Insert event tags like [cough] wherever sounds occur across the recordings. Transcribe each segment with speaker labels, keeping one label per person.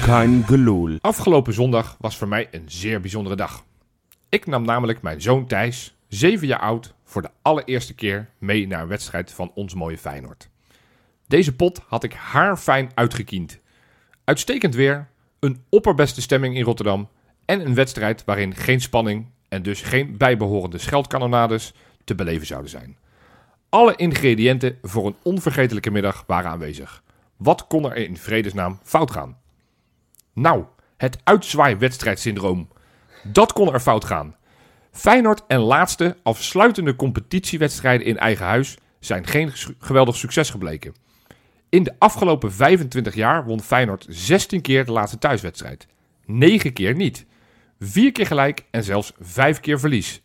Speaker 1: Kein Gelul.
Speaker 2: Afgelopen zondag was voor mij een zeer bijzondere dag. Ik nam namelijk mijn zoon Thijs, 7 jaar oud, voor de allereerste keer mee naar een wedstrijd van ons mooie Feyenoord. Deze pot had ik haarfijn uitgekiend. Uitstekend weer, een opperbeste stemming in Rotterdam en een wedstrijd waarin geen spanning en dus geen bijbehorende scheldkanonades te beleven zouden zijn. Alle ingrediënten voor een onvergetelijke middag waren aanwezig. Wat kon er in vredesnaam fout gaan? Nou, het uitzwaaiwedstrijdsyndroom. Dat kon er fout gaan. Feyenoord en laatste afsluitende competitiewedstrijden in eigen huis zijn geen ges- geweldig succes gebleken. In de afgelopen 25 jaar won Feyenoord 16 keer de laatste thuiswedstrijd. 9 keer niet. 4 keer gelijk en zelfs 5 keer verlies.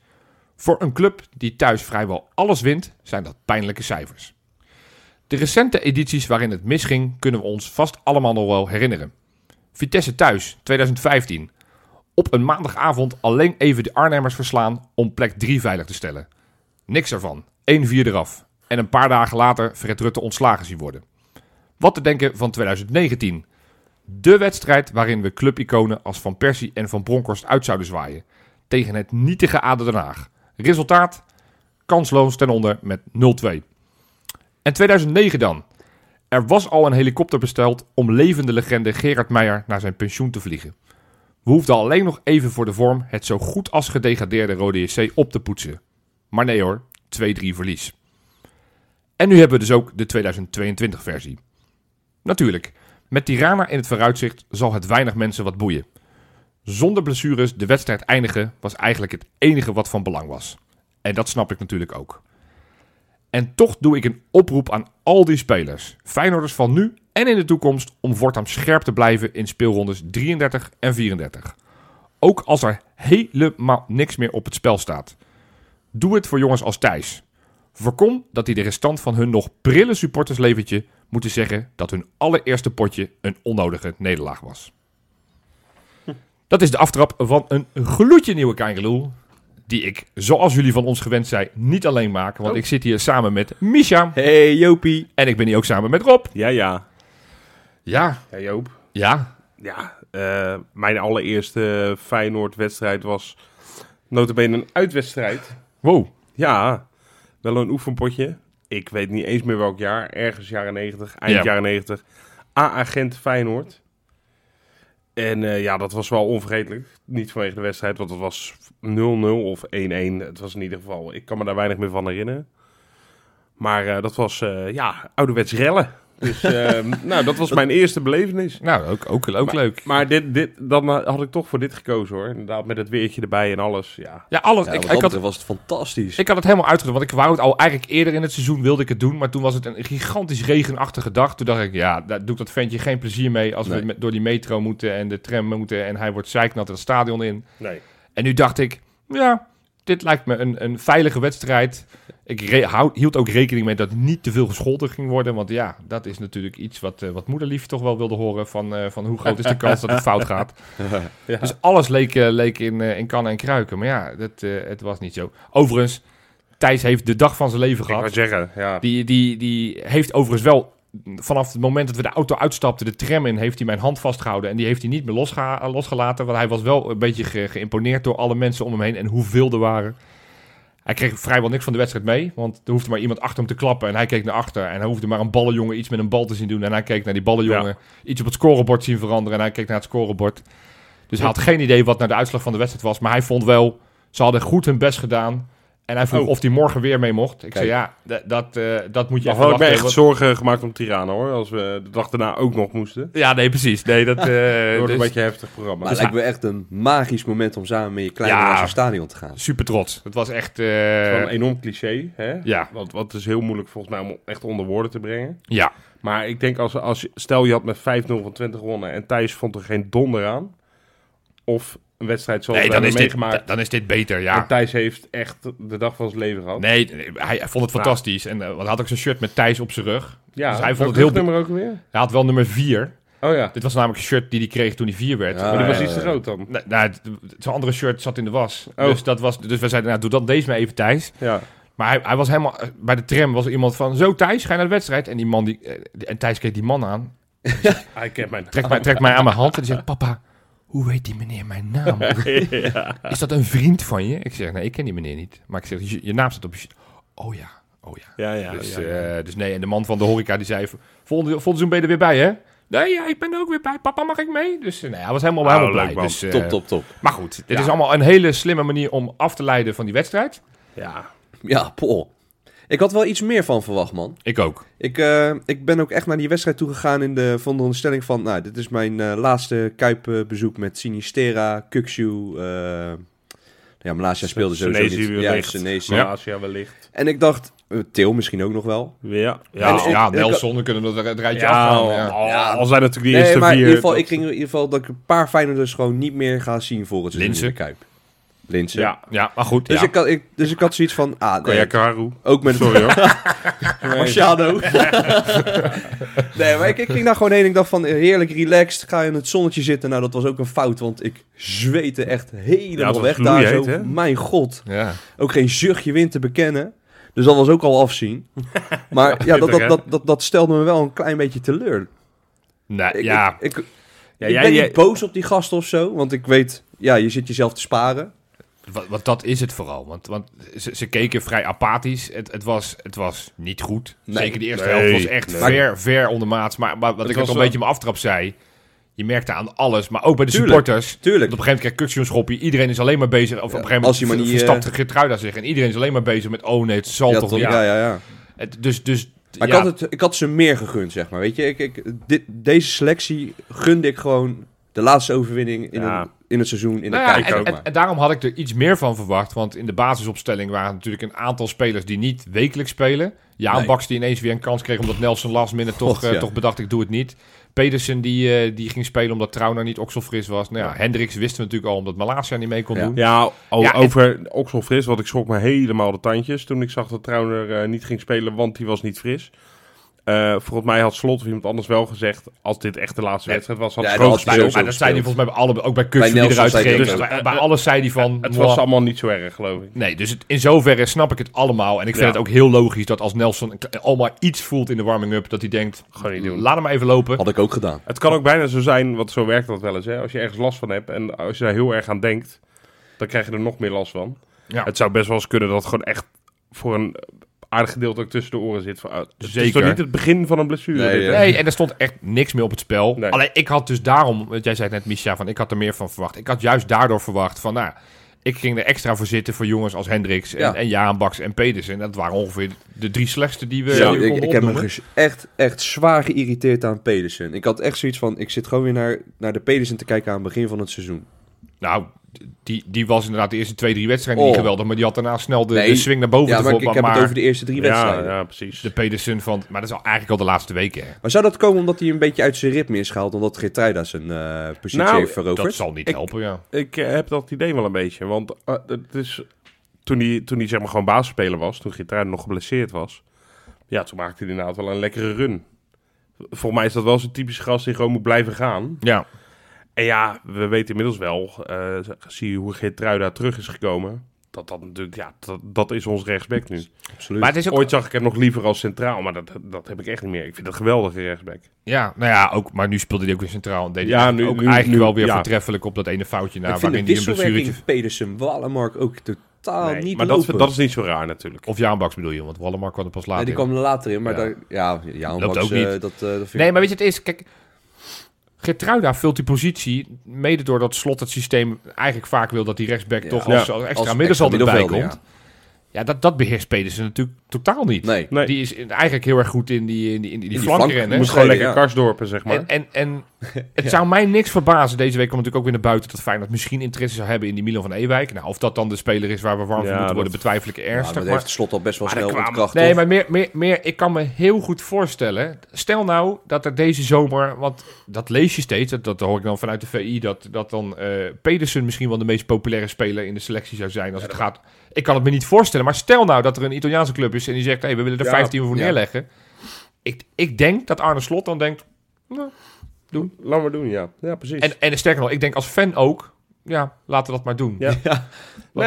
Speaker 2: Voor een club die thuis vrijwel alles wint, zijn dat pijnlijke cijfers. De recente edities waarin het misging kunnen we ons vast allemaal nog wel herinneren. Vitesse thuis 2015. Op een maandagavond alleen even de Arnhemmers verslaan om plek 3 veilig te stellen. Niks ervan. 1-4 eraf. En een paar dagen later Fred Rutte ontslagen zien worden. Wat te denken van 2019. De wedstrijd waarin we clubiconen als Van Persie en Van Bronkhorst uit zouden zwaaien. Tegen het nietige ADO Den Haag. Resultaat? Kansloos ten onder met 0-2. En 2009 dan? Er was al een helikopter besteld om levende legende Gerard Meijer naar zijn pensioen te vliegen. We hoefden alleen nog even voor de vorm het zo goed als gedegradeerde Rode JC op te poetsen. Maar nee hoor, 2-3 verlies. En nu hebben we dus ook de 2022 versie. Natuurlijk, met Tirana in het vooruitzicht zal het weinig mensen wat boeien. Zonder blessures de wedstrijd eindigen was eigenlijk het enige wat van belang was. En dat snap ik natuurlijk ook. En toch doe ik een oproep aan al die spelers, Feyenoorders van nu en in de toekomst, om voortaan scherp te blijven in speelrondes 33 en 34. Ook als er helemaal niks meer op het spel staat. Doe het voor jongens als Thijs. Voorkom dat die de restant van hun nog prille supportersleventje moeten zeggen dat hun allereerste potje een onnodige nederlaag was. Dat is de aftrap van een gloedje nieuwe Keingeloel. Die ik, zoals jullie van ons gewend zijn, niet alleen maak. Want ik zit hier samen met Misha.
Speaker 1: Hey Jopie.
Speaker 2: En ik ben hier ook samen met Rob.
Speaker 3: Ja, ja.
Speaker 2: Ja,
Speaker 3: Ja, Joop.
Speaker 2: ja.
Speaker 3: Ja, eh, mijn allereerste Feyenoord-wedstrijd was notabene een uitwedstrijd.
Speaker 2: Wow.
Speaker 3: Ja, wel een oefenpotje. Ik weet niet eens meer welk jaar. Ergens jaren 90, eind
Speaker 2: Ja.
Speaker 3: jaren 90. A-agent Feyenoord. En eh, ja, dat was wel onvergetelijk. Niet vanwege de wedstrijd, want het was 0-0 of 1-1. Het was in ieder geval, ik kan me daar weinig meer van herinneren. Maar eh, dat was, eh, ja, ouderwets rellen. Dus, eh, nou, dat was mijn eerste belevenis.
Speaker 2: Nou, ook, ook, ook leuk.
Speaker 3: Maar dit, dit, dan eh, had ik toch voor dit gekozen, hoor. Inderdaad, met het weertje erbij en alles, ja.
Speaker 2: Ja, alles.
Speaker 4: Ja,
Speaker 2: ik,
Speaker 4: wat dat
Speaker 2: ik, had,
Speaker 4: betreft was het fantastisch.
Speaker 2: ik had het helemaal uitgedaan. Want ik wou het al eigenlijk eerder in het seizoen wilde ik het doen. Maar toen was het een gigantisch regenachtige dag. Toen dacht ik, ja, daar doe ik dat ventje geen plezier mee. Als we
Speaker 4: Nee.
Speaker 2: met- door die metro moeten en de tram moeten. En hij wordt zeiknat het stadion in.
Speaker 3: Nee.
Speaker 2: En nu dacht ik, ja, dit lijkt me een, een veilige wedstrijd. Ik re- hou- hield ook rekening mee dat niet te veel gescholden ging worden. Want ja, dat is natuurlijk iets wat, eh, wat moederlief toch wel wilde horen. Van, eh, van hoe groot is de kans dat het fout gaat.
Speaker 3: [laughs] Ja.
Speaker 2: Dus alles leek, eh, leek in, eh, in kannen en kruiken. Maar ja, dat, eh, het was niet zo. Overigens, Thijs heeft de dag van zijn leven
Speaker 3: Ik wou
Speaker 2: gehad.
Speaker 3: zeggen, ja.
Speaker 2: Die, die, die heeft overigens wel, vanaf het moment dat we de auto uitstapten, de tram in, heeft hij mijn hand vastgehouden. En die heeft hij niet meer losgeha- losgelaten. Want hij was wel een beetje ge- geïmponeerd door alle mensen om hem heen en hoeveel er waren. Hij kreeg vrijwel niks van de wedstrijd mee, want er hoefde maar iemand achter hem te klappen. En hij keek naar achter en hij hoefde maar een ballenjongen iets met een bal te zien doen. En hij keek naar die ballenjongen, iets op het scorebord zien veranderen en hij keek naar het scorebord. Dus hij had geen idee wat nou de uitslag van de wedstrijd was. Maar hij vond wel, ze hadden goed hun best gedaan. En hij vroeg
Speaker 3: Oh.
Speaker 2: of hij morgen weer mee mocht. Ik
Speaker 4: Kijk.
Speaker 2: zei ja, d- dat, eh, dat moet je
Speaker 3: Dan had ik me
Speaker 2: even wachten.
Speaker 3: echt
Speaker 2: want-
Speaker 3: zorgen gemaakt om Tirana hoor, als we de dag daarna ook nog moesten.
Speaker 2: Ja, nee, precies.
Speaker 3: [laughs]
Speaker 2: Nee, dat, eh,
Speaker 3: Het wordt
Speaker 2: dus
Speaker 3: een beetje een heftig programma.
Speaker 4: Maar het lijkt me echt een magisch moment om samen met je kleine
Speaker 2: Ja.
Speaker 4: naar zo'n stadion te gaan.
Speaker 2: super trots. Het was echt... eh,
Speaker 3: Het is wel een enorm cliché, hè?
Speaker 2: ja,
Speaker 3: Want wat is heel moeilijk volgens mij om echt onder woorden te brengen.
Speaker 2: ja,
Speaker 3: Maar ik denk als, als je- stel je had met 5-0 van 20 gewonnen en Thijs vond er geen donder aan. Of een wedstrijd zoals
Speaker 2: nee,
Speaker 3: we
Speaker 2: dan is,
Speaker 3: hebben
Speaker 2: dit,
Speaker 3: meegemaakt.
Speaker 2: dan is dit beter,
Speaker 3: En
Speaker 2: ja.
Speaker 3: Thijs heeft echt de dag van zijn leven gehad.
Speaker 2: Nee, nee, hij hij vond het fantastisch. En eh, want hij had ook zijn shirt met Thijs op zijn rug.
Speaker 3: ja,
Speaker 2: dus hij vond
Speaker 3: welk
Speaker 2: het heel
Speaker 3: nummer ook weer.
Speaker 2: Hij had wel nummer 4.
Speaker 3: Oh ja,
Speaker 2: Dit was namelijk een shirt die hij kreeg toen hij 4 werd.
Speaker 4: Ja,
Speaker 3: maar die
Speaker 4: ja,
Speaker 3: was
Speaker 4: ja,
Speaker 3: iets te
Speaker 4: ja.
Speaker 3: groot dan.
Speaker 2: Nee, nou, het- zijn andere shirt zat in de was.
Speaker 3: Oh.
Speaker 2: Dus, dat was, dus we zeiden, nou, doe dan deze maar even Thijs.
Speaker 3: Ja,
Speaker 2: Maar hij, hij was helemaal... Bij de tram was er iemand van... Zo Thijs, ga je naar de wedstrijd? En die man die... eh, En Thijs keek die man aan.
Speaker 3: Hij kent mijn
Speaker 2: Trekt mij, trekt mij aan mijn hand en zegt, papa, hoe weet die meneer mijn
Speaker 3: [laughs]
Speaker 2: naam? Is dat een vriend van je? Ik zeg, nee, ik ken die meneer niet. Maar ik zeg, je, je naam staat op je sheet. Oh ja, oh ja.
Speaker 3: Ja, ja.
Speaker 2: Dus,
Speaker 3: ja, ja.
Speaker 2: eh, dus nee, en de man van de horeca die zei, volgende, volgend seizoen ben je er weer bij, hè? Nee, ja, ik ben er ook weer bij. Papa, mag ik mee? Dus eh, nee, hij was helemaal,
Speaker 3: Oh,
Speaker 2: helemaal
Speaker 3: leuk,
Speaker 2: blij.
Speaker 3: man.
Speaker 2: Dus, eh,
Speaker 4: Top, top, top.
Speaker 2: Maar goed, dit
Speaker 3: Ja.
Speaker 2: is allemaal een hele slimme manier om af te leiden van die wedstrijd.
Speaker 3: ja.
Speaker 4: Ja, Paul. Ik had wel iets meer van verwacht, man.
Speaker 2: Ik ook.
Speaker 4: Ik, eh, ik ben ook echt naar die wedstrijd toegegaan in de van de onderstelling van... Nou, dit is mijn eh, laatste Kuipbezoek met Sinistera, Kukshu... eh ja, Malaysia speelde sowieso
Speaker 3: Senesi
Speaker 4: niet. Ja,
Speaker 3: wellicht.
Speaker 4: Senesi.
Speaker 3: Ja. Asia wellicht.
Speaker 4: En ik dacht, eh, Til misschien ook nog wel.
Speaker 3: Ja.
Speaker 2: Ja,
Speaker 4: En-
Speaker 2: ja
Speaker 4: en-
Speaker 2: Nelson, dan kunnen we dat het rijtje
Speaker 3: Ja,
Speaker 2: afgaan.
Speaker 3: al,
Speaker 2: Ja.
Speaker 3: al zijn natuurlijk die
Speaker 4: nee,
Speaker 3: eerste
Speaker 4: maar
Speaker 3: vier.
Speaker 4: in ieder geval,
Speaker 3: dat-
Speaker 4: ik ging in ieder geval dat ik een paar Feyenoorders gewoon niet meer ga zien voor het seizoen
Speaker 2: Linzen.
Speaker 4: in de Kuip. Linsen.
Speaker 3: Ja.
Speaker 2: Ja, maar goed.
Speaker 4: Dus,
Speaker 2: ja.
Speaker 4: ik had, ik, dus ik had zoiets van, ah, nee,
Speaker 3: Karu.
Speaker 4: ook met
Speaker 3: Sorry
Speaker 4: [laughs]
Speaker 3: hoor. [laughs]
Speaker 4: Marciano. nee, maar ik, ik ging daar gewoon heen. Ik dacht van, heerlijk relaxed. Ga in het zonnetje zitten. Nou, dat was ook een fout, want ik zweette echt helemaal
Speaker 3: was
Speaker 4: weg daar.
Speaker 3: gloeiheet,
Speaker 4: zo.
Speaker 3: hè?
Speaker 4: Mijn god.
Speaker 2: ja.
Speaker 4: Ook geen zuchtje wind te bekennen. Dus dat was ook
Speaker 3: [laughs]
Speaker 4: al afzien. Maar ja,
Speaker 3: pittig,
Speaker 4: dat, dat,
Speaker 3: hè?
Speaker 4: dat, dat, dat stelde me wel een klein beetje teleur.
Speaker 2: Nee,
Speaker 4: Ik,
Speaker 2: ja.
Speaker 4: ik, ik,
Speaker 3: Ja,
Speaker 4: ik
Speaker 3: jij,
Speaker 4: ben
Speaker 3: jij-
Speaker 4: niet boos op die gast of zo, want ik weet, ja, je zit jezelf te sparen.
Speaker 2: Want, want dat is het vooral. Want, want ze, ze keken vrij apathisch. Het, het, was, het was niet goed.
Speaker 4: Nee.
Speaker 2: Zeker de eerste
Speaker 3: Nee.
Speaker 2: helft was echt
Speaker 3: Nee.
Speaker 2: ver, ver ondermaats. Maar, maar wat ik ook
Speaker 3: was
Speaker 2: al een
Speaker 3: wel-
Speaker 2: beetje in mijn aftrap zei... Je merkte aan alles, maar ook bij de
Speaker 4: Tuurlijk.
Speaker 2: supporters.
Speaker 4: Tuurlijk.
Speaker 2: Want op een gegeven moment krijgt Kukje een schoppie. Iedereen is alleen maar bezig... Of op een gegeven moment
Speaker 4: als hij maar niet,
Speaker 2: verstapt Gertruida zich. En iedereen is alleen maar bezig met... Oh nee, het zal
Speaker 4: Ja,
Speaker 2: toch...
Speaker 4: toch?
Speaker 2: ja.
Speaker 4: ja, ja, ja.
Speaker 2: Het- dus, dus,
Speaker 4: Maar
Speaker 2: ja,
Speaker 4: ik, had het, ik had ze meer gegund, zeg maar. Weet je, ik, ik, dit, deze selectie gunde ik gewoon de laatste overwinning in,
Speaker 3: Ja.
Speaker 4: een- in het seizoen in
Speaker 2: Nou
Speaker 4: de
Speaker 2: ja,
Speaker 4: kijk
Speaker 2: en,
Speaker 4: ook
Speaker 2: en-
Speaker 4: maar.
Speaker 2: en daarom had ik er iets meer van verwacht. Want in de basisopstelling waren natuurlijk een aantal spelers die niet wekelijks spelen. Jaan
Speaker 4: Nee.
Speaker 2: Baks die ineens weer een kans kreeg omdat Nelson last minute toch,
Speaker 4: God,
Speaker 2: eh,
Speaker 4: ja.
Speaker 2: toch bedacht ik doe het niet. Pedersen die, eh, die ging spelen omdat Trauner niet okselfris was. Nou ja, Hendricks wisten we natuurlijk al omdat Malasia niet mee kon
Speaker 4: Ja.
Speaker 2: doen.
Speaker 3: Ja, o-
Speaker 2: Ja, en-
Speaker 3: over Oksel Fris, want ik schrok me helemaal de tandjes toen ik zag dat Trouwner eh, niet ging spelen, want die was niet fris. Eh, volgens mij had Slot of iemand anders wel gezegd, als dit echt de laatste
Speaker 2: Nee.
Speaker 3: wedstrijd was, had
Speaker 4: Ja,
Speaker 3: hij
Speaker 4: dat
Speaker 3: gewoon
Speaker 4: had
Speaker 2: Maar,
Speaker 4: Zo
Speaker 3: gespeeld.
Speaker 2: maar dat zei hij volgens mij bij alle, ook bij
Speaker 4: Bij
Speaker 2: Kuks die
Speaker 4: Nelson
Speaker 2: eruit
Speaker 4: zei hij
Speaker 2: ging.
Speaker 4: ook Eh,
Speaker 2: Dus
Speaker 3: dat.
Speaker 2: bij, bij alles zei hij van...
Speaker 3: Het
Speaker 2: "Mwah."
Speaker 3: was allemaal niet zo erg, geloof ik.
Speaker 2: Nee, dus het, in zoverre snap ik het allemaal. En ik vind
Speaker 3: Ja.
Speaker 2: het ook heel logisch dat als Nelson een k- allemaal iets voelt in de warming-up... dat hij denkt,
Speaker 3: Gewoon niet doen.
Speaker 2: laat hem maar even lopen.
Speaker 4: Had ik ook gedaan.
Speaker 3: Het kan ook bijna zo zijn, want zo werkt dat wel eens. Hè? Als je ergens last van hebt en als je daar heel erg aan denkt, dan krijg je er nog meer last van.
Speaker 2: Ja.
Speaker 3: Het zou best wel eens kunnen dat het gewoon echt voor een aardig gedeelte ook tussen de oren zit. Van, ah, Het is
Speaker 2: Zeker.
Speaker 3: toch niet het begin van een blessure?
Speaker 4: Nee,
Speaker 3: dit, hè?
Speaker 4: ja.
Speaker 2: Nee, en er stond echt niks meer op het spel.
Speaker 3: Nee.
Speaker 2: Alleen ik had dus daarom, want jij zei het net, Misha, van ik had er meer van verwacht. Ik had juist daardoor verwacht van, nou, ik ging er extra voor zitten voor jongens als Hendricks en,
Speaker 4: Ja.
Speaker 2: en Jaan Baks en Pedersen. En dat waren ongeveer de drie slechtste die we,
Speaker 4: Zo,
Speaker 2: die we
Speaker 4: ik,
Speaker 2: konden
Speaker 4: ik heb me
Speaker 2: opnoemen.
Speaker 4: ges- echt, echt zwaar geïrriteerd aan Pedersen. Ik had echt zoiets van, ik zit gewoon weer naar, naar de Pedersen te kijken aan het begin van het seizoen.
Speaker 2: Nou, die, die was inderdaad de eerste twee, drie wedstrijden niet
Speaker 4: Oh.
Speaker 2: geweldig. Maar die had daarna snel de,
Speaker 4: Nee.
Speaker 2: de swing naar boven
Speaker 4: ja, maar ik, ik
Speaker 2: gevonden.
Speaker 4: heb
Speaker 2: Maar,
Speaker 4: het over de eerste drie
Speaker 3: ja,
Speaker 4: wedstrijden.
Speaker 3: ja, precies.
Speaker 2: de Pedersen van, maar dat is al, eigenlijk al de laatste weken. hè.
Speaker 4: Maar zou dat komen omdat hij een beetje uit zijn ritme is gehaald? Omdat Gertruida zijn eh, positie
Speaker 3: Nou,
Speaker 4: heeft veroverd?
Speaker 2: Dat zal niet
Speaker 3: Ik-
Speaker 2: helpen, ja.
Speaker 3: Ik eh, heb dat idee wel een beetje. Want eh, het is, toen hij, toen hij zeg maar gewoon basisspeler was, toen Gitaar nog geblesseerd was, ja, toen maakte hij inderdaad wel een lekkere run. Volgens mij is dat wel zo'n typische gast die gewoon moet blijven gaan.
Speaker 2: Ja,
Speaker 4: Dus
Speaker 3: En ja, we weten inmiddels wel, eh, zie je hoe Geertruida terug is gekomen. Dat, dat, natuurlijk, ja, dat, dat is ons rechtsback nu.
Speaker 4: Absoluut.
Speaker 2: maar het is ook
Speaker 3: Ooit zag ik hem nog liever als centraal, maar dat, dat heb ik echt niet meer. Ik vind dat een geweldige rechtsback.
Speaker 2: Ja, nou ja, ook, maar nu speelde hij ook weer centraal. En deed hij
Speaker 3: Ja,
Speaker 2: ja,
Speaker 3: nu-
Speaker 2: ook
Speaker 3: nu-
Speaker 2: eigenlijk
Speaker 3: nu-
Speaker 2: wel weer
Speaker 3: ja.
Speaker 2: voortreffelijk op dat ene foutje na.
Speaker 4: ik vind de
Speaker 2: waarin hij een blessuretje.
Speaker 4: wisselwerking Pedersen-Wallenmark ook totaal
Speaker 3: Nee,
Speaker 4: Oh, niet
Speaker 3: maar dat,
Speaker 4: lopen.
Speaker 3: dat is niet zo raar natuurlijk.
Speaker 2: Of Jaanbaks bedoel je, want Wallenmark kwam er pas later.
Speaker 4: Nee, die
Speaker 2: in.
Speaker 4: kwam er later in, maar
Speaker 3: Ja.
Speaker 4: daar, ja, ja
Speaker 2: Loopt
Speaker 4: Max,
Speaker 2: ook
Speaker 4: eh,
Speaker 2: niet.
Speaker 4: dat, eh, dat vind
Speaker 2: Nee,
Speaker 4: ik-
Speaker 2: maar weet je, het is. Kijk, Gertruida vult die positie. Mede doordat slot het systeem eigenlijk vaak wil dat die rechtsback
Speaker 4: Ja,
Speaker 2: toch
Speaker 3: ja,
Speaker 2: als, als extra
Speaker 4: als
Speaker 2: middenvelder
Speaker 4: extra
Speaker 2: erbij
Speaker 4: middenvelder,
Speaker 2: komt. Ja, dat, dat beheerst Pedersen natuurlijk totaal niet.
Speaker 4: Nee.
Speaker 3: Nee.
Speaker 2: Die is in- eigenlijk heel erg goed in die, in die, in die,
Speaker 4: die
Speaker 2: flankrennen.
Speaker 4: flank-
Speaker 3: Moet gewoon
Speaker 4: Tweede,
Speaker 3: lekker
Speaker 4: ja.
Speaker 3: karsdorpen, zeg maar.
Speaker 2: En, en,
Speaker 3: [laughs]
Speaker 2: en het zou mij niks verbazen. Deze week kwam natuurlijk ook weer naar buiten dat Feyenoord misschien interesse zou hebben in die Milan van Ewijk. Nou, of dat dan de speler is waar we warm
Speaker 3: Ja,
Speaker 2: voor moeten worden,
Speaker 3: dat-
Speaker 2: betwijfel ik
Speaker 4: Ja,
Speaker 2: ernstig.
Speaker 4: maar dat
Speaker 2: maar-
Speaker 4: heeft slot al best wel
Speaker 3: maar
Speaker 4: snel
Speaker 3: er kwamen-
Speaker 4: ontkracht.
Speaker 2: Nee, maar meer, meer, meer, ik kan me heel goed voorstellen. Stel nou dat er deze zomer, want dat lees je steeds, dat, dat hoor ik dan vanuit de VI, dat, dat dan eh, Pedersen misschien wel de meest populaire speler in de selectie zou zijn. Als het gaat. Ik kan het me niet voorstellen, maar stel nou dat er een Italiaanse club is en die zegt: hé, we willen er
Speaker 3: Ja,
Speaker 2: 15 voor
Speaker 4: ja.
Speaker 2: neerleggen. Ik, ik denk dat Arne Slot dan denkt:
Speaker 3: Laat maar doen, ja. Ja, precies.
Speaker 2: En, en sterker nog, ik denk als fan ook. ja, laten we dat maar doen.
Speaker 3: Ja.
Speaker 2: Want,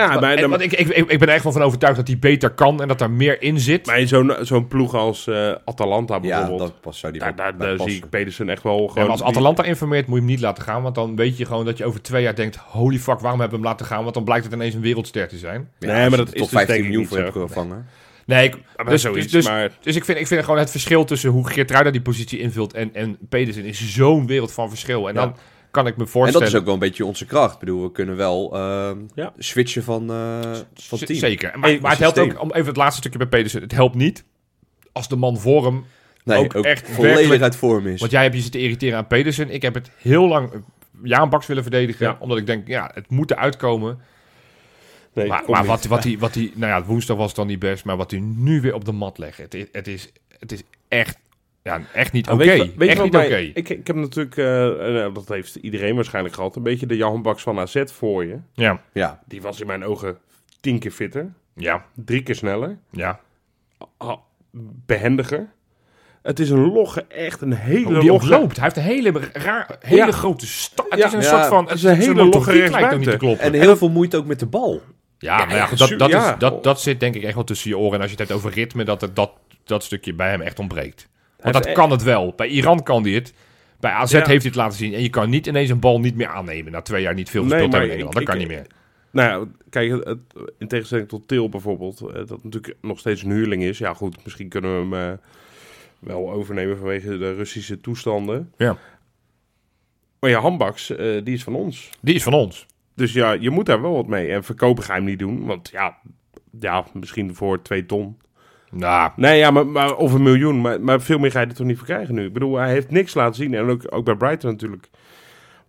Speaker 3: Nou ja,
Speaker 2: maar-
Speaker 3: bij de-
Speaker 2: en- want ik, ik, ik ik ben er echt wel van overtuigd dat hij beter kan en dat er meer in zit.
Speaker 3: Maar in zo'n zo'n ploeg als eh, Atalanta
Speaker 4: Ja,
Speaker 3: bijvoorbeeld.
Speaker 4: dat pas, zou die
Speaker 3: daar
Speaker 4: wel
Speaker 3: daar,
Speaker 4: bij
Speaker 3: daar zie
Speaker 4: passen.
Speaker 3: ik Pedersen echt wel
Speaker 2: Ja,
Speaker 3: gewoon...
Speaker 2: maar als Atalanta informeert, moet je hem niet laten gaan. Want dan weet je gewoon dat je over twee jaar denkt: holy fuck, waarom hebben we hem laten gaan? Want dan blijkt het ineens een wereldster te zijn.
Speaker 3: Nee, maar
Speaker 4: als je
Speaker 3: dat
Speaker 4: er
Speaker 3: is
Speaker 4: tot
Speaker 3: dus
Speaker 4: 15
Speaker 3: denk ik
Speaker 4: miljoen
Speaker 3: niet
Speaker 4: voor
Speaker 3: zo.
Speaker 4: hebt gevangen.
Speaker 2: Nee, ik,
Speaker 3: maar
Speaker 2: dus,
Speaker 3: zoiets,
Speaker 2: dus, dus,
Speaker 3: maar...
Speaker 2: dus ik vind, ik vind gewoon het verschil tussen hoe Geertruida die positie invult en, en Pedersen is zo'n wereld van verschil. En
Speaker 3: Ja.
Speaker 2: dan kan ik me
Speaker 4: En dat
Speaker 2: voorstellen.
Speaker 4: is ook wel een beetje onze kracht. Ik bedoel, we kunnen wel ehm,
Speaker 3: Ja.
Speaker 4: switchen van, eh van
Speaker 2: Z-
Speaker 4: team.
Speaker 2: Zeker. Maar,
Speaker 3: Eén
Speaker 2: maar het helpt
Speaker 3: systeem.
Speaker 2: ook, om even het laatste stukje bij Pedersen, het helpt niet als de man voor hem
Speaker 4: Nee,
Speaker 2: ook
Speaker 4: ook,
Speaker 2: echt werkelijk-
Speaker 4: volledig uit vorm is.
Speaker 3: Dus-
Speaker 2: Want jij hebt je zitten irriteren aan Pedersen. Ik heb het heel lang eh, Jaanbaks willen verdedigen.
Speaker 3: Ja.
Speaker 2: Omdat ik denk, ja, het moet eruit komen.
Speaker 3: Nee,
Speaker 2: maar
Speaker 3: kom
Speaker 2: maar
Speaker 3: niet.
Speaker 2: wat, wat, die, wat die... Nou ja, woensdag was het dan niet best. Maar wat hij nu weer op de mat legt. Het is, het is, het is echt, ja, echt niet
Speaker 3: Maar
Speaker 2: oké.
Speaker 3: Nou, weet je- weet je
Speaker 2: Echt
Speaker 3: wat
Speaker 2: niet oké.
Speaker 3: mij- Ik, ik heb natuurlijk, eh, eh, dat heeft iedereen waarschijnlijk gehad, een beetje de Jan Baks van AZ voor je.
Speaker 2: Ja,
Speaker 4: Ja,
Speaker 3: Die was in mijn ogen tien keer fitter,
Speaker 2: ja,
Speaker 3: drie keer sneller,
Speaker 2: ja. Ah.
Speaker 3: a- behendiger. Het is een logge, echt een hele
Speaker 2: Hoe Oh, die ook
Speaker 3: logge.
Speaker 2: loopt. Hij heeft een hele, raar, hele
Speaker 3: Ja.
Speaker 2: grote stap. Het
Speaker 3: Ja.
Speaker 2: is een
Speaker 4: Ja,
Speaker 2: soort van...
Speaker 3: het is een
Speaker 2: zo'n
Speaker 3: hele
Speaker 2: motoriek
Speaker 3: logge
Speaker 2: lijkt ook niet te
Speaker 3: rechtsbuiten.
Speaker 2: kloppen.
Speaker 4: en heel veel moeite ook met de bal.
Speaker 2: Ja, maar ja,
Speaker 3: ja,
Speaker 2: goed, dat,
Speaker 3: su-
Speaker 2: dat,
Speaker 3: ja.
Speaker 2: Is, dat, dat zit denk ik echt wel tussen je oren. En als je het hebt over ritme, dat het- dat, dat stukje bij hem echt ontbreekt. Want dat
Speaker 3: heeft
Speaker 2: kan het wel. Bij Iran kan hij het. Bij AZ
Speaker 3: Ja.
Speaker 2: heeft hij het laten zien. En je kan niet ineens een bal niet meer aannemen. Na twee jaar niet veel
Speaker 3: Nee,
Speaker 2: gespeeld
Speaker 3: maar
Speaker 2: hebben in
Speaker 3: ik-
Speaker 2: Nederland. Dat
Speaker 3: ik-
Speaker 2: kan niet meer.
Speaker 3: Nou ja, kijk, het- het- in tegenstelling tot Til bijvoorbeeld, eh, dat natuurlijk nog steeds een huurling is. Ja goed, misschien kunnen we hem eh, wel overnemen vanwege de Russische toestanden.
Speaker 2: Ja.
Speaker 3: Maar ja, Hambaks, eh, die is van ons.
Speaker 2: Die is van ons.
Speaker 3: Dus ja, je moet daar wel wat mee. En verkopen ga je hem niet doen, want ja, ja misschien voor twee ton.
Speaker 2: Nou,
Speaker 3: Nee, ja, maar, maar, of een miljoen. Maar, maar veel meer ga je er toch niet voor krijgen nu. Ik bedoel, hij heeft niks laten zien. En ook, ook bij Brighton natuurlijk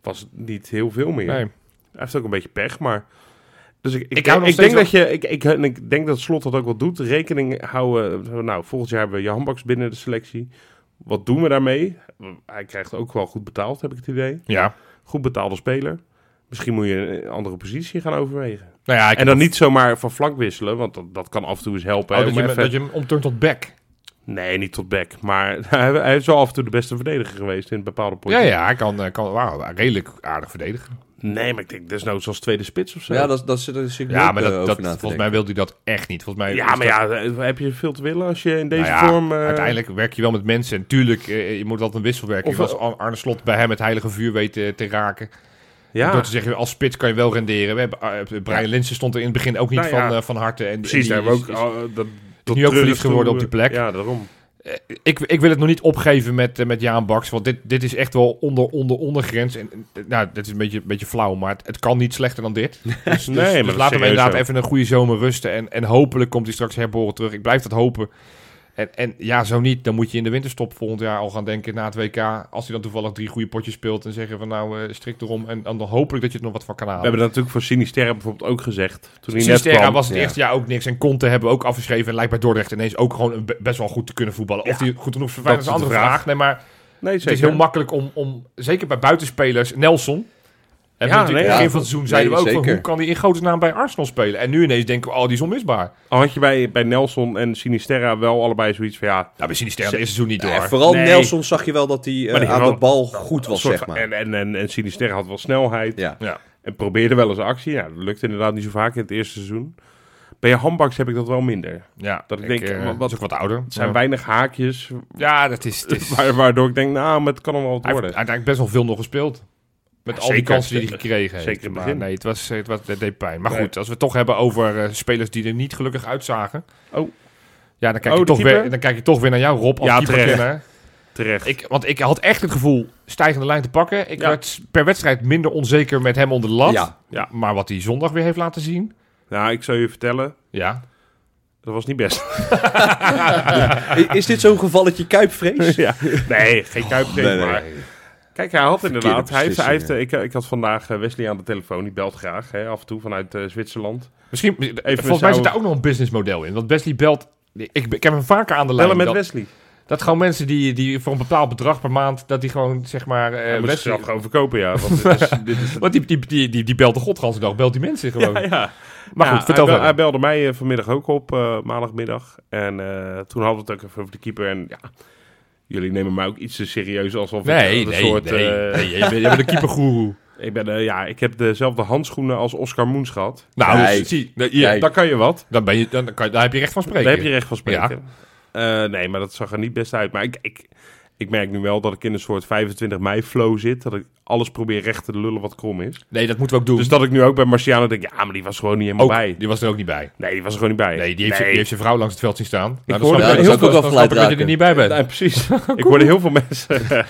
Speaker 3: was het niet heel veel meer.
Speaker 2: nee.
Speaker 3: Hij heeft ook een beetje pech, maar... Dus ik, ik,
Speaker 2: Ik
Speaker 3: ik,
Speaker 2: hou nog
Speaker 3: denk
Speaker 2: steeds
Speaker 3: dat je, ik, ik, en ik denk dat Slot dat ook wel doet. Rekening houden. Nou, volgend jaar hebben we Jan Baks binnen de selectie. Wat doen we daarmee? Hij krijgt ook wel goed betaald, heb ik het idee.
Speaker 2: Ja.
Speaker 3: Goed betaalde speler. Misschien moet je een andere positie gaan overwegen.
Speaker 2: Nou ja, ik
Speaker 3: En dan niet zomaar van flank wisselen, want dat, dat kan af en toe eens helpen.
Speaker 2: oh,
Speaker 3: hè,
Speaker 2: dat,
Speaker 3: om
Speaker 2: je, hem-
Speaker 3: even-
Speaker 2: dat je hem omturnt tot back.
Speaker 3: Nee, niet tot back. Maar [laughs] hij, hij is wel af en toe de beste verdediger geweest in bepaalde
Speaker 2: Ja,
Speaker 3: potjes.
Speaker 2: ja, hij kan, eh, kan wauw, redelijk aardig verdedigen.
Speaker 3: Nee, maar ik denk desnoods als tweede spits of zo.
Speaker 4: Ja, dat, dat zit er zeker
Speaker 2: Ja,
Speaker 4: ook,
Speaker 2: maar
Speaker 4: eh,
Speaker 2: dat,
Speaker 4: over
Speaker 2: dat,
Speaker 4: na te
Speaker 2: volgens
Speaker 4: denken.
Speaker 2: mij wil hij dat echt niet. Volgens mij
Speaker 3: Ja,
Speaker 2: is
Speaker 3: maar
Speaker 2: dat-
Speaker 3: ja, eh, heb je veel te willen als je in deze
Speaker 2: Nou ja,
Speaker 3: vorm... eh,
Speaker 2: Uiteindelijk werk je wel met mensen. En tuurlijk, eh, je moet altijd een wisselwerking.
Speaker 3: Of-
Speaker 2: Zoals Ar- Arne Slot bij hem het heilige vuur weet eh, te raken.
Speaker 3: Ja,
Speaker 2: Door te zeggen, als spits kan je wel renderen. We hebben, eh, Brian Linsen stond er in het begin ook niet
Speaker 3: Nou
Speaker 2: van,
Speaker 3: ja.
Speaker 2: eh, van harte. En,
Speaker 3: precies.
Speaker 2: en
Speaker 3: Daar
Speaker 2: die
Speaker 3: hebben we ook... al,
Speaker 2: is-
Speaker 3: eh, dat, tot
Speaker 2: nu
Speaker 3: treurig
Speaker 2: ook verliefd geworden
Speaker 3: toe,
Speaker 2: op die plek.
Speaker 3: Ja, daarom.
Speaker 2: is- ik, ik wil het nog niet opgeven met, eh, met Jaan Baks. Want dit, dit is echt wel onder, onder, ondergrens. En, eh, nou, dit is een beetje, een beetje flauw, maar het, het kan niet slechter dan
Speaker 3: [laughs]
Speaker 2: dit. Dus, dus,
Speaker 3: Nee, maar
Speaker 2: dus
Speaker 3: dat is
Speaker 2: laten we
Speaker 3: serieus
Speaker 2: inderdaad
Speaker 3: zo.
Speaker 2: even een goede zomer rusten. En, en hopelijk komt hij straks herboren terug. Ik blijf dat hopen. En, en ja, zo niet. Dan moet je in de winterstop volgend jaar al gaan denken na het WK. Als hij dan toevallig drie goede potjes speelt. En zeggen van nou, eh strik erom. En dan hopelijk dat je er nog wat van kan halen.
Speaker 3: We hebben dat natuurlijk voor Sinisterra bijvoorbeeld ook gezegd. Toen hij net
Speaker 2: Sinisterra
Speaker 3: kwam.
Speaker 2: was het
Speaker 4: Ja.
Speaker 2: eerste jaar ook niks. En Conte hebben we ook afgeschreven. En lijkt bij Dordrecht ineens ook gewoon een be- best wel goed te kunnen voetballen. Of
Speaker 3: Ja,
Speaker 2: die goed genoeg verwijderd is een
Speaker 3: dat is
Speaker 2: andere
Speaker 3: de vraag.
Speaker 2: vraag. Nee, maar
Speaker 3: Nee,
Speaker 2: het is heel makkelijk om, om zeker bij buitenspelers, Nelson... En
Speaker 3: Ja,
Speaker 2: ja, natuurlijk
Speaker 3: nee,
Speaker 2: in het begin
Speaker 4: ja.
Speaker 2: van het seizoen zeiden
Speaker 4: Nee,
Speaker 2: we ook van,
Speaker 4: zeker.
Speaker 2: hoe kan hij in grote naam bij Arsenal spelen? En nu ineens denken we, oh, die is onmisbaar.
Speaker 3: Al had je bij, bij Nelson en Sinisterra wel allebei zoiets van... Ja,
Speaker 2: Nou, bij Sinisterra is het seizoen niet door.
Speaker 4: Ja, vooral
Speaker 3: Nee.
Speaker 4: Nelson zag je wel dat hij eh,
Speaker 3: Maar die
Speaker 4: aan
Speaker 3: wel-
Speaker 4: de bal goed was,
Speaker 3: soort
Speaker 4: zeg
Speaker 3: van-
Speaker 4: maar.
Speaker 3: En, en, en, en Sinisterra had wel snelheid.
Speaker 4: Ja.
Speaker 2: ja.
Speaker 3: En probeerde wel eens actie. Ja, dat lukte inderdaad niet zo vaak in het eerste seizoen. Bij Hambaks heb ik dat wel minder.
Speaker 2: ja,
Speaker 3: Dat ik denk,
Speaker 2: eh,
Speaker 3: wat- wat-
Speaker 2: is ook wat ouder.
Speaker 3: Het zijn
Speaker 2: ja.
Speaker 3: weinig haakjes [laughs]
Speaker 2: Ja, dat is... Het is hij
Speaker 3: waar- waardoor ik denk, nou, maar het kan hem wel wat
Speaker 2: heeft
Speaker 3: worden.
Speaker 2: uiteindelijk best wel veel nog gespeeld. Met
Speaker 3: Ja,
Speaker 2: al die
Speaker 3: zeker.
Speaker 2: kansen die hij gekregen heeft.
Speaker 3: Zeker in het
Speaker 2: Maar
Speaker 3: begin.
Speaker 2: nee, het, was, het, was, het deed pijn. Maar
Speaker 3: Nee.
Speaker 2: goed, als we het toch hebben over eh, spelers die er niet gelukkig uitzagen.
Speaker 3: Oh.
Speaker 2: Ja, dan kijk,
Speaker 3: Oh,
Speaker 2: je
Speaker 3: de
Speaker 2: toch weer,
Speaker 3: keeper?
Speaker 2: dan kijk je toch weer naar jou, Rob. Als
Speaker 3: Ja,
Speaker 2: keeper
Speaker 3: terecht.
Speaker 2: kenner.
Speaker 3: Terecht.
Speaker 2: Ik, want ik had echt het gevoel stijgende lijn te pakken. Ik
Speaker 3: Ja.
Speaker 2: werd per wedstrijd minder onzeker met hem onder de lat.
Speaker 4: Ja.
Speaker 3: Ja.
Speaker 2: Maar wat hij zondag weer heeft laten zien.
Speaker 3: Nou, ik zou je vertellen,
Speaker 2: Ja.
Speaker 3: dat was niet best.
Speaker 4: I- Is dit zo'n gevalletje kuipvrees?
Speaker 3: ja. Nee, geen kuipdate,
Speaker 4: nee, nee.
Speaker 3: maar... Kijk, hij had inderdaad... Hij heeft, hij heeft,
Speaker 4: beslissingen.
Speaker 3: ik, ik had vandaag eh, Wesley aan de telefoon, die belt graag, hè, af en toe vanuit eh, Zwitserland.
Speaker 2: Misschien,
Speaker 3: met
Speaker 2: volgens mij
Speaker 3: jou-
Speaker 2: zit daar ook nog een businessmodel in. Want Wesley belt... Ik, ik heb hem vaker aan de lijn.
Speaker 3: Bellen met
Speaker 2: dat-
Speaker 3: Wesley.
Speaker 2: Dat gewoon mensen die, die voor een bepaald bedrag per maand, dat die gewoon zeg maar. eh,
Speaker 3: Hij moet
Speaker 2: Wesley-
Speaker 3: zichzelf gewoon verkopen, ja. Want dit is, dit is
Speaker 2: want die, die, die, die, die belt de godganse dag, belt die mensen gewoon.
Speaker 3: ja, Ah, ja.
Speaker 2: Oh. Maar
Speaker 3: Ja,
Speaker 2: goed, vertel
Speaker 3: hij, bel-
Speaker 2: verder.
Speaker 3: hij belde mij eh, vanmiddag ook op, eh, maandagmiddag. En eh, toen hadden we het ook even over de keeper. En ja, jullie nemen mij ook iets te serieus alsof ik
Speaker 2: Nee,
Speaker 3: eh, een
Speaker 2: nee,
Speaker 3: soort...
Speaker 2: nee,
Speaker 3: eh,
Speaker 2: [laughs] nee, jij bent- jij bent een keepergoeroe.
Speaker 3: Ik, ben, eh, ja, ik heb dezelfde handschoenen als Oscar Moens gehad.
Speaker 2: Nou,
Speaker 4: Kijk.
Speaker 2: dus, zie, nou, hier,
Speaker 4: Kijk.
Speaker 2: dan,
Speaker 3: Daar kan je wat.
Speaker 2: dan, ben je, dan, dan kan, je- daar heb je recht van spreken.
Speaker 3: Daar heb je recht van spreken. Eh, nee, maar dat zag er niet best uit. Maar ik, ik, ik merk nu wel dat ik in een soort 25 mei flow zit. Dat ik alles probeer recht te lullen wat krom is.
Speaker 2: Nee, dat moeten we ook doen.
Speaker 3: Dus dat ik nu ook bij Marciano denk, ja, maar die was gewoon niet helemaal
Speaker 2: ook,
Speaker 3: bij.
Speaker 2: Die was er ook niet bij.
Speaker 3: Nee, die was er gewoon niet bij.
Speaker 2: Nee, die heeft, je- die heeft zijn vrouw langs het veld zien staan. Nou,
Speaker 3: hoorde
Speaker 2: snap
Speaker 3: dat
Speaker 2: ik-
Speaker 3: heel
Speaker 4: veel
Speaker 2: snap ik
Speaker 4: afgeleid
Speaker 2: dat je er
Speaker 4: raken.
Speaker 2: niet bij bent.
Speaker 3: Nee,
Speaker 2: [laughs]
Speaker 3: precies. ik hoorde heel veel mensen. [laughs]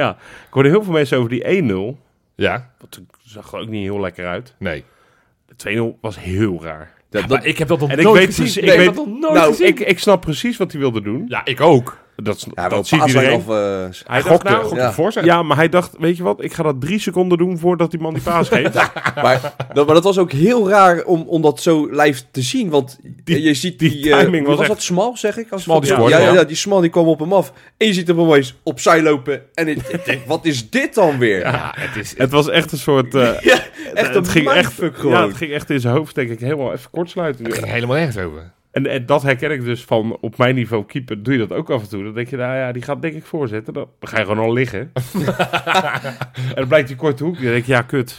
Speaker 3: ja, ik hoorde heel veel mensen over die 1-0.
Speaker 2: Ja,
Speaker 3: Dat zag er ook niet heel lekker uit.
Speaker 2: nee.
Speaker 3: De 2-0 was heel raar.
Speaker 4: Dat,
Speaker 2: Ja,
Speaker 4: dat-
Speaker 2: maar ik heb dat nog
Speaker 3: En ik
Speaker 2: nooit
Speaker 3: weet
Speaker 2: gezien.
Speaker 3: precies-
Speaker 2: ik
Speaker 3: ik
Speaker 2: heb
Speaker 3: weet-
Speaker 2: dat nog nooit
Speaker 3: nou,
Speaker 2: gezien.
Speaker 3: ik, ik snap precies wat hij wilde doen.
Speaker 2: Ja, ik ook.
Speaker 3: Dat, sn-
Speaker 4: ja,
Speaker 3: dat ziet iedereen.
Speaker 4: Of, eh,
Speaker 3: Hij dacht,
Speaker 2: gokte,
Speaker 3: nou,
Speaker 2: gokte
Speaker 4: ja.
Speaker 2: voor zijn.
Speaker 3: ja, maar hij dacht, weet je wat, ik ga dat drie seconden doen voordat die man die paas
Speaker 4: [laughs]
Speaker 3: geeft.
Speaker 4: maar, dat, maar dat was ook heel raar om, om dat zo live te zien. Want
Speaker 3: Die-
Speaker 4: je ziet
Speaker 3: die
Speaker 4: die... eh,
Speaker 3: timing was echt-
Speaker 4: dat Smal, zeg ik? Als
Speaker 2: Smal die
Speaker 4: ja,
Speaker 2: scoorde,
Speaker 4: ja, ja.
Speaker 2: ja.
Speaker 4: die Smal die kwam op hem af. En je ziet hem opeens opzij lopen. En ik, ik denk, wat is dit dan weer? Ja,
Speaker 2: Ja, het is...
Speaker 3: het was echt een soort... eh,
Speaker 4: echt een mindfuck gewoon.
Speaker 3: Ja, het ging echt in zijn hoofd, denk ik, helemaal even kortsluiten.
Speaker 2: Het ging helemaal nergens over.
Speaker 3: En, en dat herken ik dus van op mijn niveau keeper. Doe je dat ook af en toe? Dan denk je, nou ja, die gaat denk ik voorzetten. Dan ga je gewoon al
Speaker 2: [laughs]
Speaker 3: liggen. en dan blijkt die korte hoek. Dan denk je, ja, kut.
Speaker 2: [laughs]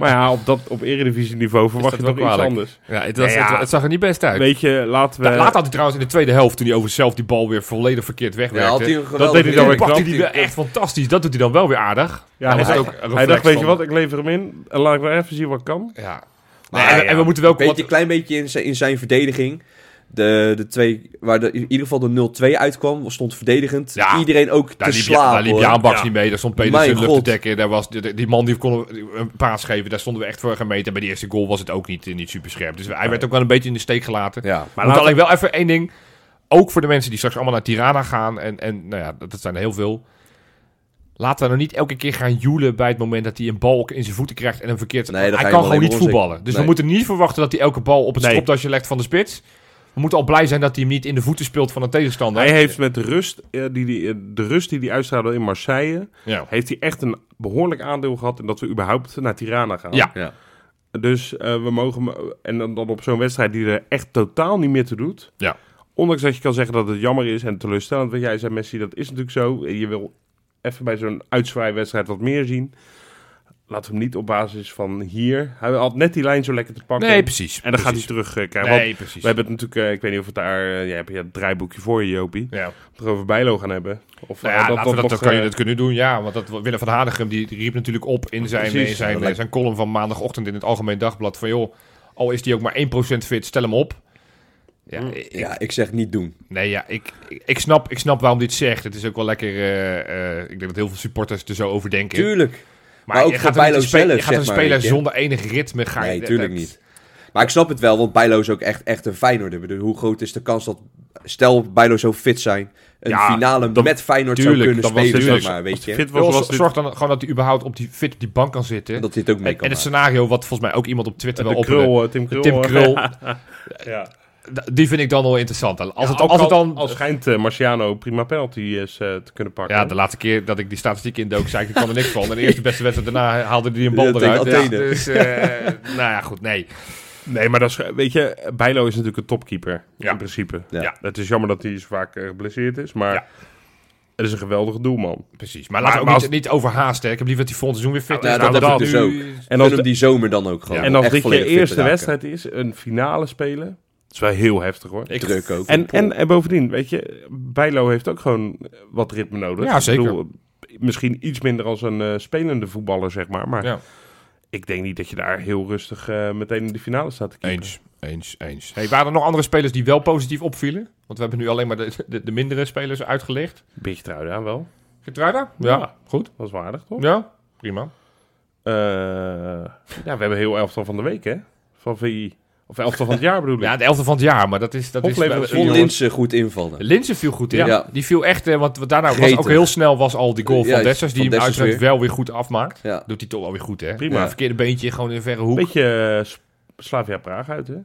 Speaker 3: Maar ja, op, dat, op eredivisieniveau verwacht
Speaker 2: dat
Speaker 3: je toch
Speaker 2: wel
Speaker 3: iets
Speaker 2: kwalijk?
Speaker 3: anders.
Speaker 2: Ja, het, was,
Speaker 3: Nee, ja.
Speaker 2: Het, het zag er niet best uit.
Speaker 3: Weet je, laten we...
Speaker 2: Da- Later had hij trouwens in de tweede helft, toen hij over zelf die bal weer volledig verkeerd
Speaker 4: Ja, had
Speaker 2: wegwerkte.
Speaker 4: hij een
Speaker 3: dat deed hij dan
Speaker 2: toen
Speaker 3: weer
Speaker 2: pakte hij
Speaker 3: knap.
Speaker 2: die weer echt fantastisch. Dat doet hij dan wel weer aardig.
Speaker 3: Ja,
Speaker 2: was
Speaker 3: hij,
Speaker 2: het ook een
Speaker 3: hij
Speaker 2: reflex
Speaker 3: dacht, weet
Speaker 2: van-
Speaker 3: je wat, ik lever hem in. En laat ik maar even zien wat ik kan.
Speaker 2: Ja.
Speaker 4: Maar
Speaker 2: Nee, en,
Speaker 3: ja,
Speaker 2: en we moeten wel...
Speaker 4: Een
Speaker 2: wat-
Speaker 4: beetje, klein beetje in zijn, in zijn verdediging. De, de twee, waar de, in ieder geval de 0-2 uitkwam, stond verdedigend.
Speaker 2: Ja.
Speaker 4: Iedereen ook
Speaker 2: Daar
Speaker 4: te
Speaker 2: liep, je, daar
Speaker 4: slaan.
Speaker 2: liep
Speaker 4: hoor.
Speaker 2: Jaanbaks
Speaker 3: Ja.
Speaker 2: niet mee. Daar stond
Speaker 4: Mijn
Speaker 2: Pedersen lucht te
Speaker 4: god.
Speaker 2: dekken. Daar was, die, die man die kon een paas geven. Daar stonden we echt voor gemeten. En bij de eerste goal was het ook niet, niet super scherp. Dus hij werd ook wel een beetje in de steek gelaten.
Speaker 4: Ja.
Speaker 2: Maar
Speaker 3: Maar
Speaker 2: Moet
Speaker 3: laten-
Speaker 2: alleen wel even één ding. Ook voor de mensen die straks allemaal naar Tirana gaan. En, en nou ja, dat, dat zijn er heel veel. Laten we nou niet elke keer gaan joelen bij het moment dat hij een bal in zijn voeten krijgt en een verkeerd...
Speaker 4: Nee, dan ga
Speaker 2: hij kan
Speaker 4: je hem
Speaker 2: gewoon
Speaker 4: alleen
Speaker 2: niet
Speaker 4: maar onzeker-
Speaker 2: voetballen. Dus we
Speaker 4: Nee.
Speaker 2: moeten niet verwachten dat hij elke bal op het
Speaker 3: Nee.
Speaker 2: stropdasje legt van de spits. We moeten al blij zijn dat hij hem niet in de voeten speelt van een tegenstander.
Speaker 3: Hij heeft met de rust, eh, die, die, eh, de rust die hij uitstraalde in Marseille...
Speaker 2: ja.
Speaker 3: heeft hij echt een behoorlijk aandeel gehad... in dat we überhaupt naar Tirana gaan.
Speaker 2: Ja.
Speaker 4: Ja.
Speaker 3: Dus eh, we mogen. hem- En dan, dan op zo'n wedstrijd die er echt totaal niet meer toe doet.
Speaker 2: Ja.
Speaker 3: Ondanks dat je kan zeggen dat het jammer is en teleurstellend. Wat jij zei, Messi, dat is natuurlijk zo. En Je wil even bij zo'n uitzwaaiwedstrijd wat meer zien. Laat hem niet op basis van hier. Hij had net die lijn zo lekker te pakken.
Speaker 2: Nee, precies.
Speaker 3: En dan gaat hij
Speaker 2: precies.
Speaker 3: terug eh, krijgen. Want
Speaker 2: Nee, precies.
Speaker 3: we hebben het natuurlijk, eh, ik weet niet of het daar, eh, jij hebt je het draaiboekje voor je, Jopie.
Speaker 2: Ja.
Speaker 3: Of we het over Bijlo gaan hebben. Of
Speaker 2: Nou
Speaker 3: eh,
Speaker 2: ja, dat, dat,
Speaker 3: nog,
Speaker 2: dat kan je
Speaker 3: eh,
Speaker 2: dat kunnen doen, ja. Want dat, Willem van Hadegem die riep natuurlijk op in zijn,
Speaker 3: Precies,
Speaker 2: in
Speaker 3: ja,
Speaker 2: zijn,
Speaker 4: dat lijkt-
Speaker 2: zijn column van maandagochtend in het Algemeen Dagblad. Van joh, al is die ook maar 1% fit, stel hem op. Ja,
Speaker 3: Mm.
Speaker 2: ik,
Speaker 4: ja, ik zeg niet doen.
Speaker 2: Nee, ja, ik, ik, ik snap, ik snap waarom dit zegt. Het is ook wel lekker... eh, eh, ik denk dat heel veel supporters er zo over denken.
Speaker 4: Tuurlijk.
Speaker 2: maar,
Speaker 4: maar ook
Speaker 2: je
Speaker 4: voor
Speaker 2: gaat er
Speaker 4: Bijlo
Speaker 2: een, spe-
Speaker 4: zelf,
Speaker 2: je gaat
Speaker 4: zeg
Speaker 2: een
Speaker 4: maar,
Speaker 2: speler
Speaker 4: weet je.
Speaker 2: zonder enig ritme... Eh, Ga je,
Speaker 4: Nee, tuurlijk
Speaker 2: dat-
Speaker 4: niet. Maar ik snap het wel, want Bijlo is ook echt, echt een Feyenoorder. Ik bedoel, hoe groot is de kans dat, stel Bijlo zou fit zijn, een
Speaker 3: Ja,
Speaker 4: finale
Speaker 3: dan-
Speaker 4: met Feyenoord
Speaker 2: tuurlijk,
Speaker 4: zou kunnen
Speaker 2: dan was dit
Speaker 4: spelen, zeg
Speaker 2: dus-
Speaker 4: maar,
Speaker 3: als
Speaker 4: weet
Speaker 3: hij
Speaker 4: je.
Speaker 3: fit was,
Speaker 2: Joh,
Speaker 3: was dit
Speaker 2: zorg dan gewoon dat hij überhaupt op die, fit op die bank kan zitten.
Speaker 4: Dat dit ook mee
Speaker 2: en,
Speaker 4: kan
Speaker 2: en het
Speaker 4: maken.
Speaker 2: scenario wat volgens mij ook iemand op Twitter wel
Speaker 3: de
Speaker 2: opperde.
Speaker 3: krul, eh, Tim Krul.
Speaker 2: Tim
Speaker 3: eh,
Speaker 2: Krul,
Speaker 3: [laughs] ja.
Speaker 2: D- Die vind ik dan wel interessant. Als, het,
Speaker 3: Ja, ook
Speaker 2: als het
Speaker 3: al-
Speaker 2: dan...
Speaker 3: al schijnt eh, Marciano prima penalty is, eh, te kunnen pakken.
Speaker 2: ja, de laatste keer dat ik die statistiek indook, zei ik, ik kan er niks van. En de eerste beste wedstrijd daarna haalde hij een bal
Speaker 4: Ja, tegen
Speaker 2: eruit. Ja,
Speaker 4: Athene.
Speaker 2: dus, eh, nou ja, goed, nee.
Speaker 3: Nee, maar dat is, weet je, Bijlo is natuurlijk een topkeeper
Speaker 2: Ja.
Speaker 3: in principe.
Speaker 4: Ja.
Speaker 3: Het is jammer dat hij zo vaak eh, geblesseerd is, maar
Speaker 2: Ja.
Speaker 3: het is een geweldige doelman.
Speaker 2: Precies. Maar
Speaker 3: Maar-
Speaker 2: laten we ook
Speaker 3: maar
Speaker 2: niet,
Speaker 3: als-
Speaker 2: niet overhaasten. hè. Ik heb liever dat hij volgend seizoen weer fit
Speaker 4: Ja,
Speaker 2: is. Nou,
Speaker 4: dat
Speaker 2: dan
Speaker 4: heb ik dus
Speaker 2: nu-
Speaker 3: En
Speaker 4: En
Speaker 3: als,
Speaker 4: hem
Speaker 3: de-
Speaker 4: die zomer dan ook gewoon.
Speaker 2: Ja,
Speaker 3: en als
Speaker 4: Echt
Speaker 3: dit je
Speaker 4: volledig fit
Speaker 3: eerste
Speaker 4: raken.
Speaker 3: wedstrijd is, een finale spelen, dat is wel heel heftig hoor.
Speaker 2: Ik-
Speaker 4: Druk ook.
Speaker 3: En, en, en bovendien, weet je, Bijlo heeft ook gewoon wat ritme nodig.
Speaker 2: Ja, zeker.
Speaker 3: Ik bedoel, misschien iets minder als een eh, spelende voetballer, zeg maar. Maar
Speaker 2: Ja.
Speaker 3: ik denk niet dat je daar heel rustig eh, meteen in de finale staat te keeper.
Speaker 2: Eens, eens, eens. Hey, waren er nog andere spelers die wel positief opvielen? Want we hebben nu alleen maar de, de, de mindere spelers uitgelicht.
Speaker 3: Beetje trouw, ja wel.
Speaker 2: Getruida? Ja,
Speaker 3: Ja.
Speaker 2: goed.
Speaker 3: Dat was waardig, toch?
Speaker 2: Ja, prima.
Speaker 3: Eh, ja, we hebben heel elftal van de week, hè? Van VI. Of elftal van het jaar bedoel ik.
Speaker 2: Ja, de elfde van het jaar, maar dat is... Dat is
Speaker 3: Opleveren
Speaker 4: Vond Linsen goed invallen.
Speaker 2: Linsen viel goed in.
Speaker 4: Ja.
Speaker 2: Die viel echt, eh, want daarna was
Speaker 4: Gretig.
Speaker 2: ook heel snel was al die goal van
Speaker 4: Ja,
Speaker 2: Dessers, die
Speaker 4: van
Speaker 2: hem
Speaker 4: Dessers
Speaker 2: uiteraard wel weer goed afmaakt.
Speaker 4: Ja.
Speaker 2: Doet hij toch alweer goed, hè?
Speaker 3: Prima.
Speaker 2: Ja, verkeerde beentje, gewoon in een verre hoek.
Speaker 3: Beetje eh, S- Slavia Praag uit, hè?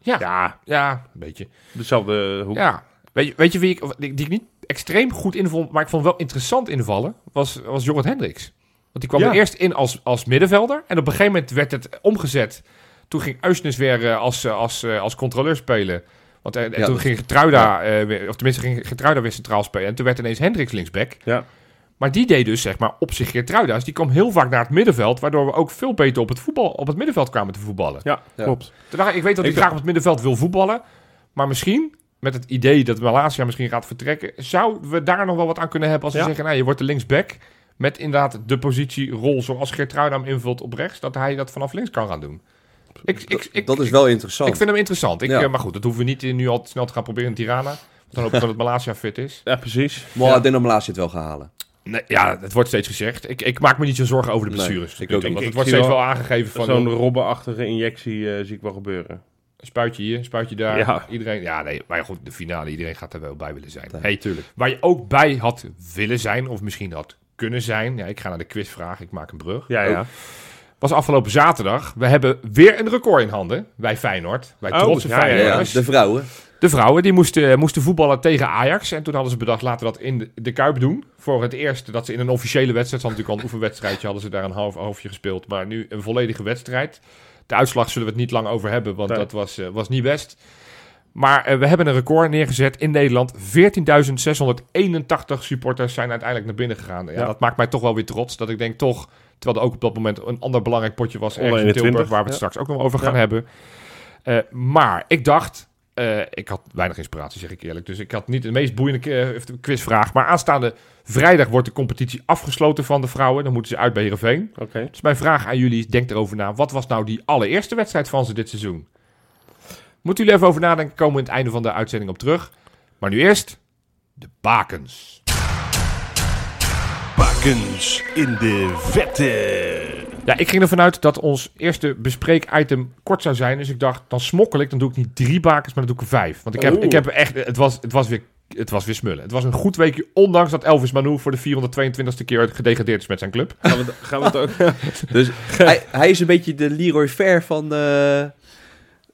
Speaker 2: Ja.
Speaker 3: Ja,
Speaker 2: Ja, een beetje.
Speaker 3: dezelfde hoek.
Speaker 2: Ja. Weet je, weet je wie ik, die, die ik niet extreem goed invond, maar ik vond wel interessant invallen, was, was Jorrit Hendricks. Want die kwam
Speaker 3: Ja.
Speaker 2: er eerst in als, als middenvelder en op een gegeven moment werd het omgezet. Toen ging Uisnes weer eh, als, eh, als, eh, als controleur spelen. Want eh, en
Speaker 4: Ja,
Speaker 2: toen
Speaker 4: dat-
Speaker 2: ging Getruida, eh, weer- of tenminste ging Getruida weer centraal spelen. En toen werd ineens Hendricks linksback.
Speaker 3: Ja.
Speaker 2: Maar die deed dus zeg maar op zich Geertruida. Dus die kwam heel vaak naar het middenveld. Waardoor we ook veel beter op het, voetbal, op het middenveld kwamen te voetballen.
Speaker 3: Ja,
Speaker 4: Ja.
Speaker 3: klopt.
Speaker 2: Toen dacht ik, ik weet dat hij
Speaker 3: Ik-
Speaker 2: graag op het middenveld wil voetballen. Maar misschien, met het idee dat Malasia misschien gaat vertrekken... zouden we daar nog wel wat aan kunnen hebben als we
Speaker 3: Ja.
Speaker 2: zeggen... Nou, je wordt de linksback met inderdaad de positierol... zoals Geertruida hem invult op rechts... dat hij dat vanaf links kan gaan doen. Ik, ik,
Speaker 4: Dat-
Speaker 2: ik,
Speaker 4: dat is wel interessant.
Speaker 2: ik vind hem interessant. Ik,
Speaker 4: Ja.
Speaker 2: eh, maar goed, dat hoeven we niet eh, nu al te snel te gaan proberen in Tirana. Want dan
Speaker 4: [laughs]
Speaker 2: hoop ik dat het Malasia fit is.
Speaker 3: Ja, precies.
Speaker 4: Maar
Speaker 2: Ja.
Speaker 4: ik denk dat Malasia het wel gaat halen.
Speaker 2: Nee, ja, het wordt steeds gezegd. Ik, ik maak me niet zo zorgen over de
Speaker 4: Nee,
Speaker 2: blessures.
Speaker 4: ik
Speaker 2: ik
Speaker 4: ook
Speaker 2: ook, want
Speaker 3: niet.
Speaker 2: het wordt
Speaker 3: Ik zie
Speaker 2: steeds wel aangegeven van
Speaker 3: Zo'n
Speaker 2: een
Speaker 3: robbenachtige injectie eh, zie ik wel gebeuren.
Speaker 2: spuitje hier, een spuitje daar.
Speaker 3: Ja.
Speaker 2: Iedereen, ja, nee, maar goed, de finale, iedereen gaat er wel bij willen zijn.
Speaker 4: Ja,
Speaker 2: Hey,
Speaker 4: tuurlijk.
Speaker 2: Waar je ook bij had willen zijn, of misschien had kunnen zijn. Ja, ik ga naar de quizvraag, ik maak een brug.
Speaker 3: Ja, ja.
Speaker 2: Was afgelopen zaterdag. We hebben weer een record in handen. Wij Feyenoord, wij
Speaker 3: Oh,
Speaker 2: trotse
Speaker 3: ja, ja, ja.
Speaker 4: Ja,
Speaker 2: Feyenoorders.
Speaker 4: de vrouwen.
Speaker 2: De vrouwen die moesten, eh, moesten voetballen tegen Ajax. En toen hadden ze bedacht, laten we dat in de, de Kuip doen. Voor het eerst dat ze in een officiële wedstrijd... ze hadden natuurlijk al een oefenwedstrijdje, hadden ze daar een half hoofdje gespeeld. Maar nu een volledige wedstrijd. De uitslag zullen we het niet lang over hebben, want
Speaker 3: Nee.
Speaker 2: dat was, eh, was niet best. Maar eh, we hebben een record neergezet in Nederland. 14.681 supporters zijn uiteindelijk naar binnen gegaan. Ja,
Speaker 3: Ja.
Speaker 2: Dat maakt mij toch wel weer trots. Dat ik denk toch, terwijl er ook op dat moment een ander belangrijk potje was... ergens in
Speaker 3: 21,
Speaker 2: Tilburg, waar we het
Speaker 3: ja.
Speaker 2: straks ook nog over
Speaker 3: Ja.
Speaker 2: gaan hebben... Eh, maar ik dacht, eh, ik had weinig inspiratie, zeg ik eerlijk. Dus ik had niet de meest boeiende eh, quizvraag. Maar aanstaande vrijdag wordt de competitie afgesloten van de vrouwen. Dan moeten ze uit bij Heerenveen.
Speaker 3: Oké.
Speaker 2: Dus mijn vraag aan jullie is, denk erover na. Wat was nou die allereerste wedstrijd van ze dit seizoen? Moeten jullie even over nadenken, komen we in het einde van de uitzending op terug. Maar nu eerst, de bakens.
Speaker 1: Bakens in de vette.
Speaker 2: Ja, ik ging ervan uit dat ons eerste bespreek-item kort zou zijn. Dus ik dacht, dan smokkel ik. Dan doe ik niet drie bakens, maar dan doe ik er vijf. Want ik heb,
Speaker 3: Oeh.
Speaker 2: ik heb echt... Het was, het, was weer, het was weer smullen. Het was een goed weekje, ondanks dat Elvis Manu voor de 422e keer gedegradeerd is met zijn club.
Speaker 3: Gaan, we het- gaan we het ook...
Speaker 4: Dus hij, hij is een beetje de Leroy Fair van de,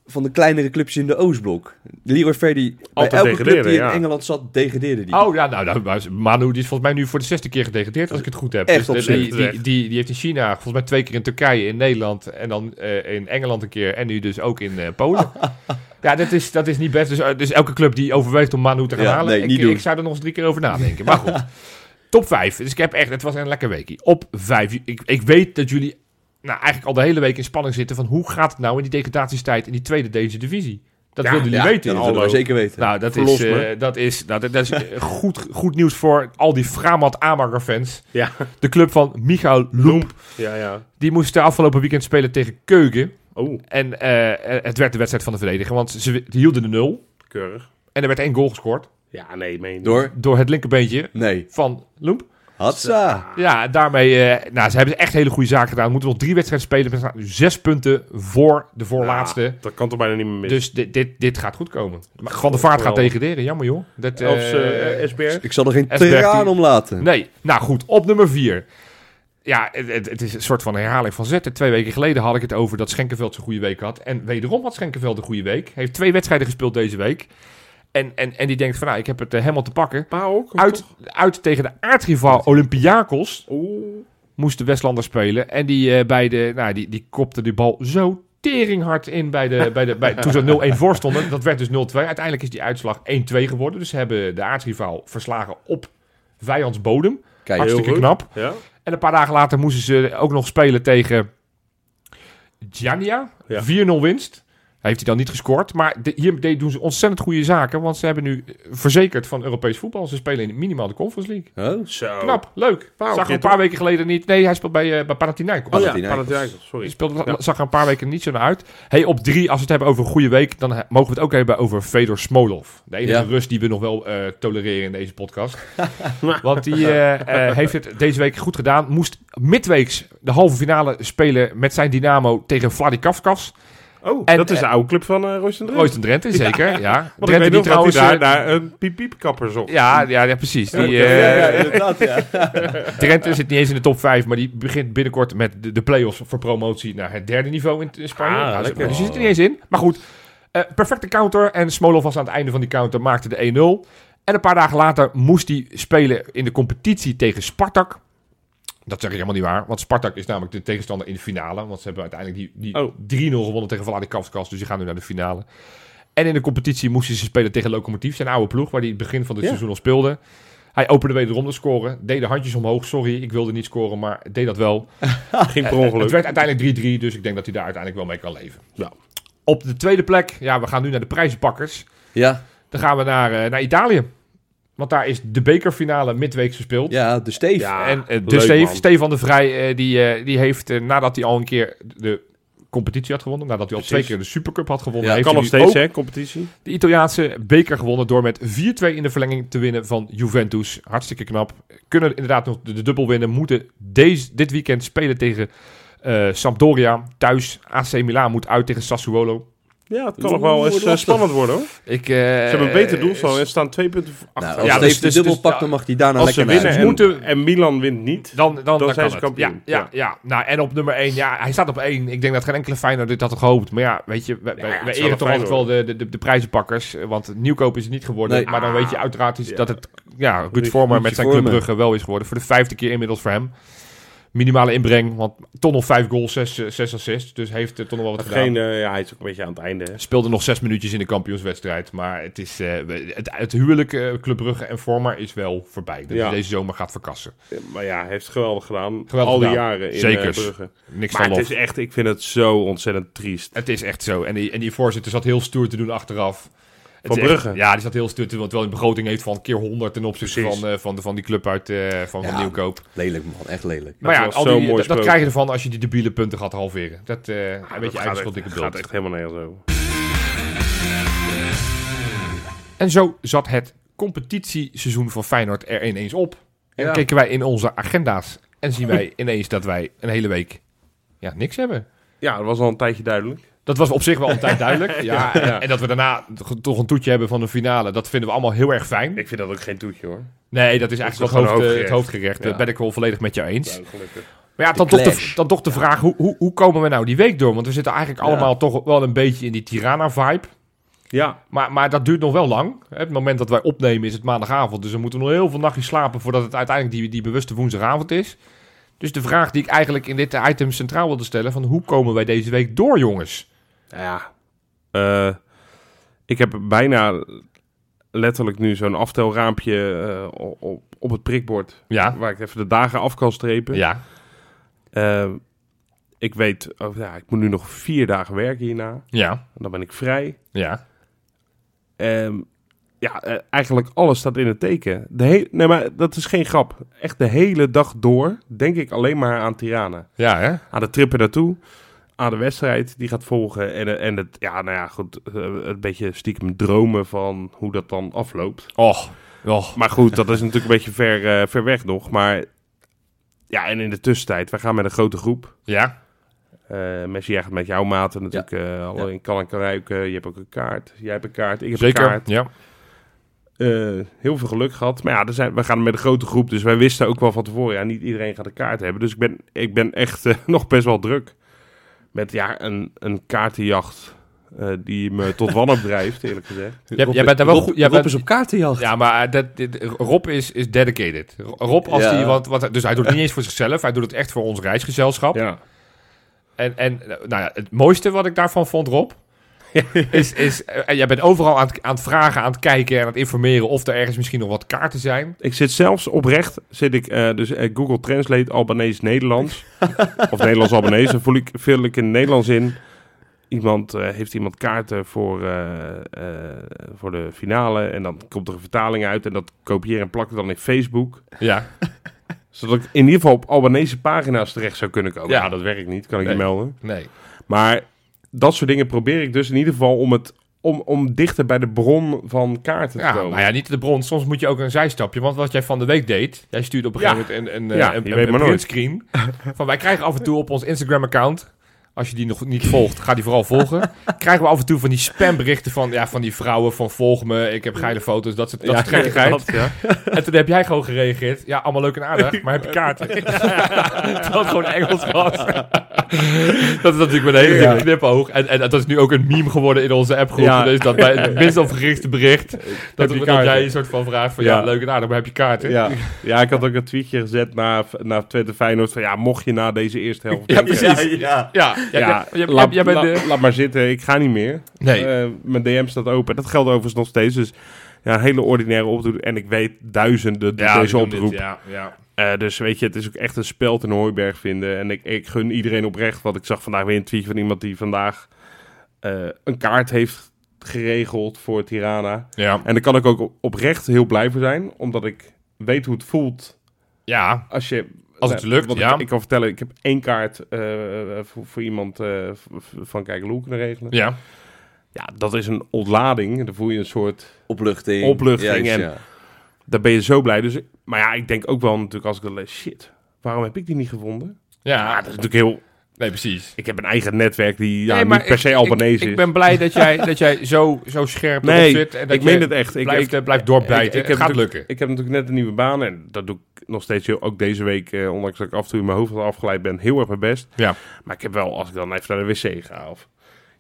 Speaker 4: van de kleinere clubjes in de Oostblok. De Leroy Fair die
Speaker 3: Altijd
Speaker 4: bij elke club
Speaker 3: degraderen,
Speaker 4: die in
Speaker 3: ja.
Speaker 4: Engeland zat, degradeerde die.
Speaker 2: Oh ja, nou, nou, maar Manu die is volgens mij nu voor de zesde keer gedegradeerd, als ik het goed heb.
Speaker 4: Echt
Speaker 2: Dus de- die,
Speaker 3: opzicht.
Speaker 2: die, die, die heeft in China, volgens mij twee keer in Turkije, in Nederland en dan eh, in Engeland een keer. En nu dus ook in eh,
Speaker 4: [laughs]
Speaker 2: Polen. ja, dat is, dat is niet best. Dus, eh, dus elke club die overweegt om Manu te gaan
Speaker 4: Ja,
Speaker 2: halen,
Speaker 4: nee, niet
Speaker 2: ik,
Speaker 4: doen.
Speaker 2: ik zou er nog eens drie keer over nadenken. Maar
Speaker 4: [laughs]
Speaker 2: goed, top vijf. Dus ik heb echt, het was een lekker weekje. Op vijf. Ik, ik weet dat jullie nou, eigenlijk al de hele week in spanning zitten van hoe gaat het nou in die degradatiestijd in die tweede deze divisie? Dat
Speaker 3: Ja,
Speaker 2: wilden jullie
Speaker 4: Ja,
Speaker 2: weten.
Speaker 4: Dat willen
Speaker 3: Aldo.
Speaker 4: we zeker weten.
Speaker 2: Nou, dat
Speaker 3: Verlos
Speaker 2: is, eh,
Speaker 3: me.
Speaker 2: dat is, nou, dat, dat is eh, [laughs] goed, goed nieuws voor al die Framat Amager fans.
Speaker 3: Ja.
Speaker 2: De club van Michael Loemp.
Speaker 3: [laughs] Ja, ja. Oh,
Speaker 2: Die moest de afgelopen weekend spelen tegen Keuken.
Speaker 3: Oeh,
Speaker 2: En eh, eh, het werd de wedstrijd van de verdediger. Want ze wi- die hielden de nul.
Speaker 3: keurig.
Speaker 2: En er werd één goal gescoord.
Speaker 3: Ja, nee, meen je niet.
Speaker 4: Door?
Speaker 2: Door het linkerbeentje
Speaker 4: Nee.
Speaker 2: van Loemp.
Speaker 4: Hatsa.
Speaker 2: Ja, daarmee... eh, nou, ze hebben echt hele goede zaken gedaan. Moeten nog drie wedstrijden spelen. We staan nu zes punten voor de voorlaatste.
Speaker 3: Ja, dat kan toch bijna niet meer Ah, mis.
Speaker 2: dus dit, dit, dit gaat goed komen. Maar Van de Vaart gaat
Speaker 3: geweldig.
Speaker 2: degraderen. Jammer joh. Dat, eh,
Speaker 3: Of ze, eh, SBR?
Speaker 4: Ik zal er geen
Speaker 2: Esbert,
Speaker 4: traan
Speaker 2: die-
Speaker 4: om laten.
Speaker 2: Nee, nou goed, op nummer 4. Ja, het, het- het is een soort van herhaling van zetten. Twee weken geleden had ik het over dat Schenkenveld zijn goede week had. En wederom had Schenkenveld een goede week. Heeft twee wedstrijden gespeeld deze week. En, en, en die denkt van, nou, ik heb het eh, helemaal te pakken.
Speaker 3: Pa ook? of
Speaker 2: Uit,
Speaker 3: toch?
Speaker 2: uit tegen de aardrivaal Olympiakos
Speaker 3: Oeh.
Speaker 2: moest de Westlander spelen. En die, eh, bij de, nou, die, die kopte die bal zo teringhard in bij de, bij de, bij, toen ze 0-1 voor stonden. Dat werd dus 0-2. Uiteindelijk is die uitslag 1-2 geworden. Dus ze hebben de aardrivaal verslagen op vijandsbodem.
Speaker 4: Kijk,
Speaker 2: Hartstikke
Speaker 3: goed.
Speaker 2: knap.
Speaker 3: Ja?
Speaker 2: En een paar dagen later moesten ze ook nog spelen tegen Giannia.
Speaker 3: Ja.
Speaker 2: 4-0 winst. Heeft hij dan niet gescoord. Maar de- hiermee doen ze ontzettend goede zaken. Want ze hebben nu eh, verzekerd van Europees voetbal. Ze spelen in minimaal de Conference League.
Speaker 4: oh,
Speaker 3: Zo.
Speaker 2: Knap, leuk.
Speaker 3: Wauw,
Speaker 2: zag er een
Speaker 3: dit
Speaker 2: paar
Speaker 3: toch?
Speaker 2: weken geleden niet. Nee, hij speelt bij, eh, bij Panathinaikos.
Speaker 3: Oh ja,
Speaker 4: Panathinaikos.
Speaker 3: Panathinaikos,
Speaker 2: Hij
Speaker 3: sorry.
Speaker 2: speelde,
Speaker 3: Ja.
Speaker 2: zag er een paar weken niet zo naar uit. Hey, op drie, als we het hebben over een goede week, dan he- mogen we het ook hebben over Fedor Smolov. De enige
Speaker 4: Ja.
Speaker 2: Rus die we nog wel eh, tolereren in deze podcast. Want die eh, eh, heeft het deze week goed gedaan. Moest midweeks de halve finale spelen met zijn Dynamo tegen Vladikavkaz.
Speaker 3: Oh,
Speaker 2: En,
Speaker 3: dat is de
Speaker 2: eh,
Speaker 3: oude club van eh Royce en Drenthe.
Speaker 2: Royce en Drenthe, zeker. Ja.
Speaker 3: Want ik
Speaker 2: Drenthe
Speaker 3: weet
Speaker 2: die
Speaker 3: nog dat hij
Speaker 2: trouwens...
Speaker 3: daar
Speaker 2: eh,
Speaker 3: naar een piep-piep-kapper zocht.
Speaker 2: ja, ja, ja, precies. Die,
Speaker 4: ja,
Speaker 2: eh,
Speaker 4: ja, inderdaad, ja.
Speaker 2: Drenthe zit niet eens in de top 5, maar die begint binnenkort met de, de play-offs voor promotie naar het derde niveau in, in Spanje.
Speaker 3: Ah,
Speaker 2: Ja, dus-
Speaker 3: lekker.
Speaker 2: Dus die zit er niet eens in. Maar goed, eh, perfecte counter. En Smolov was aan het einde van die counter, maakte de 1-0. En een paar dagen later moest hij spelen in de competitie tegen Spartak. Dat zeg ik helemaal niet waar, want Spartak is namelijk de tegenstander in de finale. Want ze hebben uiteindelijk die, die
Speaker 3: Oh.
Speaker 2: 3-0 gewonnen tegen Vladikavkaz, dus die gaan nu naar de finale. En in de competitie moesten ze spelen tegen Lokomotief, zijn oude ploeg, waar hij het begin van dit
Speaker 4: Ja.
Speaker 2: seizoen al speelde. Hij opende wederom de score, deed de handjes omhoog. Sorry, ik wilde niet scoren, maar deed dat wel.
Speaker 3: Ging per ongeluk.
Speaker 2: Het werd uiteindelijk 3-3, dus ik denk dat hij daar uiteindelijk wel mee kan leven.
Speaker 3: Ja.
Speaker 2: Op de tweede plek, ja, we gaan nu naar de prijzenpakkers.
Speaker 4: Ja,
Speaker 2: Dan gaan we naar, eh, naar Italië. Want daar is de bekerfinale midweek gespeeld.
Speaker 4: ja de Steve.
Speaker 3: Ja,
Speaker 2: en eh,
Speaker 3: leuk,
Speaker 2: dus Steve,
Speaker 3: man.
Speaker 2: Stefan de Vrij, eh, die, eh, die heeft eh, nadat hij al een keer de competitie had gewonnen, nadat hij al
Speaker 3: Precies.
Speaker 2: twee keer de Supercup had gewonnen,
Speaker 3: Ja,
Speaker 2: heeft
Speaker 3: kan
Speaker 2: hij
Speaker 3: nog
Speaker 2: nu
Speaker 3: steeds,
Speaker 2: ook
Speaker 3: hè, competitie.
Speaker 2: de Italiaanse beker gewonnen door met 4-2 in de verlenging te winnen van Juventus. Hartstikke knap. Kunnen inderdaad nog de, de dubbel winnen, moeten deze, dit weekend spelen tegen eh, Sampdoria thuis. AC Milan moet uit tegen Sassuolo.
Speaker 3: Ja, het kan nog wel eens eh, spannend worden, hoor.
Speaker 2: Ik,
Speaker 3: Ze hebben
Speaker 2: Eh,
Speaker 3: een beter doelstelling en staan twee punten voor
Speaker 4: Nou,
Speaker 3: achter.
Speaker 4: als
Speaker 2: Ja,
Speaker 4: ja,
Speaker 2: dus-
Speaker 4: de
Speaker 2: dus-
Speaker 4: dubbel
Speaker 2: dus-
Speaker 4: pakt, dan mag hij daarna
Speaker 3: als ze
Speaker 4: lekker
Speaker 3: winnen
Speaker 4: naar
Speaker 3: en,
Speaker 4: huis.
Speaker 2: moeten-
Speaker 3: en Milan wint niet,
Speaker 2: Dan, dan, dan,
Speaker 3: zijn
Speaker 2: kan
Speaker 3: ze
Speaker 2: het.
Speaker 3: kampioen.
Speaker 2: Ja, ja,
Speaker 3: Ja.
Speaker 2: ja. Nou, en op nummer 1, ja, hij staat op 1. Ik denk dat geen enkele Feyenoord dit had gehoopt. Maar ja, weet je, wij, wij-
Speaker 3: Ja, het
Speaker 2: wij
Speaker 3: is wel
Speaker 2: eren
Speaker 3: een
Speaker 2: toch altijd wel
Speaker 3: Feyenoord.
Speaker 2: de, de, de, de prijzenpakkers. eh, Want nieuwkoop is het niet geworden.
Speaker 4: Nee.
Speaker 2: Maar dan weet je uiteraard is
Speaker 3: Ah. Ja.
Speaker 2: dat het ja, Ruud
Speaker 3: Ruud-
Speaker 2: Vormer met
Speaker 4: Ruudje
Speaker 2: zijn
Speaker 4: Vormer.
Speaker 2: Club Brugge wel is geworden. Voor de vijfde keer inmiddels voor hem. Minimale inbreng, want toch nog vijf goals, zes, eh, zes assists. Dus heeft er toch nog wel wat
Speaker 3: Heeft
Speaker 2: gedaan.
Speaker 3: geen, eh, ja, hij is ook een beetje aan het einde. hè.
Speaker 2: Speelde nog zes minuutjes in de kampioenswedstrijd. Maar het, is, eh, we- het, het huwelijk eh, Club Brugge en Vormer is wel voorbij. Dat
Speaker 3: Ja.
Speaker 2: hij deze zomer gaat verkassen.
Speaker 3: Maar ja, hij heeft het geweldig gedaan.
Speaker 2: Geweldig
Speaker 3: al die
Speaker 2: gedaan.
Speaker 3: jaren in
Speaker 2: Zekers.
Speaker 3: eh, Brugge.
Speaker 2: Niks
Speaker 3: Maar
Speaker 2: van
Speaker 3: het
Speaker 2: lof.
Speaker 3: is echt, ik vind het zo ontzettend triest.
Speaker 2: Het is echt zo. En die, en die voorzitter zat heel stoer te doen achteraf. Het
Speaker 3: Van
Speaker 2: is echt-
Speaker 3: Brugge.
Speaker 2: ja, die zat heel stoer te doen. Want wel een begroting heeft van keer 100 ten opzichte
Speaker 3: Precies.
Speaker 2: van, eh, van, de, van die club uit eh, van, van
Speaker 4: Ja.
Speaker 2: Nieuwkoop.
Speaker 4: Lelijk man, echt lelijk.
Speaker 2: maar ja,
Speaker 3: was
Speaker 2: al
Speaker 3: zo'n
Speaker 2: die,
Speaker 3: mooi
Speaker 2: dat, dat
Speaker 3: sprookje.
Speaker 2: krijg je ervan als je die debiele punten gaat halveren. Dat eh een beetje
Speaker 3: gaat echt,
Speaker 2: eigen dikke
Speaker 3: gaat
Speaker 2: bult.
Speaker 3: echt helemaal nergens over.
Speaker 2: En zo zat het competitieseizoen van Feyenoord er ineens op. En
Speaker 4: Ja.
Speaker 2: keken wij in onze agenda's en zien wij ineens dat wij een hele week ja, niks hebben.
Speaker 3: Ja, dat was al een tijdje duidelijk.
Speaker 2: Dat was op zich wel altijd
Speaker 3: [laughs]
Speaker 2: duidelijk. Ja, en- En dat we daarna toch- toch een toetje hebben van een finale, dat vinden we allemaal heel erg fijn.
Speaker 3: Ik vind dat ook geen toetje hoor.
Speaker 2: Nee, dat is
Speaker 3: Dat
Speaker 2: eigenlijk
Speaker 3: is
Speaker 2: wel het,
Speaker 3: gewoon
Speaker 2: hoofd, eh,
Speaker 3: hoofdgerecht.
Speaker 2: het hoofdgerecht.
Speaker 3: Ja.
Speaker 2: Dat ben ik wel volledig met jou eens.
Speaker 3: Nou, gelukkig.
Speaker 2: Maar ja, dan
Speaker 4: De
Speaker 2: toch de,
Speaker 4: clash.
Speaker 2: dan toch de vraag, hoe, hoe, hoe komen we nou die week door? Want we zitten eigenlijk
Speaker 3: Ja.
Speaker 2: allemaal toch wel een beetje in die Tirana-vibe.
Speaker 3: Ja,
Speaker 2: Maar, maar dat duurt nog wel lang. Hè, Het moment dat wij opnemen is het maandagavond. Dus dan moeten we nog heel veel nachtjes slapen voordat het uiteindelijk die, die bewuste woensdagavond is. Dus de vraag die ik eigenlijk in dit item centraal wilde stellen, van hoe komen wij deze week door, jongens?
Speaker 3: nou ja. Eh, ik heb bijna letterlijk nu zo'n aftelraampje eh, o- op, op het prikbord.
Speaker 2: Ja,
Speaker 3: Waar ik even de dagen af kan strepen.
Speaker 2: ja.
Speaker 3: Eh, ik weet, oh, ja, ik moet nu nog vier dagen werken hierna.
Speaker 2: Ja,
Speaker 3: Dan ben ik vrij.
Speaker 2: ja.
Speaker 3: Ehm, ja, eh, eigenlijk alles staat in het teken. De he- nee, maar dat is geen grap. Echt de hele dag door denk ik alleen maar aan Tirana.
Speaker 2: Ja, hè?
Speaker 3: Aan de trippen naartoe. Aan de wedstrijd die gaat volgen. En, eh, en het, ja, nou ja, goed. eh, Een beetje stiekem dromen van hoe dat dan afloopt.
Speaker 2: Och, och.
Speaker 3: Maar goed, dat is natuurlijk een beetje ver, eh, ver weg nog. Maar ja, en in de tussentijd, wij gaan met een grote groep.
Speaker 2: Ja,
Speaker 3: Eh Messi gaat met jouw maten natuurlijk. eh alle
Speaker 4: Ja.
Speaker 3: in kan en kan ruiken. Je hebt ook een kaart. Jij hebt een kaart. Ik heb een
Speaker 2: zeker.
Speaker 3: kaart.
Speaker 2: Ja.
Speaker 3: Eh, heel veel geluk gehad. Maar ja, er zijn, we gaan met een grote groep. Dus wij wisten ook wel van tevoren. Ja, niet iedereen gaat een kaart hebben. Dus ik ben, ik ben echt eh, [laughs] nog best wel druk. Met ja, een, een kaartenjacht eh, die me tot wanhoop drijft, eerlijk gezegd.
Speaker 2: Jij, jij bent daar wel goed. jij
Speaker 4: Rob
Speaker 2: bent-
Speaker 4: is op kaartenjacht.
Speaker 2: Ja, maar eh, dat, dit- Rob is, is dedicated. Ro- Rob, als
Speaker 4: Ja.
Speaker 2: hij, want, want, dus hij doet het niet eens voor zichzelf, hij doet het echt voor ons reisgezelschap.
Speaker 3: Ja.
Speaker 2: En, en nou ja, het mooiste wat ik daarvan vond, Rob, is, is eh, jij bent overal aan het, aan het vragen, aan het kijken en aan het informeren of er ergens misschien nog wat kaarten zijn.
Speaker 3: Ik zit zelfs oprecht, zit ik, eh, dus eh, Google Translate Albanees-Nederlands. of Nederlands-Albanees. Dan voel ik, vul ik in het Nederlands in. Iemand, eh, heeft iemand kaarten voor, eh, eh, voor de finale. En dan komt er een vertaling uit. En dat kopieer en plak ik dan in Facebook.
Speaker 2: Ja,
Speaker 3: Zodat ik in ieder geval op Albanese pagina's terecht zou kunnen komen.
Speaker 2: Ja.
Speaker 3: Ja, dat werkt niet, kan ik
Speaker 2: Nee.
Speaker 3: je melden.
Speaker 2: nee.
Speaker 3: Maar dat soort dingen probeer ik dus in ieder geval om, het, om, om dichter bij de bron van kaarten te
Speaker 2: Ja,
Speaker 3: komen.
Speaker 2: maar ja, niet de bron. Soms moet je ook een zijstapje. Want wat jij van de week deed, jij stuurde op een
Speaker 3: Ja.
Speaker 2: gegeven moment een, een, eh,
Speaker 3: Ja,
Speaker 2: een,
Speaker 3: je
Speaker 2: een-
Speaker 3: weet
Speaker 2: een
Speaker 3: maar nooit.
Speaker 2: printscreen. Van wij krijgen af en toe op ons Instagram-account, als je die nog niet volgt, ga die vooral volgen.
Speaker 3: [laughs]
Speaker 2: Krijgen we af en toe van die spamberichten van, ja, van die vrouwen van volg me, ik heb geile foto's, dat soort, dat soort gekkigheid. En toen heb jij gewoon gereageerd, ja, allemaal leuk en aardig, maar heb je kaarten? [laughs] Terwijl het gewoon Engels
Speaker 3: [laughs]
Speaker 2: was. dat is natuurlijk met een hele dikke knipoog. En, en dat is nu ook een meme geworden in onze appgroep.
Speaker 3: Ja.
Speaker 2: Dus dat bij het minst opgerichte
Speaker 3: [laughs]
Speaker 2: bericht, dat,
Speaker 3: je
Speaker 2: dat
Speaker 3: kaarten?
Speaker 2: jij een soort van vraagt van ja.
Speaker 3: Ja.
Speaker 2: leuk en aardig, maar heb je kaarten?
Speaker 3: Ja. ja, ik had ook een tweetje gezet na, na Twente Feyenoord van ja, mocht je na deze eerste helft...
Speaker 2: Ja, precies. Ja,
Speaker 4: ja.
Speaker 2: jij-
Speaker 3: Ja,
Speaker 2: jij- jij-
Speaker 3: laat,
Speaker 2: jij bent
Speaker 3: la-
Speaker 2: de-
Speaker 3: laat maar zitten, ik ga niet meer.
Speaker 2: Nee.
Speaker 3: Eh, mijn DM staat open. Dat geldt overigens nog steeds, dus Ja, een hele ordinaire oproep. En ik weet duizenden doen deze
Speaker 2: die doen dit,
Speaker 3: oproep.
Speaker 2: Ja, ja.
Speaker 3: Eh, dus weet je, het is ook echt een speld in Hooiberg vinden. En ik, ik gun iedereen oprecht. Want ik zag vandaag weer een tweetje van iemand die vandaag eh, een kaart heeft geregeld voor Tirana.
Speaker 2: Ja.
Speaker 3: En daar kan ik ook oprecht heel blij voor zijn. Omdat ik weet hoe het voelt
Speaker 2: ja,
Speaker 3: als je...
Speaker 2: Als het lukt,
Speaker 3: want
Speaker 2: ja.
Speaker 3: Ik, ik kan vertellen, ik heb één kaart eh, voor, voor iemand eh, v- v- van Kijken hoe kunnen regelen. Ja.
Speaker 2: ja.
Speaker 3: dat is een ontlading. Dan voel je een soort...
Speaker 4: Opluchting.
Speaker 3: Opluchting
Speaker 4: Juist,
Speaker 3: en-
Speaker 4: ja.
Speaker 3: Daar ben je zo blij. Dus, maar ja, ik denk ook wel natuurlijk als ik dat lees... Shit, waarom heb ik die niet gevonden? Ja,
Speaker 2: ja.
Speaker 3: dat is natuurlijk heel...
Speaker 2: Nee, precies.
Speaker 3: Ik heb een eigen netwerk die ja,
Speaker 2: Nee, maar
Speaker 3: niet per
Speaker 2: ik-
Speaker 3: se Albanese
Speaker 2: ik,
Speaker 3: is.
Speaker 2: ik ben blij dat jij, dat jij zo, zo scherp
Speaker 3: Nee,
Speaker 2: erop zit. En dat
Speaker 3: ik meen
Speaker 2: je
Speaker 3: het echt. Ik,
Speaker 2: blijft,
Speaker 3: ik,
Speaker 2: eh, blijft doorbijten.
Speaker 3: ik- ik heb
Speaker 2: het gaat
Speaker 3: natuurlijk-
Speaker 2: lukken.
Speaker 3: ik heb natuurlijk net een nieuwe baan en dat doe ik nog steeds heel, ook deze week, eh, ondanks dat ik af en toe in mijn hoofd wat afgeleid ben, heel erg mijn best.
Speaker 2: Ja.
Speaker 3: Maar ik heb wel, als ik dan even naar de wc ga of...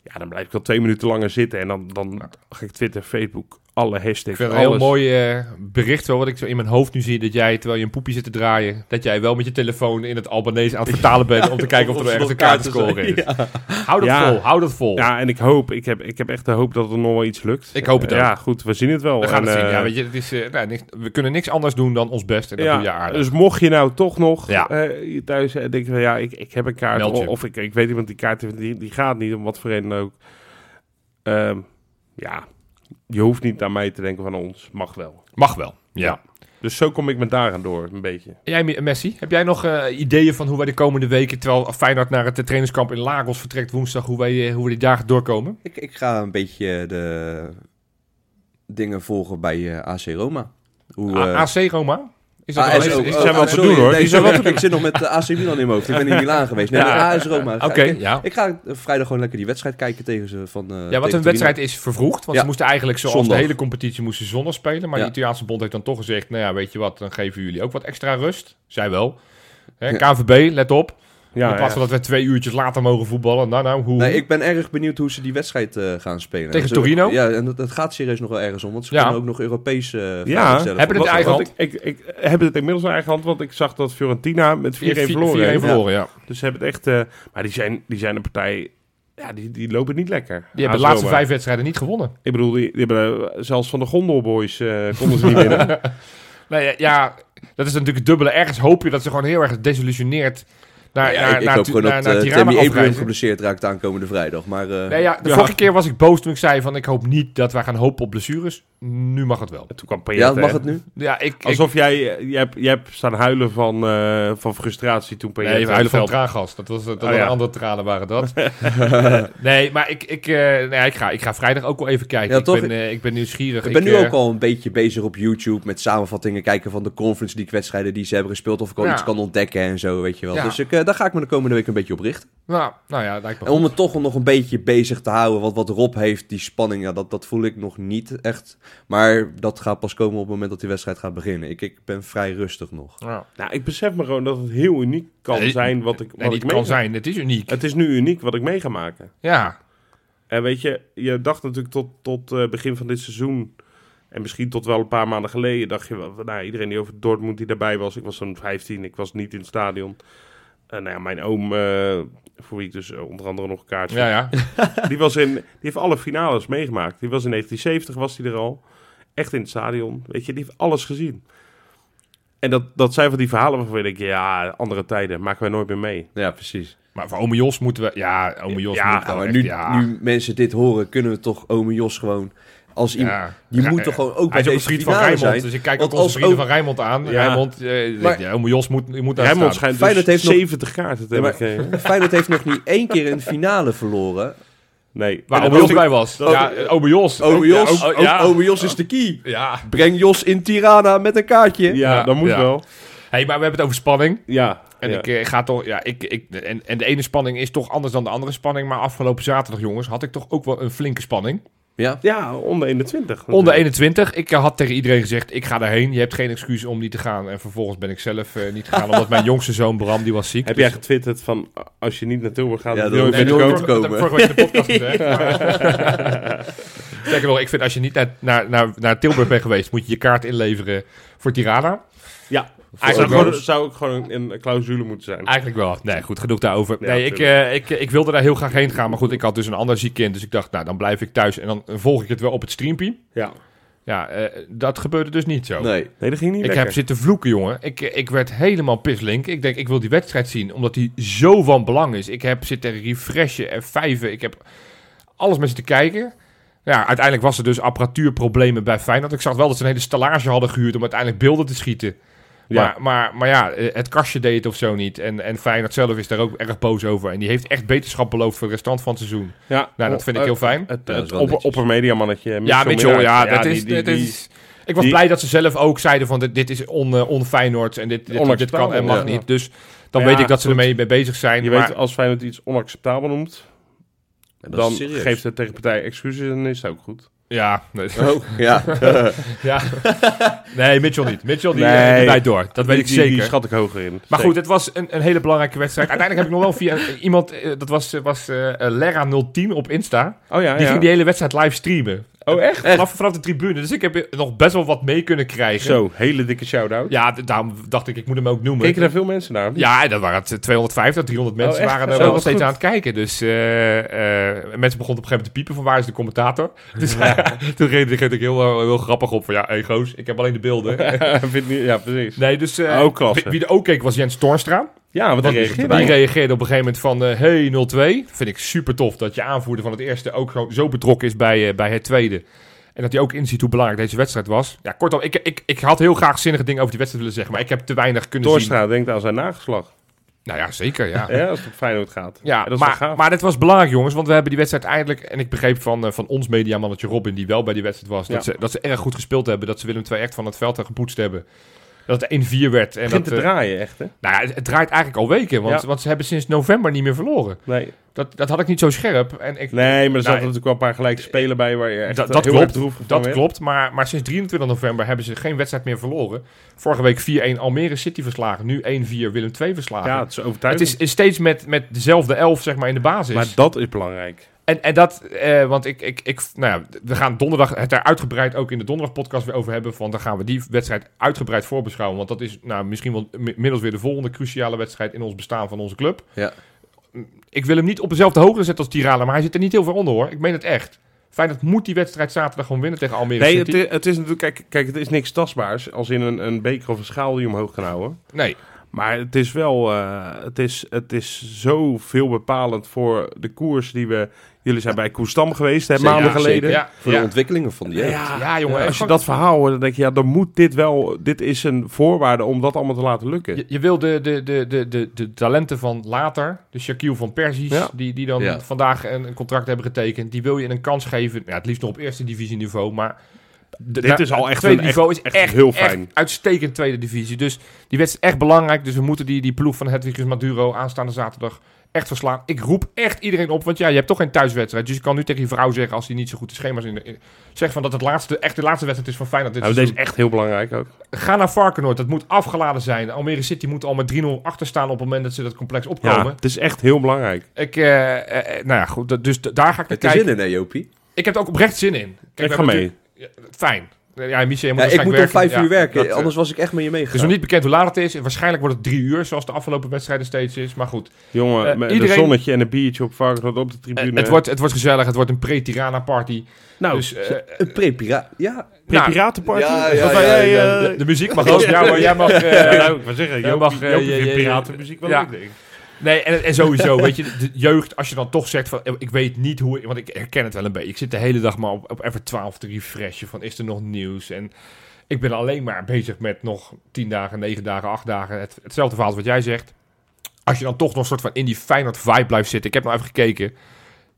Speaker 3: Ja, dan blijf ik wel twee minuten langer zitten en dan, dan ga ik Twitter, Facebook, alle hashtags,
Speaker 2: Ik vind het
Speaker 3: alles.
Speaker 2: een heel mooi eh, bericht wel, wat ik zo in mijn hoofd nu zie. Dat jij, terwijl je een poepie zit te draaien, dat jij wel met je telefoon in het Albanese aan het vertalen bent om te kijken of er ergens een kaartenscore is.
Speaker 4: Ja.
Speaker 2: Hou dat
Speaker 3: Ja.
Speaker 2: vol, hou dat vol.
Speaker 3: Ja, en ik hoop, ik heb, ik heb echt de hoop dat er nog wel iets lukt.
Speaker 2: Ik hoop het
Speaker 3: Eh,
Speaker 2: ook.
Speaker 3: Ja, goed, we zien het wel.
Speaker 2: We gaan het
Speaker 3: En,
Speaker 2: zien.
Speaker 3: eh,
Speaker 2: Ja, weet je, het is, eh, nou, niks- we kunnen niks anders doen dan ons best. En dat doe je aardig.
Speaker 3: Dus mocht je nou toch nog
Speaker 2: Ja.
Speaker 3: eh, je thuis eh, denken van ja, ik, ik heb een kaart.
Speaker 2: Meld je.
Speaker 3: Of, of ik, ik weet iemand die kaart heeft, die, die gaat niet, om wat voor reden ook. Ehm, ja, je hoeft niet aan mij te denken van ons, mag wel.
Speaker 2: Mag wel. Ja.
Speaker 3: Dus zo kom ik met daar aan door, een beetje.
Speaker 2: Jij, Me- Messi, heb jij nog eh, ideeën van hoe wij de komende weken, terwijl Feyenoord naar het eh, trainingskamp in Lagos vertrekt woensdag, hoe, wij, eh, hoe we die dagen doorkomen?
Speaker 4: Ik, ik ga een beetje de dingen volgen bij eh, AC Roma. Hoe,
Speaker 2: Ah, A-
Speaker 4: eh,
Speaker 2: AC Roma? Is dat
Speaker 4: AS
Speaker 2: alleen-
Speaker 4: ook.
Speaker 2: is-
Speaker 4: Oh,
Speaker 3: zijn wel
Speaker 4: ah,
Speaker 3: te
Speaker 4: sorry,
Speaker 3: doen, hoor.
Speaker 4: nee,
Speaker 3: Die zijn
Speaker 4: sorry,
Speaker 3: wel
Speaker 4: ik zit nog met de AC Milan in mijn hoofd. Ik ben in Milaan geweest.
Speaker 2: [laughs]
Speaker 4: Nee,
Speaker 2: Ja.
Speaker 4: de AS Roma. Ga
Speaker 2: Oké,
Speaker 4: ik-
Speaker 2: ja.
Speaker 4: Ik ga eh, vrijdag gewoon lekker die wedstrijd kijken tegen ze van...
Speaker 2: Ja,
Speaker 4: eh, tegen
Speaker 2: wat een
Speaker 4: Torino.
Speaker 2: wedstrijd is vervroegd. Want
Speaker 4: Ja.
Speaker 2: ze moesten eigenlijk zoals
Speaker 4: Zondag.
Speaker 2: de hele competitie moesten ze zondag spelen. Maar
Speaker 4: Ja.
Speaker 2: de Italiaanse bond heeft dan toch gezegd... Nou ja, weet je wat, dan geven jullie ook wat extra rust. Zij wel. Hè,
Speaker 4: Ja.
Speaker 2: KNVB, let op.
Speaker 3: Ja,
Speaker 2: in plaats
Speaker 3: ja.
Speaker 2: van dat we twee uurtjes later mogen voetballen. Nou, nou, hoe?
Speaker 4: Nee, ik ben erg benieuwd hoe ze die wedstrijd eh, gaan spelen.
Speaker 2: Tegen
Speaker 4: Ze-
Speaker 2: Torino?
Speaker 4: Ja, en dat, dat gaat serieus nog wel ergens om. Want ze
Speaker 2: Ja.
Speaker 4: kunnen ook nog Europees eh vragen
Speaker 3: Ja,
Speaker 4: stellen.
Speaker 2: hebben
Speaker 4: voor
Speaker 2: het
Speaker 4: wat-
Speaker 2: eigen
Speaker 3: Want
Speaker 2: hand?
Speaker 3: Ik, ik, ik heb het inmiddels in eigen hand, want ik zag dat Fiorentina met 4-1
Speaker 2: Vier- vier-
Speaker 3: verloren
Speaker 2: 4-1
Speaker 3: heeft.
Speaker 2: verloren, ja.
Speaker 3: Dus ze hebben het echt... eh, maar die zijn, die zijn een partij... Ja, die, die lopen niet lekker.
Speaker 2: Die hebben de
Speaker 3: AS
Speaker 2: laatste
Speaker 3: Roma.
Speaker 2: vijf wedstrijden niet gewonnen.
Speaker 3: Ik bedoel, die, die hebben, eh, zelfs van de Gondelboys eh konden ze niet winnen.
Speaker 2: Nee, ja, ja, dat is natuurlijk het dubbele. Ergens hoop je dat ze gewoon heel erg desillusioneerd... Naar,
Speaker 4: Ja,
Speaker 2: naar,
Speaker 4: ik, ik
Speaker 2: naar,
Speaker 4: hoop
Speaker 2: Tu-
Speaker 4: gewoon
Speaker 2: naar,
Speaker 4: dat
Speaker 2: naar
Speaker 4: eh,
Speaker 2: Tirana
Speaker 4: Tammy Abraham
Speaker 2: afreizen.
Speaker 4: geblesseerd raakt aankomende vrijdag. Maar eh,
Speaker 2: Nee, ja, de
Speaker 3: Ja.
Speaker 2: vorige keer was ik boos toen ik zei van ik hoop niet dat wij gaan hopen op blessures. Nu mag het wel.
Speaker 3: En toen kwam
Speaker 4: ja,
Speaker 3: Payet.
Speaker 4: mag
Speaker 2: eh.
Speaker 4: het nu?
Speaker 2: Ja, ik, ik,
Speaker 3: Alsof jij, eh, jij, hebt, jij hebt staan huilen van, eh, van frustratie toen Payet...
Speaker 2: Nee, even
Speaker 3: het
Speaker 2: huilen van
Speaker 3: veld-
Speaker 2: traangas. Dat was dat
Speaker 3: Oh,
Speaker 2: waren
Speaker 3: ja.
Speaker 2: andere tranen waren
Speaker 3: [laughs]
Speaker 2: dat. nee, maar ik, ik, eh, nee, ik, ga, ik ga vrijdag ook wel even kijken.
Speaker 4: Ja,
Speaker 2: ik,
Speaker 4: toch?
Speaker 2: ben, eh, ik ben nieuwsgierig.
Speaker 4: Ik ben nu
Speaker 2: eh,
Speaker 4: ook al een beetje bezig op YouTube met samenvattingen kijken van de Conference League wedstrijden die ze hebben gespeeld. Of ik al
Speaker 2: Ja.
Speaker 4: iets kan ontdekken en zo, weet je wel.
Speaker 2: Ja.
Speaker 4: Dus ik, eh, daar ga ik me de komende week een beetje op richten.
Speaker 2: Nou, nou ja, lijkt me
Speaker 4: En om
Speaker 2: goed.
Speaker 4: het toch nog een beetje bezig te houden, want wat Rob heeft, die spanning, ja, dat, dat voel ik nog niet echt. Maar dat gaat pas komen op het moment dat die wedstrijd gaat beginnen. Ik, ik ben vrij rustig nog.
Speaker 2: Ja.
Speaker 3: Nou, ik besef me gewoon dat het heel uniek kan
Speaker 2: Nee,
Speaker 3: zijn wat ik, wat
Speaker 2: Nee,
Speaker 3: ik
Speaker 2: niet
Speaker 3: mee
Speaker 2: kan
Speaker 3: ga-
Speaker 2: zijn. Het is uniek.
Speaker 3: Het is nu uniek wat ik mee ga maken.
Speaker 2: Ja,
Speaker 3: En weet je, je dacht natuurlijk tot, tot eh, begin van dit seizoen... En misschien tot wel een paar maanden geleden dacht je... wel, Nou, iedereen die over Dortmund die daarbij was... Ik was zo'n 15, ik was niet in het stadion. Eh, nou ja, mijn oom, eh, voor wie ik dus eh, onder andere nog een kaartje
Speaker 2: ja, ja.
Speaker 3: Die, was in, die heeft alle finales meegemaakt. Die was in 1970, was hij er al. Echt in het stadion. Weet je, die heeft alles gezien. En dat, dat zijn van die verhalen waarvan ik denk, ja, andere tijden, maken wij nooit meer mee.
Speaker 4: Ja, precies.
Speaker 2: Maar voor ome Jos moeten we... Ja, ome Jos
Speaker 3: Ja,
Speaker 2: moet wel
Speaker 4: maar
Speaker 2: echt,
Speaker 4: nu,
Speaker 2: ja.
Speaker 4: nu mensen dit horen, kunnen we toch ome Jos gewoon als iemand...
Speaker 2: ja.
Speaker 4: Die
Speaker 2: Ja,
Speaker 4: moet toch
Speaker 2: ja.
Speaker 4: gewoon ook
Speaker 2: Hij
Speaker 4: bij
Speaker 2: is ook een
Speaker 4: deze
Speaker 2: vriend van
Speaker 4: finale
Speaker 2: Rijnmond.
Speaker 4: zijn.
Speaker 2: Dus ik kijk
Speaker 4: Want
Speaker 2: ook onze
Speaker 4: als
Speaker 2: vrienden
Speaker 4: ook-
Speaker 2: van Rijnmond aan.
Speaker 3: Ja.
Speaker 2: Rijnmond, eh,
Speaker 4: Maar-
Speaker 2: ja, ome Jos moet, moet daar
Speaker 3: Rijnmond
Speaker 2: staan.
Speaker 3: schijnt
Speaker 4: Feyenoord
Speaker 3: dus
Speaker 4: heeft nog-
Speaker 3: 70 kaarten te
Speaker 4: Ja,
Speaker 3: hebben
Speaker 4: maar-
Speaker 3: gekregen.
Speaker 4: Feyenoord heeft nog niet één keer een finale verloren.
Speaker 3: Nee.
Speaker 2: Waar
Speaker 3: En
Speaker 2: ome
Speaker 3: dat
Speaker 2: Jos
Speaker 3: was
Speaker 2: bij was.
Speaker 3: dat-
Speaker 2: Ja, eh, ome Jos.
Speaker 4: Ome Jos, Oh,
Speaker 2: Ja, ook-
Speaker 4: ook-
Speaker 2: ja.
Speaker 4: ome Jos is de key.
Speaker 2: Ja.
Speaker 4: Breng Jos in Tirana met een kaartje.
Speaker 3: ik- Ja,
Speaker 2: Ja,
Speaker 3: dat moet
Speaker 2: ja.
Speaker 3: wel.
Speaker 2: hey, maar we hebben het over spanning.
Speaker 3: Ja.
Speaker 2: En
Speaker 3: ja.
Speaker 2: ik eh, ga toch, ja, ik, ik, en, en de ene spanning is toch anders dan de andere spanning. Maar afgelopen zaterdag, jongens, had ik toch ook wel een flinke spanning.
Speaker 4: Ja.
Speaker 3: ja, onder 21. natuurlijk.
Speaker 2: Onder 21. Ik eh, had tegen iedereen gezegd, ik ga daarheen. Je hebt geen excuus om niet te gaan. En vervolgens ben ik zelf eh, niet gegaan, omdat
Speaker 3: [laughs]
Speaker 2: mijn jongste zoon Bram, die was ziek. Dus-
Speaker 3: Heb jij getwitterd van, als je niet naar Tilburg gaat,
Speaker 4: Ja,
Speaker 3: dan
Speaker 4: dat-
Speaker 3: nooit
Speaker 4: nee,
Speaker 3: meer
Speaker 4: nooit
Speaker 3: komen?
Speaker 2: dat heb ik
Speaker 4: komen?
Speaker 2: vorige week in de
Speaker 3: [laughs]
Speaker 2: podcast gezegd. maar- Sterker nog, ik vind als je niet naar, naar, naar, naar Tilburg bent geweest, moet je je kaart inleveren voor Tirana.
Speaker 3: Ja. Hij zou,
Speaker 2: Voor Ah.
Speaker 3: gewoon,
Speaker 2: Roos.
Speaker 3: zou ook gewoon een, een clausule moeten zijn.
Speaker 2: Eigenlijk wel. Nee, goed, genoeg daarover.
Speaker 3: Ja,
Speaker 2: nee, ik, eh, ik, ik wilde daar heel graag heen gaan. Maar goed, ik had dus een ander ziek kind. Dus ik dacht, nou, dan blijf ik thuis. En dan eh, volg ik het wel op het streampie.
Speaker 3: Ja.
Speaker 2: Ja, eh, dat gebeurde dus niet zo.
Speaker 4: Nee.
Speaker 3: Nee, dat ging niet
Speaker 2: Ik
Speaker 3: lekker.
Speaker 2: heb zitten vloeken, jongen. Ik, eh, ik werd helemaal pislink. Ik denk, ik wil die wedstrijd zien, omdat die zo van belang is. Ik heb zitten refreshen en vijven. Ik heb alles met zitten kijken. Ja, uiteindelijk was er dus apparatuurproblemen bij Feyenoord. Ik zag wel dat ze een hele stallage hadden gehuurd om uiteindelijk beelden te schieten.
Speaker 3: Ja.
Speaker 2: Maar, maar, maar ja, eh, het kastje deed het of zo niet. En, en Feyenoord zelf is daar ook erg boos over. En die heeft echt beterschap beloofd voor de restant van het seizoen.
Speaker 3: ja,
Speaker 2: Nou, dat vind ik heel fijn.
Speaker 3: Het,
Speaker 4: Ja, dat is
Speaker 3: het
Speaker 4: wel
Speaker 3: opper,
Speaker 4: netjes.
Speaker 3: oppermediamannetje.
Speaker 2: Ja,
Speaker 3: Mitchell
Speaker 2: Mitchell,
Speaker 3: Miller.
Speaker 2: ja, dat
Speaker 3: die-
Speaker 2: is...
Speaker 3: die-
Speaker 2: dat
Speaker 3: die-
Speaker 2: is- ik was
Speaker 3: die-
Speaker 2: blij dat ze zelf ook zeiden van dit, dit is on, eh, on-Feyenoord en dit, dit, dit kan en
Speaker 3: Onacceptabel,
Speaker 2: mag
Speaker 3: ja.
Speaker 2: niet. Dus dan
Speaker 3: Ja,
Speaker 2: weet ik dat ze
Speaker 3: goed.
Speaker 2: ermee mee bezig zijn.
Speaker 3: Je
Speaker 2: maar
Speaker 3: weet, als Feyenoord iets onacceptabel noemt,
Speaker 4: En dat
Speaker 3: dan
Speaker 4: is serieus.
Speaker 3: geeft de tegenpartij excuses en is het ook goed.
Speaker 2: Ja, nee, [laughs]
Speaker 4: Oh, [laughs] [laughs] ja.
Speaker 2: ja. nee, Mitchell niet. Mitchell die,
Speaker 3: Nee.
Speaker 2: eh, die blijft door. Dat weet
Speaker 3: Die-
Speaker 2: ik
Speaker 3: die-
Speaker 2: zeker.
Speaker 3: Die schat ik hoger in.
Speaker 2: maar
Speaker 3: Zeker.
Speaker 2: goed, het was een, een hele belangrijke wedstrijd. Uiteindelijk heb ik nog wel via [laughs] iemand, eh, dat was, eh, was eh, eh, Lera010 op Insta.
Speaker 3: Oh ja,
Speaker 2: Die
Speaker 3: ja.
Speaker 2: ging die hele wedstrijd live streamen.
Speaker 3: Oh echt?
Speaker 2: Vanaf, vanaf de tribune. Dus ik heb er nog best wel wat mee kunnen krijgen.
Speaker 3: Zo, hele dikke shout-out.
Speaker 2: Ja, d- daarom dacht ik, ik moet hem ook noemen.
Speaker 3: Keken er veel mensen naar?
Speaker 2: Ja, en dat waren het 250, 300 mensen
Speaker 3: echt?
Speaker 2: waren er
Speaker 3: Oh,
Speaker 2: wel
Speaker 3: wat
Speaker 2: steeds
Speaker 3: goed.
Speaker 2: aan het kijken. Dus eh, eh, mensen begonnen op een gegeven moment te piepen van waar is de commentator. [laughs] Dus toen reed ik heel, eh, heel grappig op van ja, hey, goos, ik heb alleen de
Speaker 3: [laughs]
Speaker 2: beelden.
Speaker 3: Vind je- ja, precies.
Speaker 2: nee, dus eh,
Speaker 3: Oh, klasse.
Speaker 2: wie, wie er ook keek was Jens Toornstra.
Speaker 3: Ja, want die
Speaker 2: Want
Speaker 3: reageerde.
Speaker 2: die reageerde op een gegeven moment van eh, hey 0-2. Vind ik super tof dat je aanvoerder van het eerste ook zo, zo betrokken is bij, eh, bij het tweede. En dat hij ook inziet hoe belangrijk deze wedstrijd was. Ja, kortom, ik, ik, ik had heel graag zinnige dingen over die wedstrijd willen zeggen, maar ik heb te weinig kunnen zien.
Speaker 3: Torstra denkt aan zijn nageslag.
Speaker 2: Nou ja, zeker,
Speaker 3: [laughs]
Speaker 2: ja.
Speaker 3: Hè, als het op Feyenoord gaat.
Speaker 2: Ja,
Speaker 3: En dat is wel
Speaker 2: maar,
Speaker 3: gaaf.
Speaker 2: maar dit was belangrijk, jongens. Want we hebben die wedstrijd eindelijk... En ik begreep van, eh, van ons mediamannetje Robin, die wel bij die wedstrijd was... Dat,
Speaker 3: Ja.
Speaker 2: ze, dat ze erg goed gespeeld hebben. Dat ze Willem II echt van het veld hebben gepoetst hebben. Dat het 1-4 werd. En
Speaker 3: begint
Speaker 2: dat,
Speaker 3: te
Speaker 2: eh,
Speaker 3: draaien, echt hè?
Speaker 2: nou ja, het, het draait eigenlijk al weken. Want,
Speaker 3: Ja.
Speaker 2: want ze hebben sinds november niet meer verloren.
Speaker 3: Nee,
Speaker 2: Dat, dat had ik niet zo scherp. En ik,
Speaker 3: nee maar er zaten
Speaker 2: Nou,
Speaker 3: natuurlijk wel een paar gelijke spelen bij waar je echt
Speaker 2: dat,
Speaker 3: eh,
Speaker 2: dat
Speaker 3: heel erg
Speaker 2: klopt,
Speaker 3: droevig van
Speaker 2: dat
Speaker 3: werd.
Speaker 2: klopt maar, maar sinds 23 november hebben ze geen wedstrijd meer verloren. Vorige week 4-1 Almere City verslagen, nu 1-4 Willem II verslagen.
Speaker 3: Ja, het is
Speaker 2: het
Speaker 3: overtuigend.
Speaker 2: is, is steeds met, met dezelfde elf zeg maar, in de basis.
Speaker 3: maar dat is belangrijk.
Speaker 2: En, en dat, eh, want ik, ik, ik, nou ja, we gaan donderdag het daar uitgebreid ook in de donderdagpodcast weer over hebben. Want dan gaan we die wedstrijd uitgebreid voorbeschouwen. Want dat is nou, misschien wel mi- inmiddels weer de volgende cruciale wedstrijd in ons bestaan van onze club.
Speaker 4: Ja.
Speaker 2: Ik wil hem niet op dezelfde hoogte zetten als Tirana, maar hij zit er niet heel ver onder hoor. Ik meen het echt. Feyenoord moet die wedstrijd zaterdag gewoon winnen tegen Almere
Speaker 3: Nee,
Speaker 2: City.
Speaker 3: het, het is natuurlijk, kijk, kijk, het is niks tastbaars als in een, een beker of een schaal die je omhoog kan houden.
Speaker 2: nee,
Speaker 3: Maar het is wel, eh, het, is, het is zo veel bepalend voor de koers die we. Jullie zijn bij Koestam geweest, hè,
Speaker 4: Zeker,
Speaker 3: maanden
Speaker 4: zeker.
Speaker 3: geleden.
Speaker 2: ja,
Speaker 4: Voor de
Speaker 2: ja,
Speaker 4: ontwikkelingen van die jeugd.
Speaker 2: ja, jongen.
Speaker 3: Als je
Speaker 2: gewoon-
Speaker 3: dat verhaal hoort, dan denk je, ja, dan moet dit wel, dit is een voorwaarde om dat allemaal te laten lukken.
Speaker 2: Je, je wil de, de, de, de, de, de talenten van later, de Shaquille van Persisch,
Speaker 3: Ja.
Speaker 2: die, die dan
Speaker 4: Ja.
Speaker 2: vandaag een, een contract hebben getekend, die wil je een kans geven. Ja, het liefst nog op eerste divisie niveau, maar de-
Speaker 3: Dit is al
Speaker 2: het
Speaker 3: echt
Speaker 2: tweede
Speaker 3: een-
Speaker 2: niveau is
Speaker 3: echt heel fijn.
Speaker 2: uitstekend tweede divisie. Dus die wedstrijd is echt belangrijk. Dus we moeten die, die ploeg van Hedwigus Maduro aanstaande zaterdag echt verslaan. Ik roep echt iedereen op, want ja, je hebt toch geen thuiswedstrijd. Dus je kan nu tegen je vrouw zeggen, als die niet zo goed de schema's in, de- in- zeg van dat het laatste, echt de laatste wedstrijd is van Feyenoord dit
Speaker 3: Nou,
Speaker 2: seizoen.
Speaker 3: deze is echt heel belangrijk ook.
Speaker 2: Ga naar Varkenoord. Dat moet afgeladen zijn. Almere City moet al met 3-0 achter staan op het moment dat ze dat complex
Speaker 3: Ja,
Speaker 2: opkomen.
Speaker 3: het is echt heel belangrijk.
Speaker 2: Ik, eh, eh, eh, nou ja, goed. dat- Dus d- daar ga ik naar
Speaker 4: Het is
Speaker 2: kijken.
Speaker 4: in, hè, Jopie?
Speaker 2: Ik heb er ook oprecht zin in. Kijk, we
Speaker 3: ik ga
Speaker 2: hebben
Speaker 3: mee.
Speaker 2: natuurlijk- ja, Fijn. Eh, Ja, Michel, je moet
Speaker 4: Ja, ik moet om
Speaker 2: waarschijnlijk
Speaker 4: vijf
Speaker 2: werken.
Speaker 4: uur
Speaker 2: Ja,
Speaker 4: werken,
Speaker 2: dat, eh,
Speaker 4: anders was ik echt met je
Speaker 2: Het is nog
Speaker 4: meegegaan.
Speaker 2: niet bekend hoe laat het is. Waarschijnlijk wordt het drie uur, zoals de afgelopen wedstrijden steeds is. Maar goed,
Speaker 3: Jongen,
Speaker 2: Eh,
Speaker 3: met
Speaker 2: iedereen-
Speaker 3: een zonnetje en een biertje op varkens op de tribune.
Speaker 2: eh, het, wordt, het wordt gezellig. Het wordt een pre-Tirana-party.
Speaker 4: Oh.
Speaker 3: nou,
Speaker 2: dus, eh, eh,
Speaker 4: Een pre-pira- Ja,
Speaker 2: nou,
Speaker 3: piratenparty.
Speaker 4: Ja, ja,
Speaker 3: Wat
Speaker 4: ja,
Speaker 3: wij-
Speaker 4: ja,
Speaker 3: jij,
Speaker 4: [laughs] ja.
Speaker 3: eh,
Speaker 4: De-
Speaker 2: de muziek mag ook. Ja, maar jij mag...
Speaker 3: ja,
Speaker 2: eh,
Speaker 3: nou, ik wil zeggen,
Speaker 2: Jij
Speaker 3: Jopie,
Speaker 2: mag, eh,
Speaker 3: Jopie
Speaker 2: je-
Speaker 3: vindt
Speaker 2: je- je-
Speaker 3: piratenmuziek wel
Speaker 2: ja.
Speaker 3: leuk, denk ik.
Speaker 2: Nee, en, en sowieso, [laughs] weet je, de jeugd, als je dan toch zegt van, ik weet niet hoe, want ik herken het wel een beetje. Ik zit de hele dag maar op, op even 12 te refreshen van, is er nog nieuws? En ik ben alleen maar bezig met nog 10 dagen, 9 dagen, 8 dagen. Het, hetzelfde verhaal als wat jij zegt. Als je dan toch nog een soort van in die Feyenoord vibe blijft zitten. Ik heb nou even gekeken.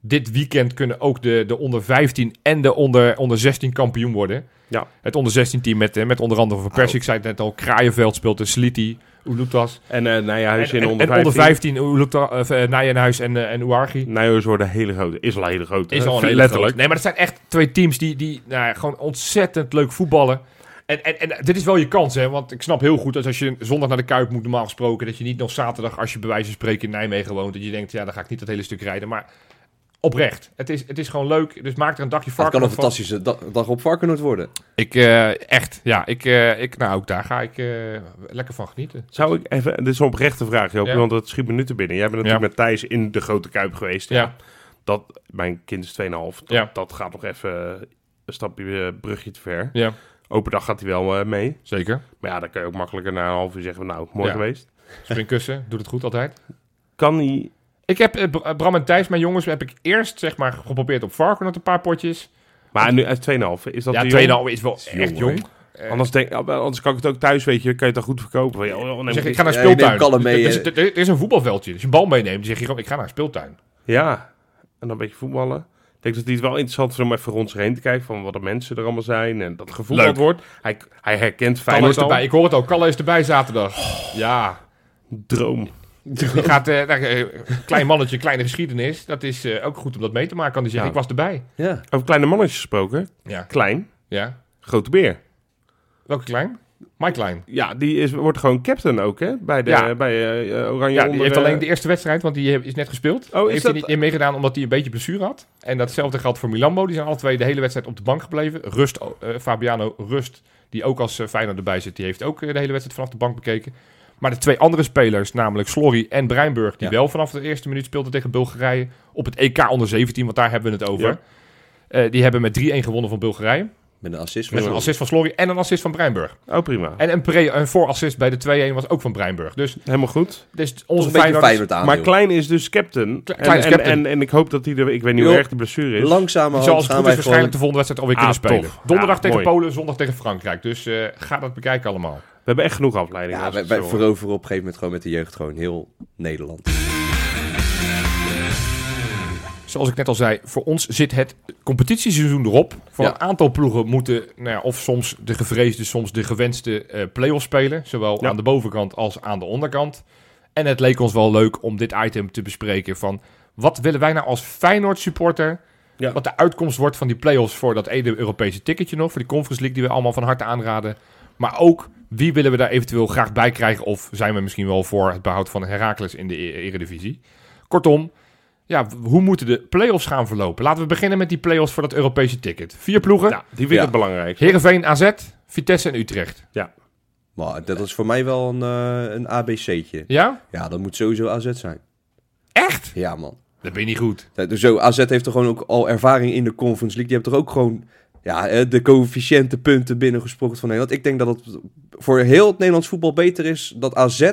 Speaker 2: Dit weekend kunnen ook de, de onder 15 en de onder, onder 16 kampioen worden.
Speaker 3: Ja.
Speaker 2: Het onder 16 team met, eh, met onder andere Van Persie, ik zei het net al, Kraaienveld speelt de Sliti, Ulutas.
Speaker 3: En eh Nijenhuis
Speaker 2: En,
Speaker 3: in
Speaker 2: en-
Speaker 3: onder
Speaker 2: en onder
Speaker 3: 15.
Speaker 2: 15, hoe loopt dat, of, eh, Nijenhuis en, eh, en Ouargi.
Speaker 3: Nijenhuis wordt een hele grote. Is al een hele grote.
Speaker 2: Is
Speaker 3: hè?
Speaker 2: al een hele
Speaker 3: Letterlijk.
Speaker 2: grote. Nee, maar dat zijn echt twee teams die, die nou, ja, gewoon ontzettend leuk voetballen. En, en, en dit is wel je kans, hè? Want ik snap heel goed dat als je zondag naar de Kuip moet, normaal gesproken, dat je niet nog zaterdag, als je bij wijze van spreken in Nijmegen woont, dat je denkt, ja, dan ga ik niet dat hele stuk rijden. Maar oprecht, het is, het is gewoon leuk. Dus maak er een dagje
Speaker 4: het kan een
Speaker 2: varken van.
Speaker 4: fantastische da- dag op Varkenoord worden.
Speaker 2: Ik, eh, echt, ja. Ik, eh, ik, nou, ook daar ga ik eh, lekker van genieten.
Speaker 3: Zou ik even, dit is een oprechte vraag, Joop,
Speaker 2: Ja.
Speaker 3: want dat schiet me nu te binnen. Jij bent natuurlijk
Speaker 2: Ja.
Speaker 3: met Thijs in de Grote Kuip geweest.
Speaker 2: Ja.
Speaker 3: Dat, mijn kind is 2,5. Dat,
Speaker 2: Ja.
Speaker 3: dat gaat nog even eh, een stapje eh, brugje te ver.
Speaker 2: Ja,
Speaker 3: Open dag gaat hij wel eh, mee. [laughs]
Speaker 2: zeker.
Speaker 3: Maar ja, dan kun je ook makkelijker na een half uur zeggen, nou, mooi
Speaker 2: Ja.
Speaker 3: geweest.
Speaker 2: Springkussen, doet het goed altijd.
Speaker 3: Kan hij...
Speaker 2: Ik heb eh, Br- eh, Bram en Thijs, mijn jongens, heb ik eerst zeg maar geprobeerd op varken met een paar potjes.
Speaker 3: Maar nu uit 2,5. Is dat
Speaker 2: Ja,
Speaker 3: te jong?
Speaker 2: 2,5 is wel echt
Speaker 3: hè?
Speaker 2: jong.
Speaker 3: Anders, denk, anders kan ik het ook thuis, weet je. Kan Eh, je het dan goed verkopen. Van, joh, joh, neem
Speaker 2: Dan Zeg,
Speaker 3: het
Speaker 2: ik ga naar
Speaker 4: Ja, je neemt
Speaker 2: speeltuin.
Speaker 4: kalm
Speaker 2: Er-
Speaker 4: mee,
Speaker 2: er, is-
Speaker 4: eh.
Speaker 2: er- er is een voetbalveldje. Dus je bal meeneemt, dan zeg je gewoon, ik ga naar een speeltuin.
Speaker 3: Ja, en dan een beetje voetballen. Ik denk dat hij het wel interessant is om even rond zich heen te kijken van wat de mensen er allemaal zijn en dat gevoel
Speaker 2: Leuk.
Speaker 3: dat wordt. Hij, hij herkent
Speaker 2: Kalle is
Speaker 3: Feyenoord al.
Speaker 2: erbij. Ik hoor het al. Kalle is erbij zaterdag. Ja.
Speaker 3: Droom.
Speaker 2: Die gaat, eh, nou, eh, klein mannetje, kleine geschiedenis. Dat is eh, ook goed om dat mee te maken. Kan die zeggen,
Speaker 3: Ja.
Speaker 2: ik was erbij.
Speaker 4: Ja.
Speaker 3: Over kleine mannetjes gesproken.
Speaker 2: Ja.
Speaker 3: Klein,
Speaker 2: ja.
Speaker 3: grote beer.
Speaker 2: Welke klein? Mike Klein.
Speaker 3: Ja, die is, wordt gewoon captain ook hè, bij, de,
Speaker 2: Ja.
Speaker 3: bij eh, Oranje
Speaker 2: Ja, die
Speaker 3: onder,
Speaker 2: heeft
Speaker 3: eh,
Speaker 2: alleen de eerste wedstrijd, want die eh, is net gespeeld.
Speaker 3: Oh, is
Speaker 2: heeft
Speaker 3: dat-
Speaker 2: hij niet in meegedaan omdat hij een beetje blessure had. En datzelfde geldt voor Milambo. Die zijn alle twee de hele wedstrijd op de bank gebleven. Rust, eh, Fabiano Rust, die ook als eh, Feyenoord erbij zit, die heeft ook eh, de hele wedstrijd vanaf de bank bekeken. Maar de twee andere spelers, namelijk Slorry en Breinburg, die
Speaker 4: Ja.
Speaker 2: wel vanaf de eerste minuut speelden tegen Bulgarije op het EK onder 17, want daar hebben we het over.
Speaker 3: Ja.
Speaker 2: Eh, die hebben met 3-1 gewonnen van Bulgarije.
Speaker 4: Met een assist.
Speaker 2: Met een assist van Slorry en een assist van Breinburg.
Speaker 3: Oh, prima.
Speaker 2: En een, pre- een voorassist bij de 2-1 was ook van Breinburg. Dus,
Speaker 3: Helemaal goed.
Speaker 2: dus
Speaker 4: Onze
Speaker 2: onze
Speaker 4: Feyenoord,
Speaker 2: Feyenoord
Speaker 4: Feyenoord aan.
Speaker 3: Maar Klein is dus captain.
Speaker 2: Kle-
Speaker 3: en,
Speaker 2: Klein is
Speaker 3: en,
Speaker 2: captain.
Speaker 3: En, en ik hoop dat hij er... Ik weet niet
Speaker 4: Jo.
Speaker 3: hoe erg de blessure
Speaker 2: dus.
Speaker 3: is.
Speaker 4: Langzamerhand
Speaker 2: Zoals het
Speaker 4: gaan
Speaker 2: goed is
Speaker 4: wij
Speaker 2: waarschijnlijk
Speaker 4: gewoon...
Speaker 2: de volgende wedstrijd alweer
Speaker 3: Ah,
Speaker 2: kunnen spelen.
Speaker 3: toch.
Speaker 2: Donderdag
Speaker 3: Ja,
Speaker 2: tegen
Speaker 3: mooi.
Speaker 2: Polen, zondag tegen Frankrijk. Dus eh, ga dat bekijken allemaal.
Speaker 3: We hebben echt genoeg afleidingen.
Speaker 4: Ja,
Speaker 3: als
Speaker 4: wij,
Speaker 3: het
Speaker 4: wij
Speaker 3: zo-
Speaker 4: veroveren op een gegeven moment gewoon met de jeugd gewoon heel Nederland.
Speaker 2: Zoals ik net al zei, voor ons zit het competitieseizoen erop. Voor
Speaker 4: Ja.
Speaker 2: een aantal ploegen moeten nou ja, of soms de gevreesde, soms de gewenste eh play-offs spelen. Zowel
Speaker 3: Ja.
Speaker 2: aan de bovenkant als aan de onderkant. En het leek ons wel leuk om dit item te bespreken van... Wat willen wij nou als Feyenoord supporter?
Speaker 3: Ja.
Speaker 2: Wat de uitkomst wordt van die play-offs voor dat ene Europese ticketje nog. Voor die Conference League die we allemaal van harte aanraden. Maar ook, wie willen we daar eventueel graag bij krijgen? Of zijn we misschien wel voor het behoud van Heracles in de E- Eredivisie? Kortom, ja, w- hoe moeten de play-offs gaan verlopen? Laten we beginnen met die play-offs voor dat Europese ticket. Vier ploegen.
Speaker 3: Ja, die vind ik
Speaker 4: Ja.
Speaker 3: het belangrijk.
Speaker 2: Heerenveen, AZ, Vitesse en Utrecht.
Speaker 4: Maar dat is voor mij wel een, eh, een ABC'tje.
Speaker 2: Ja?
Speaker 4: Ja, dat moet sowieso AZ zijn.
Speaker 2: Echt?
Speaker 4: Ja, man.
Speaker 2: Dat ben je niet goed.
Speaker 4: Dat- dus Zo, AZ heeft toch gewoon ook al ervaring in de Conference League. Die hebben toch ook gewoon ja, eh, de coëfficiënten punten binnengesproken van Nederland. Ik denk dat het voor heel het Nederlands voetbal beter is dat AZ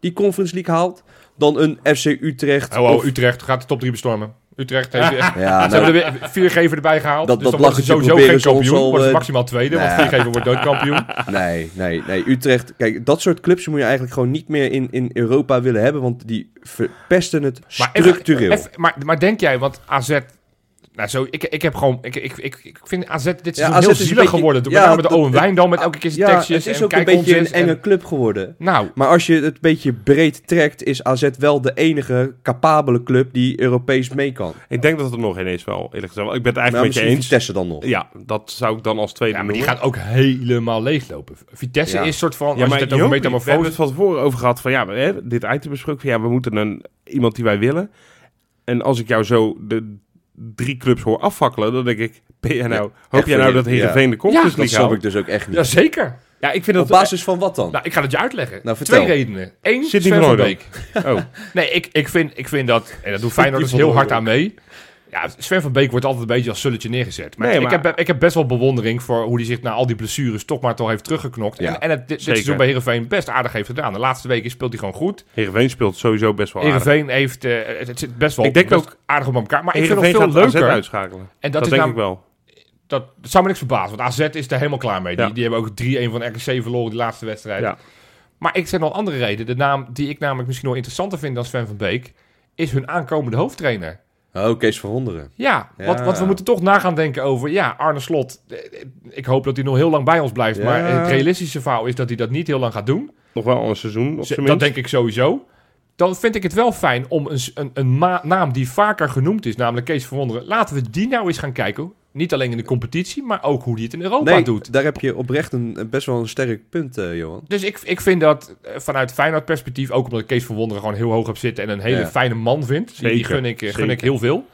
Speaker 4: die Conference League haalt dan een FC Utrecht.
Speaker 2: Oh,
Speaker 4: of-
Speaker 2: oh, Utrecht gaat de top 3 bestormen. Utrecht eh, heeft weer- [laughs]
Speaker 4: Ja,
Speaker 2: ze
Speaker 4: nou,
Speaker 2: hebben er weer vier geven erbij gehaald.
Speaker 4: Dat-
Speaker 2: dus
Speaker 4: dat
Speaker 2: dan wordt ze
Speaker 4: lachertje
Speaker 2: sowieso
Speaker 4: proberen
Speaker 2: geen
Speaker 4: ze ons
Speaker 2: kampioen.
Speaker 4: al,
Speaker 2: Wordt ze
Speaker 4: eh,
Speaker 2: maximaal tweede, want
Speaker 4: nee.
Speaker 2: vier geven wordt nooit
Speaker 4: [laughs]
Speaker 2: kampioen.
Speaker 4: Nee, nee, nee. Utrecht, kijk, dat soort clubs moet je eigenlijk gewoon niet meer in, in Europa willen hebben, want die verpesten het
Speaker 2: even-
Speaker 4: structureel.
Speaker 2: Even- maar, maar denk jij, want AZ... Nou, zo, ik, ik heb gewoon... Ik, ik, ik, ik vind AZ dit seizoen
Speaker 4: AZ
Speaker 2: heel
Speaker 4: is een
Speaker 2: zielig
Speaker 4: beetje-
Speaker 2: geworden. Met
Speaker 4: ja,
Speaker 2: name de
Speaker 4: dat-
Speaker 2: Owen Wijndal met elke keer zijn
Speaker 4: ja,
Speaker 2: tekstjes.
Speaker 4: het is
Speaker 2: en
Speaker 4: ook een
Speaker 2: kijk
Speaker 4: beetje
Speaker 2: ons
Speaker 4: een
Speaker 2: eens en-
Speaker 4: enge club geworden.
Speaker 2: Nou,
Speaker 4: Maar als je het een beetje breed trekt, is AZ wel de enige capabele club die Europees mee kan.
Speaker 3: Ik denk dat het er nog geen is wel, eerlijk gezegd. Ik ben het
Speaker 4: Maar
Speaker 3: eigenlijk met je
Speaker 4: misschien
Speaker 3: eens.
Speaker 4: Vitesse dan nog.
Speaker 3: Ja, dat zou ik dan als tweede
Speaker 2: ja, maar die
Speaker 3: noemen.
Speaker 2: gaan ook helemaal leeglopen. Vitesse
Speaker 4: Ja.
Speaker 2: is soort van...
Speaker 3: Ja,
Speaker 2: als
Speaker 3: maar
Speaker 2: je het hebt over
Speaker 3: Jopie, we hebben
Speaker 2: metamorfose...
Speaker 3: het van tevoren over gehad van ja, we hebben dit item besproken van ja, we moeten een, iemand die wij willen. En als ik jou zo de drie clubs hoor afvakkelen, dan denk ik, ben jij nou, hoop
Speaker 4: echt
Speaker 3: jij nou
Speaker 4: voor
Speaker 3: dat
Speaker 4: je- ja.
Speaker 3: Heerenveen de Conference
Speaker 2: Ja,
Speaker 4: Dat
Speaker 3: League
Speaker 4: snap
Speaker 3: haalt?
Speaker 4: ik dus ook echt niet.
Speaker 2: Jazeker.
Speaker 3: Ja, ik vind
Speaker 4: Op
Speaker 3: dat...
Speaker 4: basis van wat dan?
Speaker 2: Nou, ik ga het je uitleggen.
Speaker 4: Nou, vertel.
Speaker 2: Twee redenen. Eén,
Speaker 3: Sidney
Speaker 2: Sven
Speaker 3: van
Speaker 2: van
Speaker 3: Hooydonk.
Speaker 2: Beek.
Speaker 3: Oh,
Speaker 2: [laughs] Nee, ik, ik, vind, ik vind dat... En dat
Speaker 3: [laughs]
Speaker 2: doet Feyenoord dus
Speaker 3: van
Speaker 2: heel hard aan
Speaker 3: Hooydonk.
Speaker 2: mee. Ja, Sven van Beek wordt altijd een beetje als sulletje neergezet. Maar,
Speaker 3: Nee, maar-
Speaker 2: Ik, heb, ik heb best wel bewondering voor hoe hij zich na al die blessures toch maar toch heeft teruggeknokt.
Speaker 4: Ja,
Speaker 2: en en het dit- dit
Speaker 3: zeker.
Speaker 2: seizoen bij Heerenveen best aardig heeft gedaan. De laatste weken speelt hij gewoon goed.
Speaker 3: Heerenveen speelt sowieso best wel aardig.
Speaker 2: Heerenveen heeft... eh, het, het zit best wel
Speaker 3: Ik denk
Speaker 2: best
Speaker 3: ook-
Speaker 2: aardig op elkaar. Maar ik vind het
Speaker 3: Heerenveen
Speaker 2: veel
Speaker 3: gaat AZ
Speaker 2: leuker.
Speaker 3: uitschakelen.
Speaker 2: En
Speaker 3: Dat,
Speaker 2: dat, is
Speaker 3: denk
Speaker 2: nou-
Speaker 3: ik wel.
Speaker 2: dat, dat zou me niks verbazen, want AZ is er helemaal klaar mee.
Speaker 3: Ja.
Speaker 2: Die, die hebben ook 3-1 van RKC verloren die laatste wedstrijd.
Speaker 3: Ja.
Speaker 2: Maar ik zeg nog een andere reden. De naam die ik namelijk misschien wel interessanter vind dan Sven van Beek... is hun aankomende hoofdtrainer.
Speaker 4: Oh, Kees van Wonderen.
Speaker 2: Ja,
Speaker 4: Ja.
Speaker 2: Want, want we moeten toch nagaan denken over... Ja, Arne Slot, eh, eh, ik hoop dat hij nog heel lang bij ons blijft.
Speaker 4: Ja.
Speaker 2: Maar het realistische verhaal is dat hij dat niet heel lang gaat doen.
Speaker 3: Nog wel een seizoen, op
Speaker 2: Ze-
Speaker 3: zijn
Speaker 2: Dat
Speaker 3: minst.
Speaker 2: denk ik sowieso. Dan vind ik het wel fijn om een, s- een, een ma- naam die vaker genoemd is, namelijk Kees van Wonderen... laten we die nou eens gaan kijken... Niet alleen in de competitie, maar ook hoe die het in Europa
Speaker 4: Nee,
Speaker 2: doet.
Speaker 4: daar heb je oprecht een, een best wel een sterk punt, eh, Johan.
Speaker 2: Dus ik, ik vind dat eh, vanuit Feyenoord perspectief, ook omdat ik Kees van Wonderen gewoon heel hoog heb zitten en een hele
Speaker 4: Ja.
Speaker 2: fijne man vind. Die, die
Speaker 3: Zeker,
Speaker 2: gun, ik, eh, gun
Speaker 3: zeker.
Speaker 2: ik heel veel.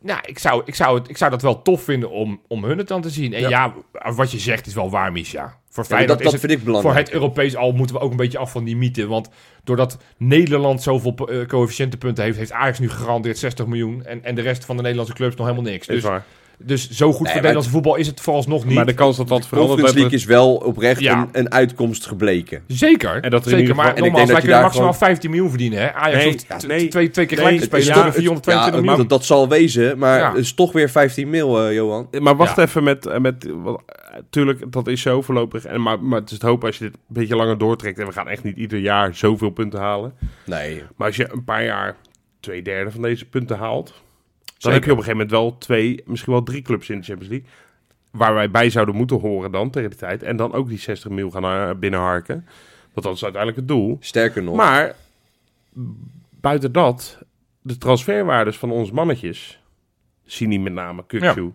Speaker 2: Nou, ik zou, ik, zou het, ik zou dat wel tof vinden om, om hun het dan te zien. En ja, wat je zegt is wel waar, Misha. Voor
Speaker 4: Ja, maar
Speaker 2: Feyenoord
Speaker 4: dat dat
Speaker 2: is het,
Speaker 4: vind ik
Speaker 2: voor
Speaker 4: belangrijk.
Speaker 2: het Europees al moeten we ook een beetje af van die mythe. Want doordat Nederland zoveel eh, coëfficiëntenpunten heeft, heeft Ajax nu gegarandeerd 60 miljoen. En, en de rest van de Nederlandse clubs nog helemaal niks.
Speaker 3: Is
Speaker 2: Dus
Speaker 3: waar.
Speaker 2: Dus zo goed voor
Speaker 4: maar-
Speaker 2: Nederlandse voetbal is het vooralsnog niet.
Speaker 3: Maar de kans dat dat verandert...
Speaker 4: Conference League
Speaker 3: hebben-
Speaker 4: is wel oprecht
Speaker 2: Ja.
Speaker 4: een, een uitkomst gebleken.
Speaker 2: Zeker.
Speaker 3: En dat er in
Speaker 2: zeker
Speaker 3: ieder
Speaker 2: maar
Speaker 3: geval-
Speaker 4: en ik denk
Speaker 2: nogmaals,
Speaker 4: dat
Speaker 2: wij
Speaker 4: je
Speaker 2: kunnen
Speaker 4: daar
Speaker 2: maximaal 15 miljoen verdienen. Hè? Ajax
Speaker 3: Nee,
Speaker 2: hoeft
Speaker 3: ja,
Speaker 2: t-
Speaker 3: nee.
Speaker 2: twee, twee keer
Speaker 3: Nee,
Speaker 2: gelijk te
Speaker 3: het is
Speaker 2: spelen voor
Speaker 3: toch-
Speaker 2: 422
Speaker 4: ja,
Speaker 2: miljoen.
Speaker 4: dat, dat zal wezen, maar
Speaker 2: Ja.
Speaker 4: het is toch weer 15 mil, eh, Johan.
Speaker 3: Maar wacht
Speaker 2: Ja.
Speaker 3: even met... eh, met want, eh, tuurlijk, dat is zo voorlopig. En, maar, maar het is het hopen als je dit een beetje langer doortrekt. En we gaan echt niet ieder jaar zoveel punten halen.
Speaker 4: Nee.
Speaker 3: Maar als je een paar jaar twee derde van deze punten haalt... Dan
Speaker 2: Zeker.
Speaker 3: heb je op een gegeven moment wel twee, misschien wel drie clubs in de Champions League. Waar wij bij zouden moeten horen dan tegen de tijd. En dan ook die 60 mil gaan eh, binnenharken. Want dat is uiteindelijk het doel.
Speaker 4: Sterker nog.
Speaker 3: Maar buiten dat, de transferwaardes van onze mannetjes, Sini met name, Kukju,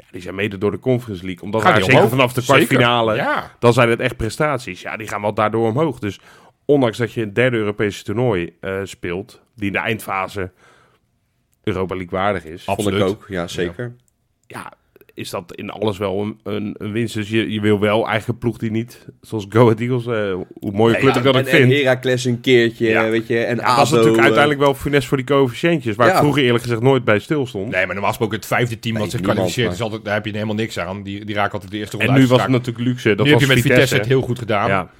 Speaker 3: ja. die zijn mede door de Conference League. Omdat
Speaker 2: Gaat
Speaker 3: daar,
Speaker 2: die
Speaker 3: zeker
Speaker 2: omhoog?
Speaker 3: vanaf de
Speaker 2: Zeker.
Speaker 3: kwartfinale,
Speaker 2: Ja.
Speaker 3: dan zijn het echt prestaties. Ja, die gaan wel daardoor omhoog. Dus ondanks dat je een derde Europese toernooi eh, speelt, die in de eindfase Europa League waardig is,
Speaker 2: Ab-
Speaker 4: vond ik
Speaker 2: absoluut.
Speaker 4: ook, ja zeker.
Speaker 3: ja, is dat in alles wel een, een, een winst. Dus je, je wil wel eigen ploeg die niet, zoals Go Ahead Eagles, eh, hoe mooie club ik dat
Speaker 4: en,
Speaker 3: ik vind.
Speaker 4: en Heracles een keertje,
Speaker 3: Ja.
Speaker 4: weet je. En
Speaker 3: Ja, dat is
Speaker 4: ADO,
Speaker 3: natuurlijk
Speaker 4: eh,
Speaker 3: uiteindelijk wel funest voor die coëfficiëntjes, waar ik
Speaker 4: Ja.
Speaker 3: vroeger eerlijk gezegd nooit bij stilstond.
Speaker 2: Nee, maar normaal gesproken het vijfde team
Speaker 4: Nee,
Speaker 2: dat zich
Speaker 4: niemand,
Speaker 2: kwalificeert,
Speaker 4: maar-
Speaker 2: is altijd, daar heb je helemaal niks aan. Die, die raken altijd de eerste ronde
Speaker 3: en nu was het
Speaker 2: uitgeschakeld.
Speaker 3: natuurlijk luxe. Dat
Speaker 2: Nu heb
Speaker 3: was
Speaker 2: je met Vitesse, het
Speaker 3: hè?
Speaker 2: heel goed gedaan.
Speaker 3: ja.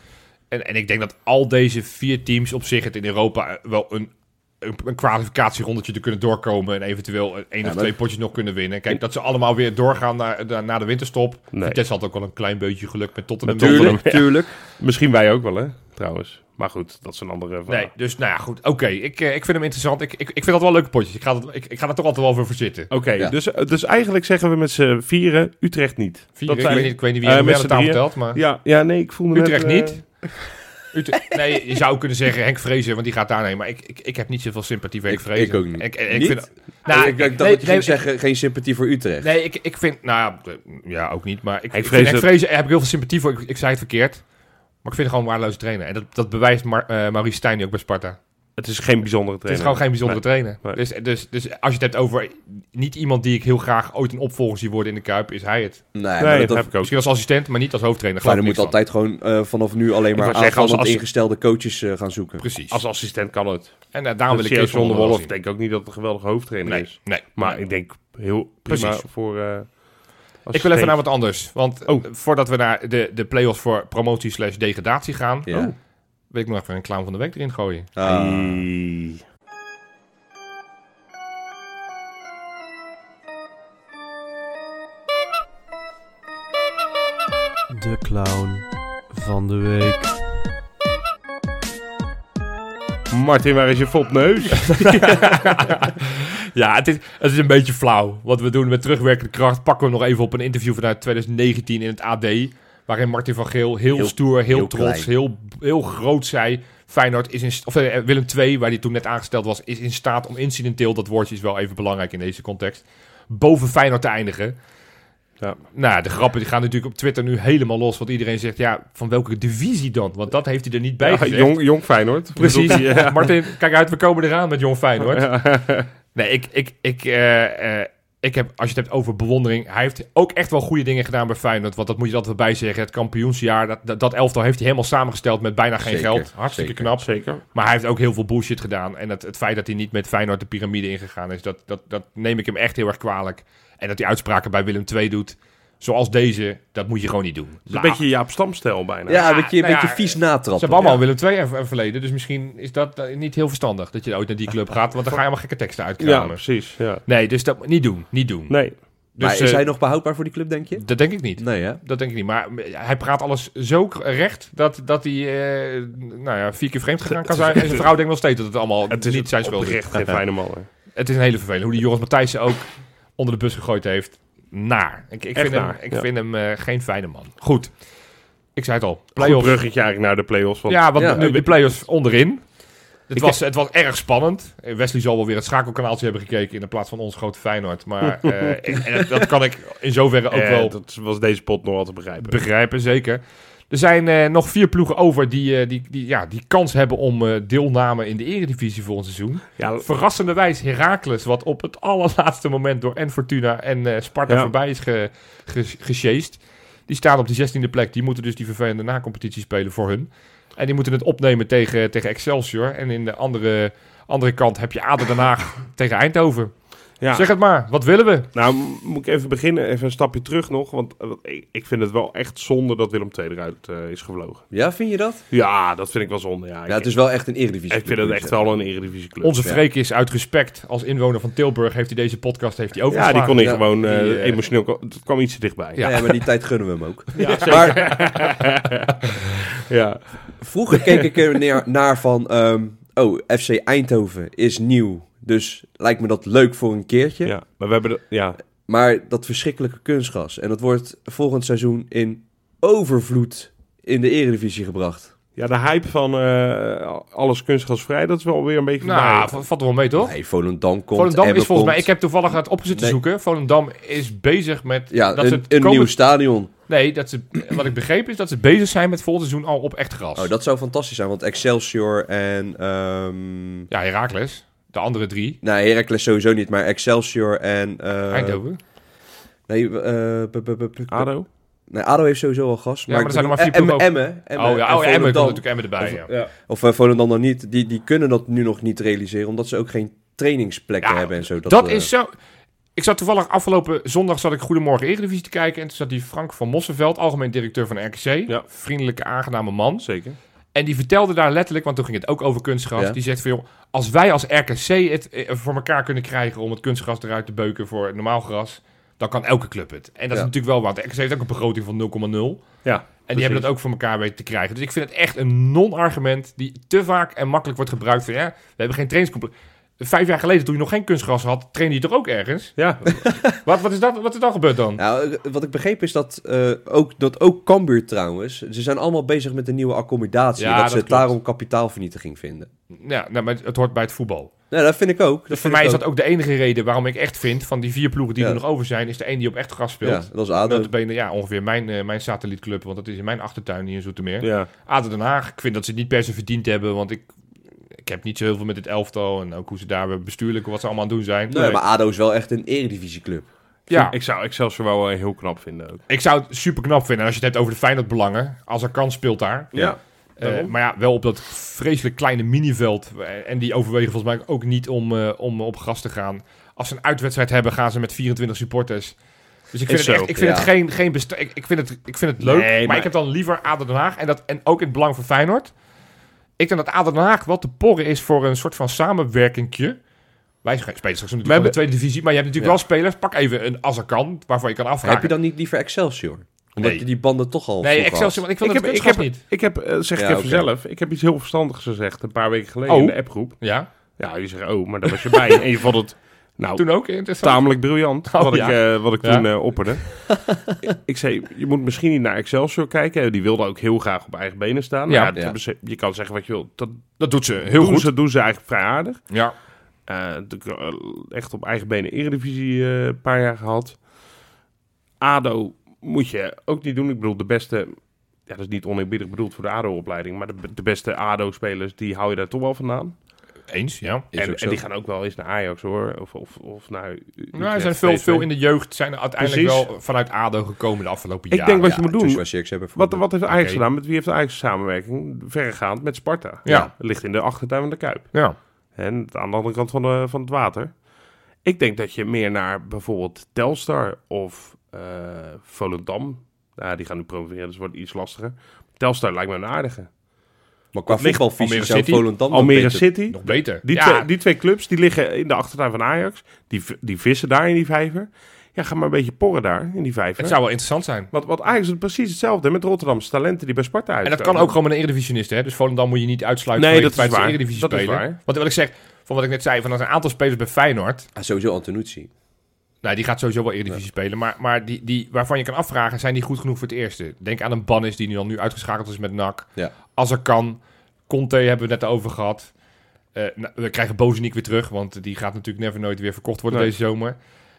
Speaker 2: En, en ik denk dat al deze vier teams op zich het in Europa eh, wel een, een, een kwalificatierondetje te kunnen doorkomen. En eventueel een één of
Speaker 4: maar-
Speaker 2: twee potjes nog kunnen winnen. Kijk, dat ze allemaal weer doorgaan naar, naar, naar de winterstop.
Speaker 3: Nee.
Speaker 2: Vitesse had ook wel een klein beetje geluk met Tottenham.
Speaker 3: Met Tottenham.
Speaker 4: Tuurlijk, tuurlijk.
Speaker 3: Misschien wij ook wel, hè, trouwens. Maar goed, dat is een andere vraag.
Speaker 2: Nee, dus nou ja, goed. Oké, ik, eh, ik vind hem interessant. Ik, ik, ik vind dat wel leuke potjes. Ik ga, dat, ik, ik ga er toch altijd wel voor verzitten.
Speaker 3: Oké,
Speaker 4: Ja.
Speaker 3: dus, dus eigenlijk zeggen we met z'n vieren Utrecht niet.
Speaker 2: Vier, ik,
Speaker 3: zijn-
Speaker 2: weet niet, ik weet niet wie
Speaker 3: Eh,
Speaker 2: er
Speaker 3: met
Speaker 2: wel aan
Speaker 3: z'n
Speaker 2: de tafel
Speaker 3: drieën.
Speaker 2: telt, maar...
Speaker 3: Ja, ja, nee, ik voel me
Speaker 2: Utrecht
Speaker 3: net, eh,
Speaker 2: niet. Utrecht-
Speaker 4: [laughs]
Speaker 2: nee, je zou kunnen zeggen Henk Vrezen, want die gaat daarheen. Maar ik, ik, ik heb niet zoveel sympathie voor Henk
Speaker 4: Ik-
Speaker 2: Vrezen.
Speaker 4: ik ook niet.
Speaker 2: Ik, ik
Speaker 4: Niet?
Speaker 2: Vind, nou,
Speaker 4: ik
Speaker 2: nee,
Speaker 4: dacht dat je
Speaker 2: nee,
Speaker 4: ging zeggen, geen sympathie voor Utrecht.
Speaker 2: Nee, ik, ik vind... Nou, eh, ja, ook niet. Maar ik,
Speaker 3: Henk
Speaker 2: ik vind
Speaker 3: Vrezen-
Speaker 2: Henk Vrezen heb ik heel veel sympathie voor. Ik, ik zei het verkeerd. Maar ik vind hem gewoon een waardeloze trainer. En dat, dat bewijst Mar, eh, Maurice Stijn nu ook bij Sparta.
Speaker 3: Het is geen bijzondere
Speaker 2: Het is
Speaker 3: trainer.
Speaker 2: gewoon geen bijzondere trainer.
Speaker 3: Nee.
Speaker 2: Dus, dus, dus als je het hebt over niet iemand die ik heel graag ooit een opvolger zie worden in de Kuip, is hij het.
Speaker 4: Nee,
Speaker 3: Nee,
Speaker 4: maar dat,
Speaker 3: dat
Speaker 4: dat,
Speaker 3: heb ik ook.
Speaker 2: Misschien als assistent, maar niet als hoofdtrainer.
Speaker 4: maar
Speaker 2: Geloof
Speaker 4: dan
Speaker 2: ik
Speaker 4: moet
Speaker 2: niks van.
Speaker 4: altijd gewoon eh, vanaf nu alleen
Speaker 3: wou
Speaker 4: maar
Speaker 3: zeggen, als-
Speaker 4: aanvallend
Speaker 3: als-
Speaker 4: ingestelde coaches eh, gaan zoeken.
Speaker 2: Precies.
Speaker 3: Als assistent kan het.
Speaker 2: en eh,
Speaker 3: Met
Speaker 2: daarom wil ik
Speaker 3: Sjerk
Speaker 2: Kees van der
Speaker 3: Wolf
Speaker 2: Wolf.
Speaker 3: denk ik ook niet dat het een geweldige hoofdtrainer
Speaker 2: Nee,
Speaker 3: is.
Speaker 2: nee.
Speaker 3: Maar
Speaker 2: Nee.
Speaker 3: ik denk heel prima
Speaker 2: Precies.
Speaker 3: voor... eh,
Speaker 2: Ik wil even
Speaker 3: assistent.
Speaker 2: naar wat anders. Want
Speaker 3: Oh.
Speaker 2: eh, voordat we naar de, de play-offs voor promotie slash degradatie gaan...
Speaker 4: Ja.
Speaker 2: wil ik nog even een clown van de week erin gooien.
Speaker 4: Ah.
Speaker 3: Oh. Hey.
Speaker 5: De clown van de week.
Speaker 3: Martin, waar is je fopneus?
Speaker 2: Ja, het is, het is een beetje flauw. Wat we doen met terugwerkende kracht... pakken we nog even op een interview vanuit 2019 in het AD... waarin Martin van Geel heel,
Speaker 4: Heel-
Speaker 2: stoer, heel,
Speaker 4: heel
Speaker 2: trots,
Speaker 4: klein.
Speaker 2: heel, heel groot zei... Feyenoord is in... st- Of eh, Willem II, waar hij toen net aangesteld was... is in staat om incidenteel... dat woordje is wel even belangrijk in deze context... boven Feyenoord te eindigen...
Speaker 3: ja.
Speaker 2: Nou, ja, de grappen die gaan natuurlijk op Twitter nu helemaal los. Want iedereen zegt, ja, van welke divisie dan? Want dat heeft hij er niet bij
Speaker 3: Ja,
Speaker 2: gezegd.
Speaker 3: jong, jong Feyenoord.
Speaker 2: Precies.
Speaker 3: Bedoelt [laughs] hij, eh,
Speaker 2: [laughs] Martin, kijk uit, we komen eraan met Jong Feyenoord. Nee, ik, ik, ik, eh, eh, ik heb, als je het hebt over bewondering... Hij heeft ook echt wel goede dingen gedaan bij Feyenoord. Want dat moet je er altijd wel bij zeggen. Het kampioensjaar, dat, dat, dat elftal heeft hij helemaal samengesteld met bijna geen
Speaker 4: Zeker,
Speaker 2: geld. Hartstikke
Speaker 4: zeker.
Speaker 2: knap.
Speaker 3: Zeker.
Speaker 2: Maar hij heeft ook heel veel bullshit gedaan. En het, het feit dat hij niet met Feyenoord de piramide ingegaan is, dat, dat, dat neem ik hem echt heel erg kwalijk. En dat hij uitspraken bij Willem II doet, zoals deze, dat moet je gewoon niet doen.
Speaker 3: Een beetje Jaap Stam-stijl bijna.
Speaker 4: Ja, een beetje, een
Speaker 2: nou ja,
Speaker 4: beetje vies
Speaker 2: Ze
Speaker 4: natrappen.
Speaker 2: hebben allemaal Willem II en- en verleden, dus misschien is dat eh, niet heel verstandig dat je ooit naar die club gaat, want dan ga je allemaal gekke teksten
Speaker 3: ja
Speaker 2: uitkramen.
Speaker 3: precies. Ja.
Speaker 2: Nee, dus dat niet doen, niet doen.
Speaker 3: Nee.
Speaker 2: Dus,
Speaker 4: maar is
Speaker 2: eh,
Speaker 4: hij nog behoudbaar voor die club, denk je?
Speaker 2: Dat denk ik niet.
Speaker 4: Nee, hè?
Speaker 2: Dat denk ik niet. Maar eh, hij praat alles zo k- recht dat, dat hij eh, nou ja, vier keer vreemd gegaan kan zijn. En zijn vrouw denkt nog steeds dat het allemaal
Speaker 3: Het is
Speaker 2: niet zijn schuld
Speaker 3: [laughs]
Speaker 2: is.
Speaker 3: oprecht geen fijne man. hè.
Speaker 2: Het is een hele vervelende. Hoe die Joris Matthijssen ook onder de bus gegooid heeft. Naar. Ik, ik
Speaker 3: Echt
Speaker 2: vind hem,
Speaker 3: naar,
Speaker 2: ik
Speaker 3: ja.
Speaker 2: vind hem eh, geen fijne man. Goed. Ik zei het al.
Speaker 3: Goed
Speaker 2: Playoffs.
Speaker 3: bruggetje eigenlijk naar de play-offs. Want
Speaker 2: Ja, want
Speaker 4: Ja.
Speaker 2: nu de playoffs onderin. Het
Speaker 3: Ik-
Speaker 2: was, het was erg spannend. Eh, Wesley zal wel weer het schakelkanaaltje hebben gekeken in plaats van ons grote Feyenoord.
Speaker 3: [laughs]
Speaker 2: Maar eh, en- en dat kan ik in zoverre ook
Speaker 3: eh,
Speaker 2: wel
Speaker 3: dat was deze pot nog wel te begrijpen.
Speaker 2: begrijpen, zeker. Er zijn eh, nog vier ploegen over die, eh, die, die, ja, die kans hebben om eh, deelname in de eredivisie volgend seizoen.
Speaker 3: ja, l-
Speaker 2: Verrassenderwijs Heracles, wat op het allerlaatste moment door en Fortuna en eh, Sparta
Speaker 3: Ja.
Speaker 2: voorbij is ge, ge- gesjeest. Die staan op de 16e plek. Die moeten dus die vervelende nacompetitie spelen voor hun. En die moeten het opnemen
Speaker 3: [laughs]
Speaker 2: tegen, tegen Excelsior. En in de andere, andere kant heb je Aden Den Haag tegen Eindhoven.
Speaker 3: Ja.
Speaker 2: Zeg het maar, wat willen we?
Speaker 3: Nou, m- moet ik even beginnen, even een stapje terug nog. Want eh, ik- ik vind het wel echt zonde dat Willem II eruit eh, is gevlogen.
Speaker 4: Ja, vind je dat?
Speaker 3: Ja, dat vind ik wel zonde. Ja,
Speaker 4: Ja,
Speaker 3: ik,
Speaker 4: het is wel echt een eredivisie. dus, eh.
Speaker 3: ik vind het echt wel een eredivisieclub.
Speaker 2: Onze
Speaker 4: Ja.
Speaker 2: Freek is uit respect als inwoner van Tilburg heeft hij deze podcast heeft hij
Speaker 3: ja,
Speaker 2: overgeslagen.
Speaker 3: die kon ik
Speaker 4: Ja.
Speaker 3: gewoon eh,
Speaker 2: Die, eh,
Speaker 3: emotioneel... ko- Het kwam iets te dichtbij.
Speaker 4: Ja.
Speaker 2: Ja.
Speaker 4: maar die tijd gunnen we hem ook.
Speaker 3: [laughs] Ja, zeker.
Speaker 4: Maar
Speaker 3: ja.
Speaker 4: vroeger keek ik er neer- naar van... ehm, oh, FC Eindhoven is nieuw. Dus lijkt me dat leuk voor een keertje.
Speaker 3: Ja, maar we hebben... de- ja.
Speaker 4: Maar dat verschrikkelijke kunstgas. En dat wordt volgend seizoen in overvloed in de eredivisie gebracht.
Speaker 3: ja, de hype van eh, alles kunstgasvrij, dat is wel weer een beetje...
Speaker 2: Nou,
Speaker 3: voorbij.
Speaker 2: v- vat er wel mee toch?
Speaker 4: Nee, Volendam komt.
Speaker 2: Volendam is
Speaker 4: Emmen
Speaker 2: volgens mij,
Speaker 4: komt.
Speaker 2: ik heb toevallig het opgezet te
Speaker 4: Nee.
Speaker 2: zoeken. Volendam is bezig met
Speaker 4: Ja,
Speaker 2: dat
Speaker 4: een,
Speaker 2: ze
Speaker 4: een
Speaker 2: het komend-
Speaker 4: nieuw stadion.
Speaker 2: Nee, dat ze, [clears throat] wat ik begreep is dat ze bezig zijn met volgend seizoen al op echt gras.
Speaker 4: Oh, dat zou fantastisch zijn, want Excelsior en... ehm
Speaker 2: Ja, Herakles, de andere drie.
Speaker 4: nou, Heracles sowieso niet, maar Excelsior en... eh,
Speaker 2: Eindhoven.
Speaker 4: Nee, eh, b- b- b- b-
Speaker 3: ADO?
Speaker 4: nee, ADO heeft sowieso al gas.
Speaker 2: maar er zijn
Speaker 4: ik
Speaker 2: nog maar
Speaker 4: bedoel,
Speaker 2: vier
Speaker 4: eh, Emmen, Emmen,
Speaker 2: oh ja,
Speaker 4: en
Speaker 2: oh, ja, Emmen komt
Speaker 4: Volendam.
Speaker 2: natuurlijk Emmen erbij. Ja.
Speaker 4: Of eh, Volendam dan niet. Die, die kunnen dat nu nog niet realiseren, omdat ze ook geen trainingsplekken
Speaker 2: Ja,
Speaker 4: hebben en zo.
Speaker 2: Dat,
Speaker 4: eh,
Speaker 2: is zo. Ik zat toevallig afgelopen zondag zat ik Goedemorgen Eredivisie te kijken. En toen zat die Frank van Mossenveld, algemeen directeur van RKC.
Speaker 3: Ja.
Speaker 2: Vriendelijke, aangename man.
Speaker 3: Zeker.
Speaker 2: En die vertelde daar letterlijk, want toen ging het ook over kunstgras.
Speaker 4: Ja.
Speaker 2: Die zegt van, joh, als wij als RKC het eh, voor elkaar kunnen krijgen om het kunstgras eruit te beuken voor het normaal gras, dan kan elke club het. En dat
Speaker 4: Ja.
Speaker 2: is natuurlijk wel waar. De RKC heeft ook een begroting van 0,0. En
Speaker 3: Ja,
Speaker 2: die hebben
Speaker 3: precies.
Speaker 2: dat ook voor elkaar weten te krijgen. Dus ik vind het echt een non-argument die te vaak en makkelijk wordt gebruikt van, ja, we hebben geen trainingscomplex. Vijf jaar geleden, toen je nog geen kunstgras had, trainde je toch ook ergens?
Speaker 3: Ja,
Speaker 2: Wat, wat, is, dat, wat is dan gebeurd dan?
Speaker 4: Nou, eh, wat ik begreep is dat, eh, ook, dat ook Cambuur trouwens, ze zijn allemaal bezig met een nieuwe accommodatie.
Speaker 2: Ja,
Speaker 4: en dat,
Speaker 2: dat
Speaker 4: ze
Speaker 2: klopt.
Speaker 4: daarom kapitaalvernietiging vinden.
Speaker 2: Ja, nou, maar het hoort bij het voetbal.
Speaker 4: Nou, dat vind ik ook.
Speaker 2: Dus voor
Speaker 4: vind
Speaker 2: mij
Speaker 4: ik
Speaker 2: is
Speaker 4: ook.
Speaker 2: dat ook de enige reden waarom ik echt vind... van die vier ploegen die
Speaker 4: Ja.
Speaker 2: er nog over zijn... is de één die op echt gras speelt.
Speaker 4: Ja, dat is
Speaker 2: Dat
Speaker 4: ADO.
Speaker 2: is bijna, ja, ongeveer mijn, eh, mijn satellietclub... want dat is in mijn achtertuin hier in Zoetermeer.
Speaker 3: ja.
Speaker 2: ADO Den Haag, ik vind dat ze het niet per se verdiend hebben... want ik, ik heb niet zo heel veel met het elftal... en ook hoe ze daar bestuurlijk wat ze allemaal aan het doen zijn.
Speaker 4: Nee, maar ADO is wel echt een eredivisieclub.
Speaker 2: Ja, ik,
Speaker 3: Ik zou Excelsior wel eh, heel knap vinden ook.
Speaker 2: zou het super knap vinden... En als je het hebt over de Feyenoord-belangen... als er kans speelt daar...
Speaker 3: Ja.
Speaker 2: Eh,
Speaker 3: Daarom.
Speaker 2: maar ja, wel op dat vreselijk kleine miniveld. Eh, En die overwegen volgens mij ook niet om, eh, om op gas te gaan. Als ze een uitwedstrijd hebben, gaan ze met 24 supporters. Dus ik vind
Speaker 3: Is
Speaker 2: het
Speaker 3: zo,
Speaker 2: echt, ik vind
Speaker 4: ja.
Speaker 2: het geen, geen besta- ik, ik vind het, ik vind het leuk,
Speaker 3: Nee,
Speaker 2: maar,
Speaker 3: maar-
Speaker 2: ik heb dan liever Aden Den Haag en, dat, en ook in het belang van Feyenoord. Ik denk dat Aden Den Haag wel te porren is voor een soort van samenwerkingje. Wij spelen straks natuurlijk
Speaker 3: hebben-
Speaker 2: van de tweede divisie, maar je hebt natuurlijk
Speaker 4: Ja.
Speaker 2: wel spelers. Pak even een Azarkan, waarvan je kan afvragen.
Speaker 4: Heb je dan niet liever Excelsior? Omdat
Speaker 2: Nee.
Speaker 4: je die banden toch al
Speaker 2: nee,
Speaker 4: vroeg
Speaker 2: Excelsior, want ik wil
Speaker 3: Ik
Speaker 2: dat
Speaker 3: heb, ik
Speaker 2: kunstgras
Speaker 3: heb,
Speaker 2: niet.
Speaker 3: ik heb eh, zeg ik
Speaker 4: Ja,
Speaker 3: even
Speaker 4: oké.
Speaker 3: zelf, ik heb iets heel verstandigs gezegd een paar weken geleden
Speaker 2: Oh.
Speaker 3: in de appgroep.
Speaker 2: Ja,
Speaker 3: Ja, je zegt, oh, maar daar was je bij. en je vond het, nou,
Speaker 2: toen ook. interessant.
Speaker 3: tamelijk briljant,
Speaker 2: Oh,
Speaker 3: wat,
Speaker 2: ja.
Speaker 3: ik, eh, wat ik
Speaker 2: Ja.
Speaker 3: toen eh, opperde. [laughs] ik, ik zei, je moet misschien niet naar Excelsior kijken. Die wilde ook heel graag op eigen benen staan. Maar
Speaker 2: Ja.
Speaker 3: Ja, dat
Speaker 4: Ja.
Speaker 3: hebben ze- je kan zeggen wat je wil. Dat
Speaker 2: Dat doet ze heel
Speaker 3: doen
Speaker 2: goed.
Speaker 3: Ze, doen ze eigenlijk vrij aardig.
Speaker 2: Ja.
Speaker 3: Eh, natuurlijk, eh, echt op eigen benen Eredivisie eh, een paar jaar gehad. ADO moet je ook niet doen. Ik bedoel, de beste... Ja, dat is niet oneerbiedig bedoeld voor de ADO-opleiding. Maar de, de beste ADO-spelers, die hou je daar toch wel vandaan.
Speaker 2: Eens, ja.
Speaker 4: Is
Speaker 3: En,
Speaker 4: ook zo.
Speaker 3: en die gaan ook wel eens naar Ajax, hoor. Of, of, of naar U-
Speaker 2: Nou, er
Speaker 3: Utrecht,
Speaker 2: zijn veel,
Speaker 3: PSV.
Speaker 2: veel in de jeugd zijn er uiteindelijk
Speaker 3: Precies.
Speaker 2: wel vanuit ADO gekomen de afgelopen
Speaker 3: Ik
Speaker 2: jaren.
Speaker 3: denk wat je moet doen- Wat, wat heeft Ajax
Speaker 2: Oké.
Speaker 3: gedaan? Met wie heeft Ajax samenwerking? Verregaand met Sparta.
Speaker 2: Ja.
Speaker 3: Ligt in de achtertuin van de Kuip.
Speaker 2: Ja.
Speaker 3: En aan de andere kant van, de, van het water. Ik denk dat je meer naar bijvoorbeeld Telstar of eh, Volendam. Nou, die gaan nu promoveren, dus wordt iets lastiger. Telstar lijkt me een aardige.
Speaker 4: Maar qua
Speaker 3: ligt
Speaker 4: voetbalvisie
Speaker 2: Almere
Speaker 4: zou
Speaker 2: City?
Speaker 4: Volendam nog
Speaker 3: Almere
Speaker 4: beter-
Speaker 3: City.
Speaker 2: Nog beter.
Speaker 3: Die,
Speaker 2: ja,
Speaker 3: twee, die twee clubs die liggen in de achtertuin van Ajax. Die, v- die vissen daar in die vijver. Ja, ga maar een beetje porren daar in die vijver.
Speaker 2: het zou wel interessant zijn.
Speaker 3: Want, want Ajax doet precies hetzelfde met Rotterdamse talenten die bij Sparta
Speaker 2: En
Speaker 3: uitkomen.
Speaker 2: dat kan ook gewoon met een eredivisionist, hè. Dus Volendam moet je niet uitsluiten
Speaker 3: Nee,
Speaker 2: vanwege
Speaker 3: dat
Speaker 2: het
Speaker 3: is
Speaker 2: feit
Speaker 3: waar.
Speaker 2: ze
Speaker 3: Dat is
Speaker 2: eredivisie spelen.
Speaker 3: waar.
Speaker 2: Want wat ik zeg, van wat ik net zei, van er zijn een aantal spelers bij Feyenoord.
Speaker 4: Ah, sowieso Antonucci.
Speaker 2: Nou, die gaat sowieso wel eredivisie spelen. Maar, maar die, die, waarvan je kan afvragen, zijn die goed genoeg voor het eerste? Denk aan een Bannis die nu dan nu uitgeschakeld is met NAC.
Speaker 4: Ja.
Speaker 2: Als er kan. Conte hebben we het net over gehad. Eh, nou, we krijgen Bozeniek weer terug, want die gaat natuurlijk never nooit weer verkocht worden
Speaker 3: Nee.
Speaker 2: deze zomer.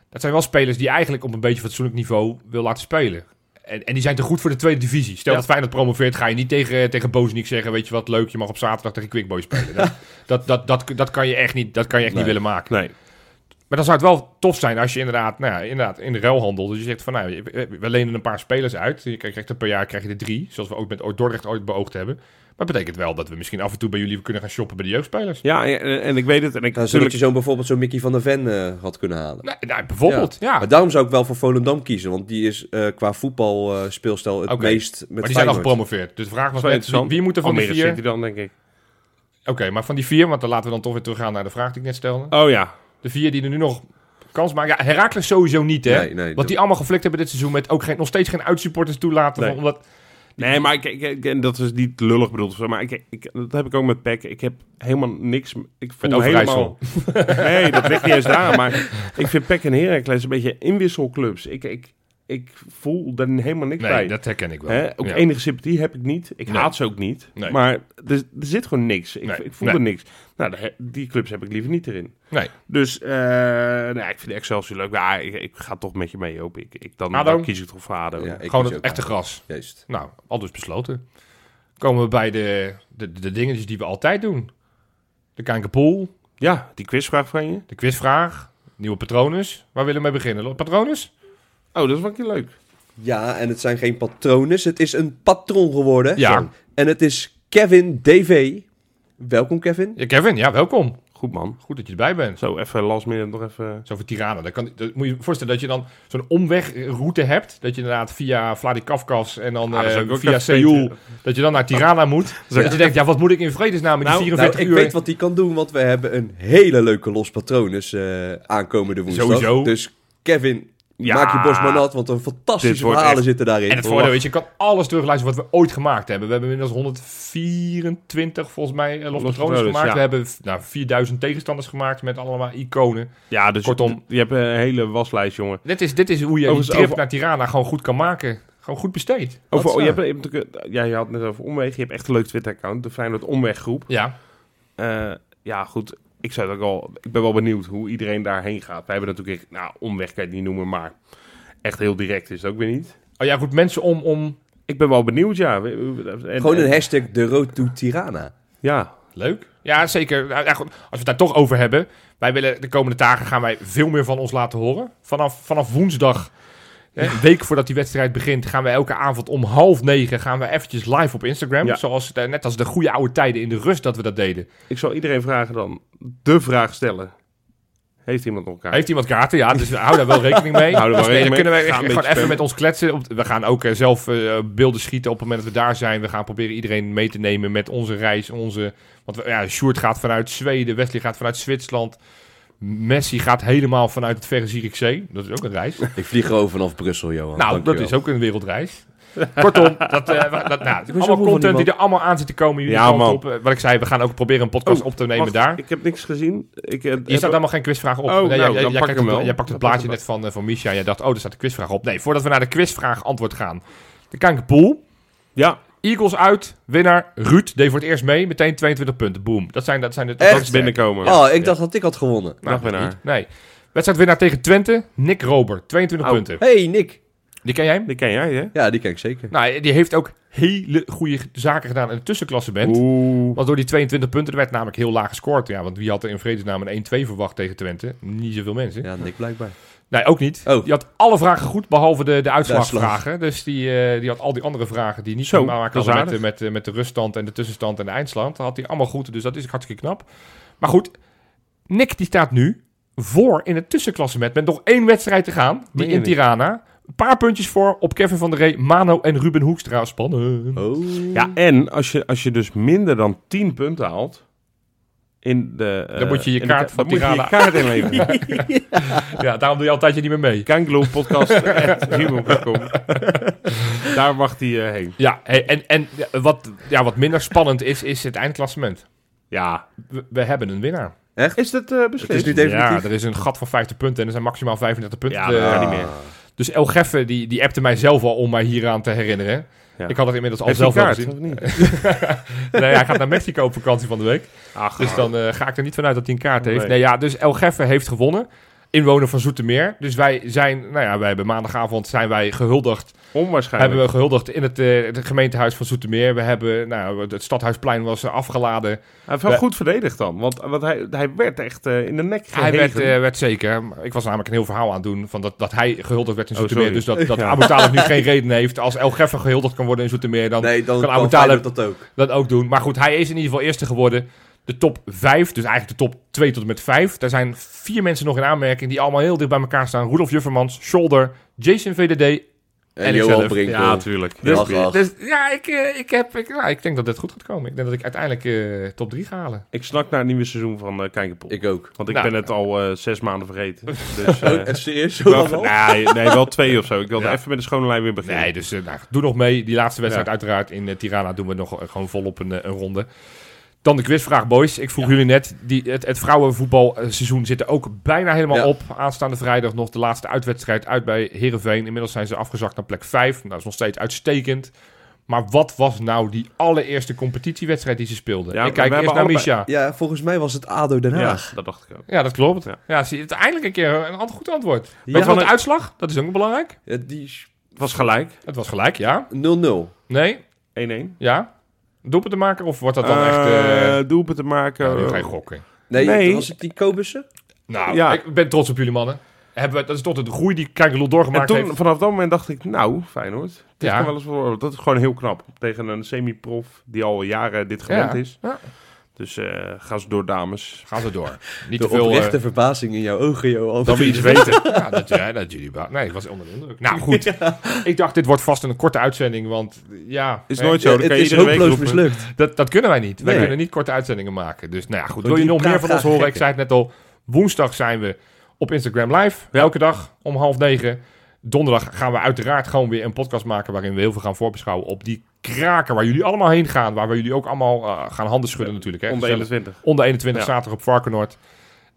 Speaker 2: Dat zijn wel spelers die je eigenlijk op een beetje fatsoenlijk niveau wil laten spelen. En, en die zijn te goed voor de tweede divisie. Stel
Speaker 3: Ja.
Speaker 2: dat Feyenoord promoveert, ga je niet tegen, tegen Bozeniek zeggen... weet je wat, leuk, je mag op [laughs] zaterdag tegen Quickboy spelen. dat, dat, dat, dat, dat kan je echt niet, dat kan je echt
Speaker 4: Nee.
Speaker 2: niet willen maken.
Speaker 3: Nee.
Speaker 2: Maar dan zou het wel tof zijn als je inderdaad, nou ja, inderdaad in de ruilhandel. Dus je zegt van nou, we lenen een paar spelers uit. Je krijgt er per jaar krijg je er drie. Zoals we ook met ooit Dordrecht ooit beoogd hebben. Maar dat betekent wel dat we misschien af en toe bij jullie kunnen gaan shoppen bij de jeugdspelers.
Speaker 3: Ja, en, en ik weet het. En ik,
Speaker 4: Nou, zodat
Speaker 3: natuurlijk-
Speaker 4: je zo bijvoorbeeld zo'n Mickey van der Ven eh, had kunnen halen.
Speaker 2: Nou, nou, bijvoorbeeld, ja.
Speaker 4: Maar daarom zou ik wel voor Volendam kiezen, want die is eh, qua voetbalspeelstijl speelstijl het
Speaker 2: Oké,
Speaker 4: meest met
Speaker 2: Maar die zijn al
Speaker 4: Feyenoord.
Speaker 2: gepromoveerd. Dus de vraag was
Speaker 3: Dat is wel
Speaker 2: net, wie,
Speaker 3: interessant.
Speaker 2: wie moet er van
Speaker 3: Almere
Speaker 2: die vier...
Speaker 3: City dan, denk ik.
Speaker 2: Oké, maar van die vier, want dan laten we dan toch weer teruggaan naar de vraag die ik net stelde.
Speaker 3: Oh ja.
Speaker 2: De vier die er nu nog kans maken. Ja, Herakles sowieso niet, hè?
Speaker 4: Nee, nee, dat-
Speaker 2: Want die allemaal geflikt hebben dit seizoen met ook geen, nog steeds geen uitsupporters toelaten.
Speaker 3: Nee.
Speaker 2: van- Omdat,
Speaker 3: Nee, maar ik, ik, ik- en dat is niet lullig bedoeld. of zo, Maar ik, ik, dat heb ik ook met Peck. Ik heb helemaal niks... Ik voel
Speaker 2: Met
Speaker 3: me
Speaker 2: Overijssel.
Speaker 3: helemaal... [laughs] Nee, dat ligt niet eens daar. Maar ik vind Peck en Heracles een beetje inwisselclubs. Ik, ik, ik voel daar helemaal niks bij.
Speaker 2: nee, dat herken ik wel.
Speaker 3: Hè? Ook
Speaker 2: Ja.
Speaker 3: enige sympathie heb ik niet. Ik
Speaker 2: Nee.
Speaker 3: haat ze ook niet.
Speaker 2: Nee.
Speaker 3: Maar er, er zit gewoon niks. Ik,
Speaker 2: Nee.
Speaker 3: ik voel
Speaker 2: Nee.
Speaker 3: er niks. Nou, de- die clubs heb ik liever niet erin.
Speaker 2: Nee.
Speaker 3: Dus eh nou, ik vind Excelsior leuk. Maar ik, ik ga toch met je mee, Joop. Ik, ik, dan,
Speaker 2: ADO?
Speaker 3: dan kies ik toch voor ADO.
Speaker 4: Ja, ik
Speaker 2: Gewoon
Speaker 4: kies
Speaker 2: het
Speaker 4: ook
Speaker 2: echte
Speaker 4: aan.
Speaker 2: gras.
Speaker 4: Juist.
Speaker 2: Nou, al dus besloten. Komen we bij de, de, de dingetjes die we altijd doen. De kankerpool,
Speaker 3: Ja, die quizvraag van je.
Speaker 2: de quizvraag, nieuwe patronus. Waar willen we mee beginnen? Patronus?
Speaker 3: Oh, dat is wel een keer leuk.
Speaker 4: Ja, en het zijn geen patronen, het is een patron geworden.
Speaker 2: Ja.
Speaker 4: Zo. En het is Kevin DV. Welkom Kevin.
Speaker 2: Ja, Kevin, ja, welkom.
Speaker 3: Goed man.
Speaker 2: Goed dat je erbij bent.
Speaker 3: Zo, even last minute nog even...
Speaker 2: Zo voor Tirana. Dan, kan, dan moet je je voorstellen dat je dan zo'n omwegroute hebt. Dat je inderdaad via Vladikavkaz en dan
Speaker 3: Ah, dat zou
Speaker 2: eh,
Speaker 3: ik ook
Speaker 2: via
Speaker 3: even
Speaker 2: Seoul.
Speaker 3: weten.
Speaker 2: Dat je dan naar Tirana moet.
Speaker 3: zou ik-
Speaker 2: Dat je denkt, ja, wat moet ik in vredesnaam in die
Speaker 3: Nou,
Speaker 2: 44
Speaker 4: Nou, ik
Speaker 2: uur?
Speaker 4: weet wat hij kan doen, want we hebben een hele leuke los patronus eh, aankomende woensdag.
Speaker 2: Sowieso.
Speaker 4: Dus Kevin,
Speaker 3: Ja.
Speaker 4: maak je bos maar nat, want een fantastische
Speaker 3: Dit wordt
Speaker 4: verhalen
Speaker 3: echt-
Speaker 4: zitten daarin.
Speaker 2: En het voordeel is, je kan alles terugluisteren wat we ooit gemaakt hebben. We hebben inmiddels 124, volgens mij, eh, Los
Speaker 3: Los
Speaker 2: Patrones
Speaker 3: Patrones,
Speaker 2: gemaakt.
Speaker 3: ja.
Speaker 2: We hebben nou, 4000 tegenstanders gemaakt met allemaal iconen.
Speaker 3: Ja, dus
Speaker 2: Kortom.
Speaker 3: je hebt een hele waslijst, jongen.
Speaker 2: Dit is, dit is hoe je die
Speaker 3: Overigens,
Speaker 2: trip
Speaker 3: over-
Speaker 2: naar Tirana gewoon goed kan maken. Gewoon goed besteed. eh,
Speaker 3: Over,
Speaker 4: is
Speaker 3: oh, je,
Speaker 4: waar.
Speaker 3: hebt, je, hebt natuurlijk- ja, je had het net over omwegen. Je hebt echt een leuk Twitter-account. De Feyenoord Omweggroep.
Speaker 2: Ja,
Speaker 3: Eh, ja, goed. Ik, zou het ook al, ik ben wel benieuwd hoe iedereen daarheen gaat. Wij hebben natuurlijk, echt- nou, omweg kan je het niet noemen, maar echt heel direct is het ook weer niet.
Speaker 2: oh, ja roept mensen om, om...
Speaker 3: Ik ben wel benieuwd, ja. En-
Speaker 4: Gewoon
Speaker 3: en-
Speaker 4: een hashtag de road to Tirana.
Speaker 3: Ja,
Speaker 2: Leuk. Ja, zeker. Nou, ja, goed, als we het daar toch over hebben. Wij willen de komende dagen gaan wij veel meer van ons laten horen. Vanaf, vanaf woensdag, hè, een week voordat die wedstrijd begint, gaan wij elke avond om half negen gaan wij eventjes live op Instagram.
Speaker 3: Ja.
Speaker 2: Zoals, eh, net als de goede oude tijden in de rust dat we dat deden.
Speaker 3: ik zal iedereen vragen dan de vraag stellen. Heeft iemand nog elkaar?
Speaker 2: Heeft iemand kaarten? Ja, [laughs] dus hou daar wel rekening
Speaker 3: Hou
Speaker 2: mee.
Speaker 3: daar wel
Speaker 2: Dus nee,
Speaker 3: rekening mee.
Speaker 2: Dan kunnen wij
Speaker 3: Ga een
Speaker 2: echt
Speaker 3: beetje
Speaker 2: gewoon even
Speaker 3: spammen.
Speaker 2: met ons kletsen. Op- We gaan ook eh, zelf eh, beelden schieten op het moment dat we daar zijn. We gaan proberen iedereen mee te nemen met onze reis. Onze, want we- ja, Sjoerd gaat vanuit Zweden, Wesley gaat vanuit Zwitserland. Messi gaat helemaal vanuit het verre Zierikzee. Dat is ook een
Speaker 3: Oh,
Speaker 2: reis.
Speaker 4: Ik vlieg gewoon vanaf Brussel, Johan.
Speaker 2: Nou, dat
Speaker 4: Dankjewel.
Speaker 2: is ook een
Speaker 3: [laughs]
Speaker 2: wereldreis. Kortom, dat, eh, wa- dat, nou, allemaal
Speaker 4: moe
Speaker 2: content
Speaker 4: van die
Speaker 2: die er allemaal aan zit te komen. Jullie
Speaker 3: Ja,
Speaker 2: kant
Speaker 3: man.
Speaker 2: op. Eh, Wat ik zei, we gaan ook proberen een podcast
Speaker 3: Oh,
Speaker 2: op te nemen
Speaker 3: Wacht,
Speaker 2: daar.
Speaker 3: Ik heb niks gezien. Ik, eh,
Speaker 2: Hier staat
Speaker 3: heb-
Speaker 2: helemaal geen quizvraag op.
Speaker 3: Oh,
Speaker 2: Nee,
Speaker 3: nou,
Speaker 2: jij-
Speaker 3: dan
Speaker 2: jij, jij
Speaker 3: pak
Speaker 2: kijkt
Speaker 3: hem
Speaker 2: het-
Speaker 3: wel.
Speaker 2: jij pakt het
Speaker 3: Dan
Speaker 2: plaatje
Speaker 3: pak
Speaker 2: net van, eh, van Misha en jij dacht, oh, daar staat de quizvraag op. Nee, voordat we naar de quizvraag antwoord gaan. De Kankerpool.
Speaker 3: Ja,
Speaker 2: Eagles uit, winnaar Ruud deed voor het eerst mee, meteen 22 punten. Boom. Dat zijn, dat zijn de dat
Speaker 4: Echt?
Speaker 2: is
Speaker 3: is
Speaker 2: sterk.
Speaker 3: binnenkomen.
Speaker 4: Oh, ik dacht dat ik had gewonnen.
Speaker 2: Nou,
Speaker 3: Dag winnaar.
Speaker 2: niet. Nee. Wedstrijdwinnaar tegen Twente, Nick Rober, 22
Speaker 3: Oh.
Speaker 2: punten.
Speaker 4: Hey Nick.
Speaker 2: Die ken jij hem?
Speaker 3: Die ken jij, hè?
Speaker 4: Ja, die ken ik zeker.
Speaker 2: Nou, die heeft ook hele goede zaken gedaan in de tussenklassement.
Speaker 3: Oeh.
Speaker 2: Want door die 22 punten er werd namelijk heel laag gescoord. Ja, want wie had er in vredesnaam een 1-2 verwacht tegen Twente? Niet zoveel mensen.
Speaker 4: Ja, Nick blijkbaar.
Speaker 2: Nee, ook niet.
Speaker 4: Oh.
Speaker 2: Die had alle vragen goed, behalve de, de uitslagvragen.
Speaker 4: uitslag.
Speaker 2: Dus die, eh, die had al die andere vragen die niet
Speaker 3: Zo,
Speaker 2: te maken
Speaker 3: dat is
Speaker 2: hadden met, de-
Speaker 3: aardig.
Speaker 2: met, de- met de ruststand en de tussenstand en de eindstand. Dat had hij allemaal goed, dus dat is hartstikke knap. Maar goed, Nick die staat nu voor in het tussenklassement met nog één wedstrijd te gaan. Die
Speaker 3: Meen je
Speaker 2: in
Speaker 3: niet?
Speaker 2: Tirana. Een paar puntjes voor op Kevin van der Ree, Mano en Ruben Hoekstra. Spannend.
Speaker 4: Oh.
Speaker 3: Ja, en als je, als je dus minder dan 10 punten haalt... In de, eh,
Speaker 2: Dan moet je je
Speaker 3: in de
Speaker 2: kaart
Speaker 3: ka-
Speaker 2: van
Speaker 3: dan moet je je
Speaker 2: Tirana-
Speaker 3: kaart inleveren.
Speaker 2: [laughs] Ja, daarom doe je al een tijdje niet meer mee. [laughs]
Speaker 3: Kanglooppodcast.gmail.com Daar mag hij eh, heen.
Speaker 2: Ja, hey, en, en wat, ja, wat minder spannend is, is het eindklassement.
Speaker 3: Ja.
Speaker 2: We- we hebben een winnaar.
Speaker 3: Is dat eh
Speaker 4: Het is
Speaker 3: beslist?
Speaker 4: niet definitief. Ah.
Speaker 2: Ja, er is een gat van 50 punten en er zijn maximaal 35 punten.
Speaker 3: Ja,
Speaker 2: te-
Speaker 3: dat kan niet meer.
Speaker 2: Dus El Geffe, die, die appte mij zelf al om mij hieraan te herinneren.
Speaker 3: Ja.
Speaker 2: Ik had het inmiddels al
Speaker 3: Heeft
Speaker 2: zelf
Speaker 3: hij
Speaker 2: wel
Speaker 3: kaart,
Speaker 2: gezien.
Speaker 3: of
Speaker 2: [laughs]
Speaker 3: niet?
Speaker 2: Nee, hij gaat naar Mexico op vakantie van de week.
Speaker 3: Ach,
Speaker 2: Dus dan eh, ga ik er niet vanuit dat hij een kaart heeft.
Speaker 3: Nee.
Speaker 2: Nee, ja, dus El Geffe heeft gewonnen. inwoner van Zoetermeer. Dus wij zijn, nou ja, wij hebben maandagavond zijn wij gehuldigd.
Speaker 3: Onwaarschijnlijk.
Speaker 2: Hebben we gehuldigd in het, eh, het gemeentehuis van Zoetermeer. We hebben, nou, het stadhuisplein was eh, afgeladen.
Speaker 3: Hij heeft wel
Speaker 2: we-
Speaker 3: goed verdedigd dan. Want, want hij, hij werd echt eh, in de nek
Speaker 2: Hij
Speaker 3: gehegen.
Speaker 2: werd, eh, werd zeker. Ik was namelijk een heel verhaal aan het doen van dat, dat hij gehuldigd werd in
Speaker 3: Oh,
Speaker 2: Zoetermeer.
Speaker 3: sorry.
Speaker 2: dus dat, dat
Speaker 3: [laughs] Ja.
Speaker 2: Abu Talib nu geen reden heeft. Als El Geffer gehuldigd kan worden in Zoetermeer, dan
Speaker 4: Nee, dan
Speaker 2: Kan
Speaker 4: kan
Speaker 2: Abu
Speaker 4: Feyenoord dat ook.
Speaker 2: dat ook doen. Maar goed, hij is in ieder geval eerste geworden. De top 5, dus eigenlijk de top 2 tot en met 5. Daar zijn vier mensen nog in aanmerking die allemaal heel dicht bij elkaar staan. Roelof Juffermans, Scholder, Jason VDD.
Speaker 4: En,
Speaker 2: En
Speaker 4: Johan
Speaker 2: ikzelf.
Speaker 4: Brinkel.
Speaker 3: Ja, tuurlijk.
Speaker 4: Dus-
Speaker 3: Ja,
Speaker 4: Ach.
Speaker 2: Dus ja, ik, eh, ik, heb, ik, nou, ik denk dat dit goed gaat komen. Ik denk dat ik uiteindelijk eh, top 3 ga halen.
Speaker 3: Ik snak naar het nieuwe seizoen van eh Kijkerpoel.
Speaker 4: ik ook.
Speaker 3: Want ik
Speaker 2: Nou.
Speaker 3: ben het al eh, zes maanden
Speaker 2: [laughs]
Speaker 3: vergeten. Dus, eh,
Speaker 4: Oh, echt serieus?
Speaker 3: ik wou
Speaker 4: Johan al?
Speaker 3: even- nee, nee, wel twee of zo. Ik wilde
Speaker 2: Ja.
Speaker 3: even met de schone lijn weer beginnen.
Speaker 2: Nee, dus eh, nou, doe nog mee. Die laatste wedstrijd
Speaker 3: Ja.
Speaker 2: uiteraard in eh, Tirana doen we nog eh, gewoon volop een, eh, een ronde. Dan de quizvraag, boys. Ik vroeg jullie net, die, het, het vrouwenvoetbalseizoen zit er ook bijna helemaal
Speaker 4: Ja.
Speaker 2: op. Aanstaande vrijdag nog de laatste uitwedstrijd uit bij Herenveen. Inmiddels zijn ze afgezakt naar plek 5. Nou, dat is nog steeds uitstekend. Maar wat was nou die allereerste competitiewedstrijd die ze speelden?
Speaker 3: Ja,
Speaker 2: ik kijk
Speaker 3: we hebben
Speaker 2: eerst naar
Speaker 3: allebei-
Speaker 2: Misha.
Speaker 4: Ja, volgens mij was het ADO Den
Speaker 3: ja,
Speaker 4: Haag.
Speaker 3: dat dacht ik ook.
Speaker 2: Ja, dat klopt. Ja,
Speaker 3: Ja.
Speaker 2: zie je, uiteindelijk een keer een ander goed antwoord. Weet je
Speaker 4: Ja,
Speaker 2: wat
Speaker 3: maar-
Speaker 2: de uitslag? Dat is ook belangrijk.
Speaker 4: Ja, die is
Speaker 3: Het was gelijk. 1-1.
Speaker 2: Het was gelijk, ja.
Speaker 4: 0-0.
Speaker 2: Nee, Ja? Doelpunt te maken of wordt dat dan echt... eh
Speaker 3: Eh, doelpunt te maken.
Speaker 2: nou, nu ga je gokken.
Speaker 4: Nee,
Speaker 3: Nee.
Speaker 4: was het die Kobussen?
Speaker 2: Nou,
Speaker 3: Ja.
Speaker 2: ik ben trots op jullie mannen. Hebben we, dat is toch de groei die Kijkerloel
Speaker 3: en
Speaker 2: doorgemaakt
Speaker 3: toen,
Speaker 2: heeft.
Speaker 3: vanaf dat moment dacht ik, nou, Feyenoord. Het is
Speaker 2: Ja.
Speaker 3: toch wel eens voor, dat is gewoon heel knap. Tegen een semi-prof die al jaren dit gewend
Speaker 2: Ja.
Speaker 3: is.
Speaker 2: Ja.
Speaker 3: Dus eh, ga ze door, dames.
Speaker 2: Gaan
Speaker 3: [laughs]
Speaker 2: ze door. Niet
Speaker 4: De
Speaker 2: te veel... eh,
Speaker 4: oprechte verbazing in jouw ogen, Johan.
Speaker 2: dat we iets weten.
Speaker 3: [laughs]
Speaker 2: Ja, dat, ja, dat jullie... ba- Nee, ik was onder de indruk. Nou, goed. Ik dacht, dit wordt vast een korte uitzending, want eh, ja...
Speaker 3: Is
Speaker 2: hè,
Speaker 3: nooit zo.
Speaker 4: Ja,
Speaker 3: Dan
Speaker 4: het
Speaker 3: kan je
Speaker 4: is
Speaker 3: iedere week
Speaker 4: hopeloos
Speaker 3: roepen.
Speaker 4: mislukt.
Speaker 2: Dat, dat kunnen wij niet. Wij
Speaker 4: Nee.
Speaker 2: kunnen niet korte uitzendingen maken. Dus nou ja, goed.
Speaker 4: Doe
Speaker 2: Wil je
Speaker 4: die
Speaker 2: nog meer van ons
Speaker 4: praatgraag
Speaker 2: horen? Ik
Speaker 4: gekken.
Speaker 2: zei het net al. Woensdag zijn we op Instagram live. Elke dag om half negen. Donderdag gaan we uiteraard gewoon weer een podcast maken... waarin we heel veel gaan voorbeschouwen op die kraken... waar jullie allemaal heen gaan. Waar we jullie ook allemaal eh, gaan handen schudden natuurlijk. Hè?
Speaker 3: Onder
Speaker 2: Gezellig.
Speaker 3: 21.
Speaker 2: Onder 21
Speaker 3: Ja.
Speaker 2: zaterdag op Varkenoord.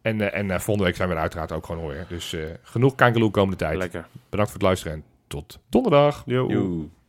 Speaker 2: En, eh, en eh, volgende week zijn we er uiteraard ook gewoon weer. Dus eh, genoeg kankerloe komende tijd.
Speaker 3: Lekker.
Speaker 2: Bedankt voor het luisteren en tot donderdag.
Speaker 3: Yo.
Speaker 4: Joe.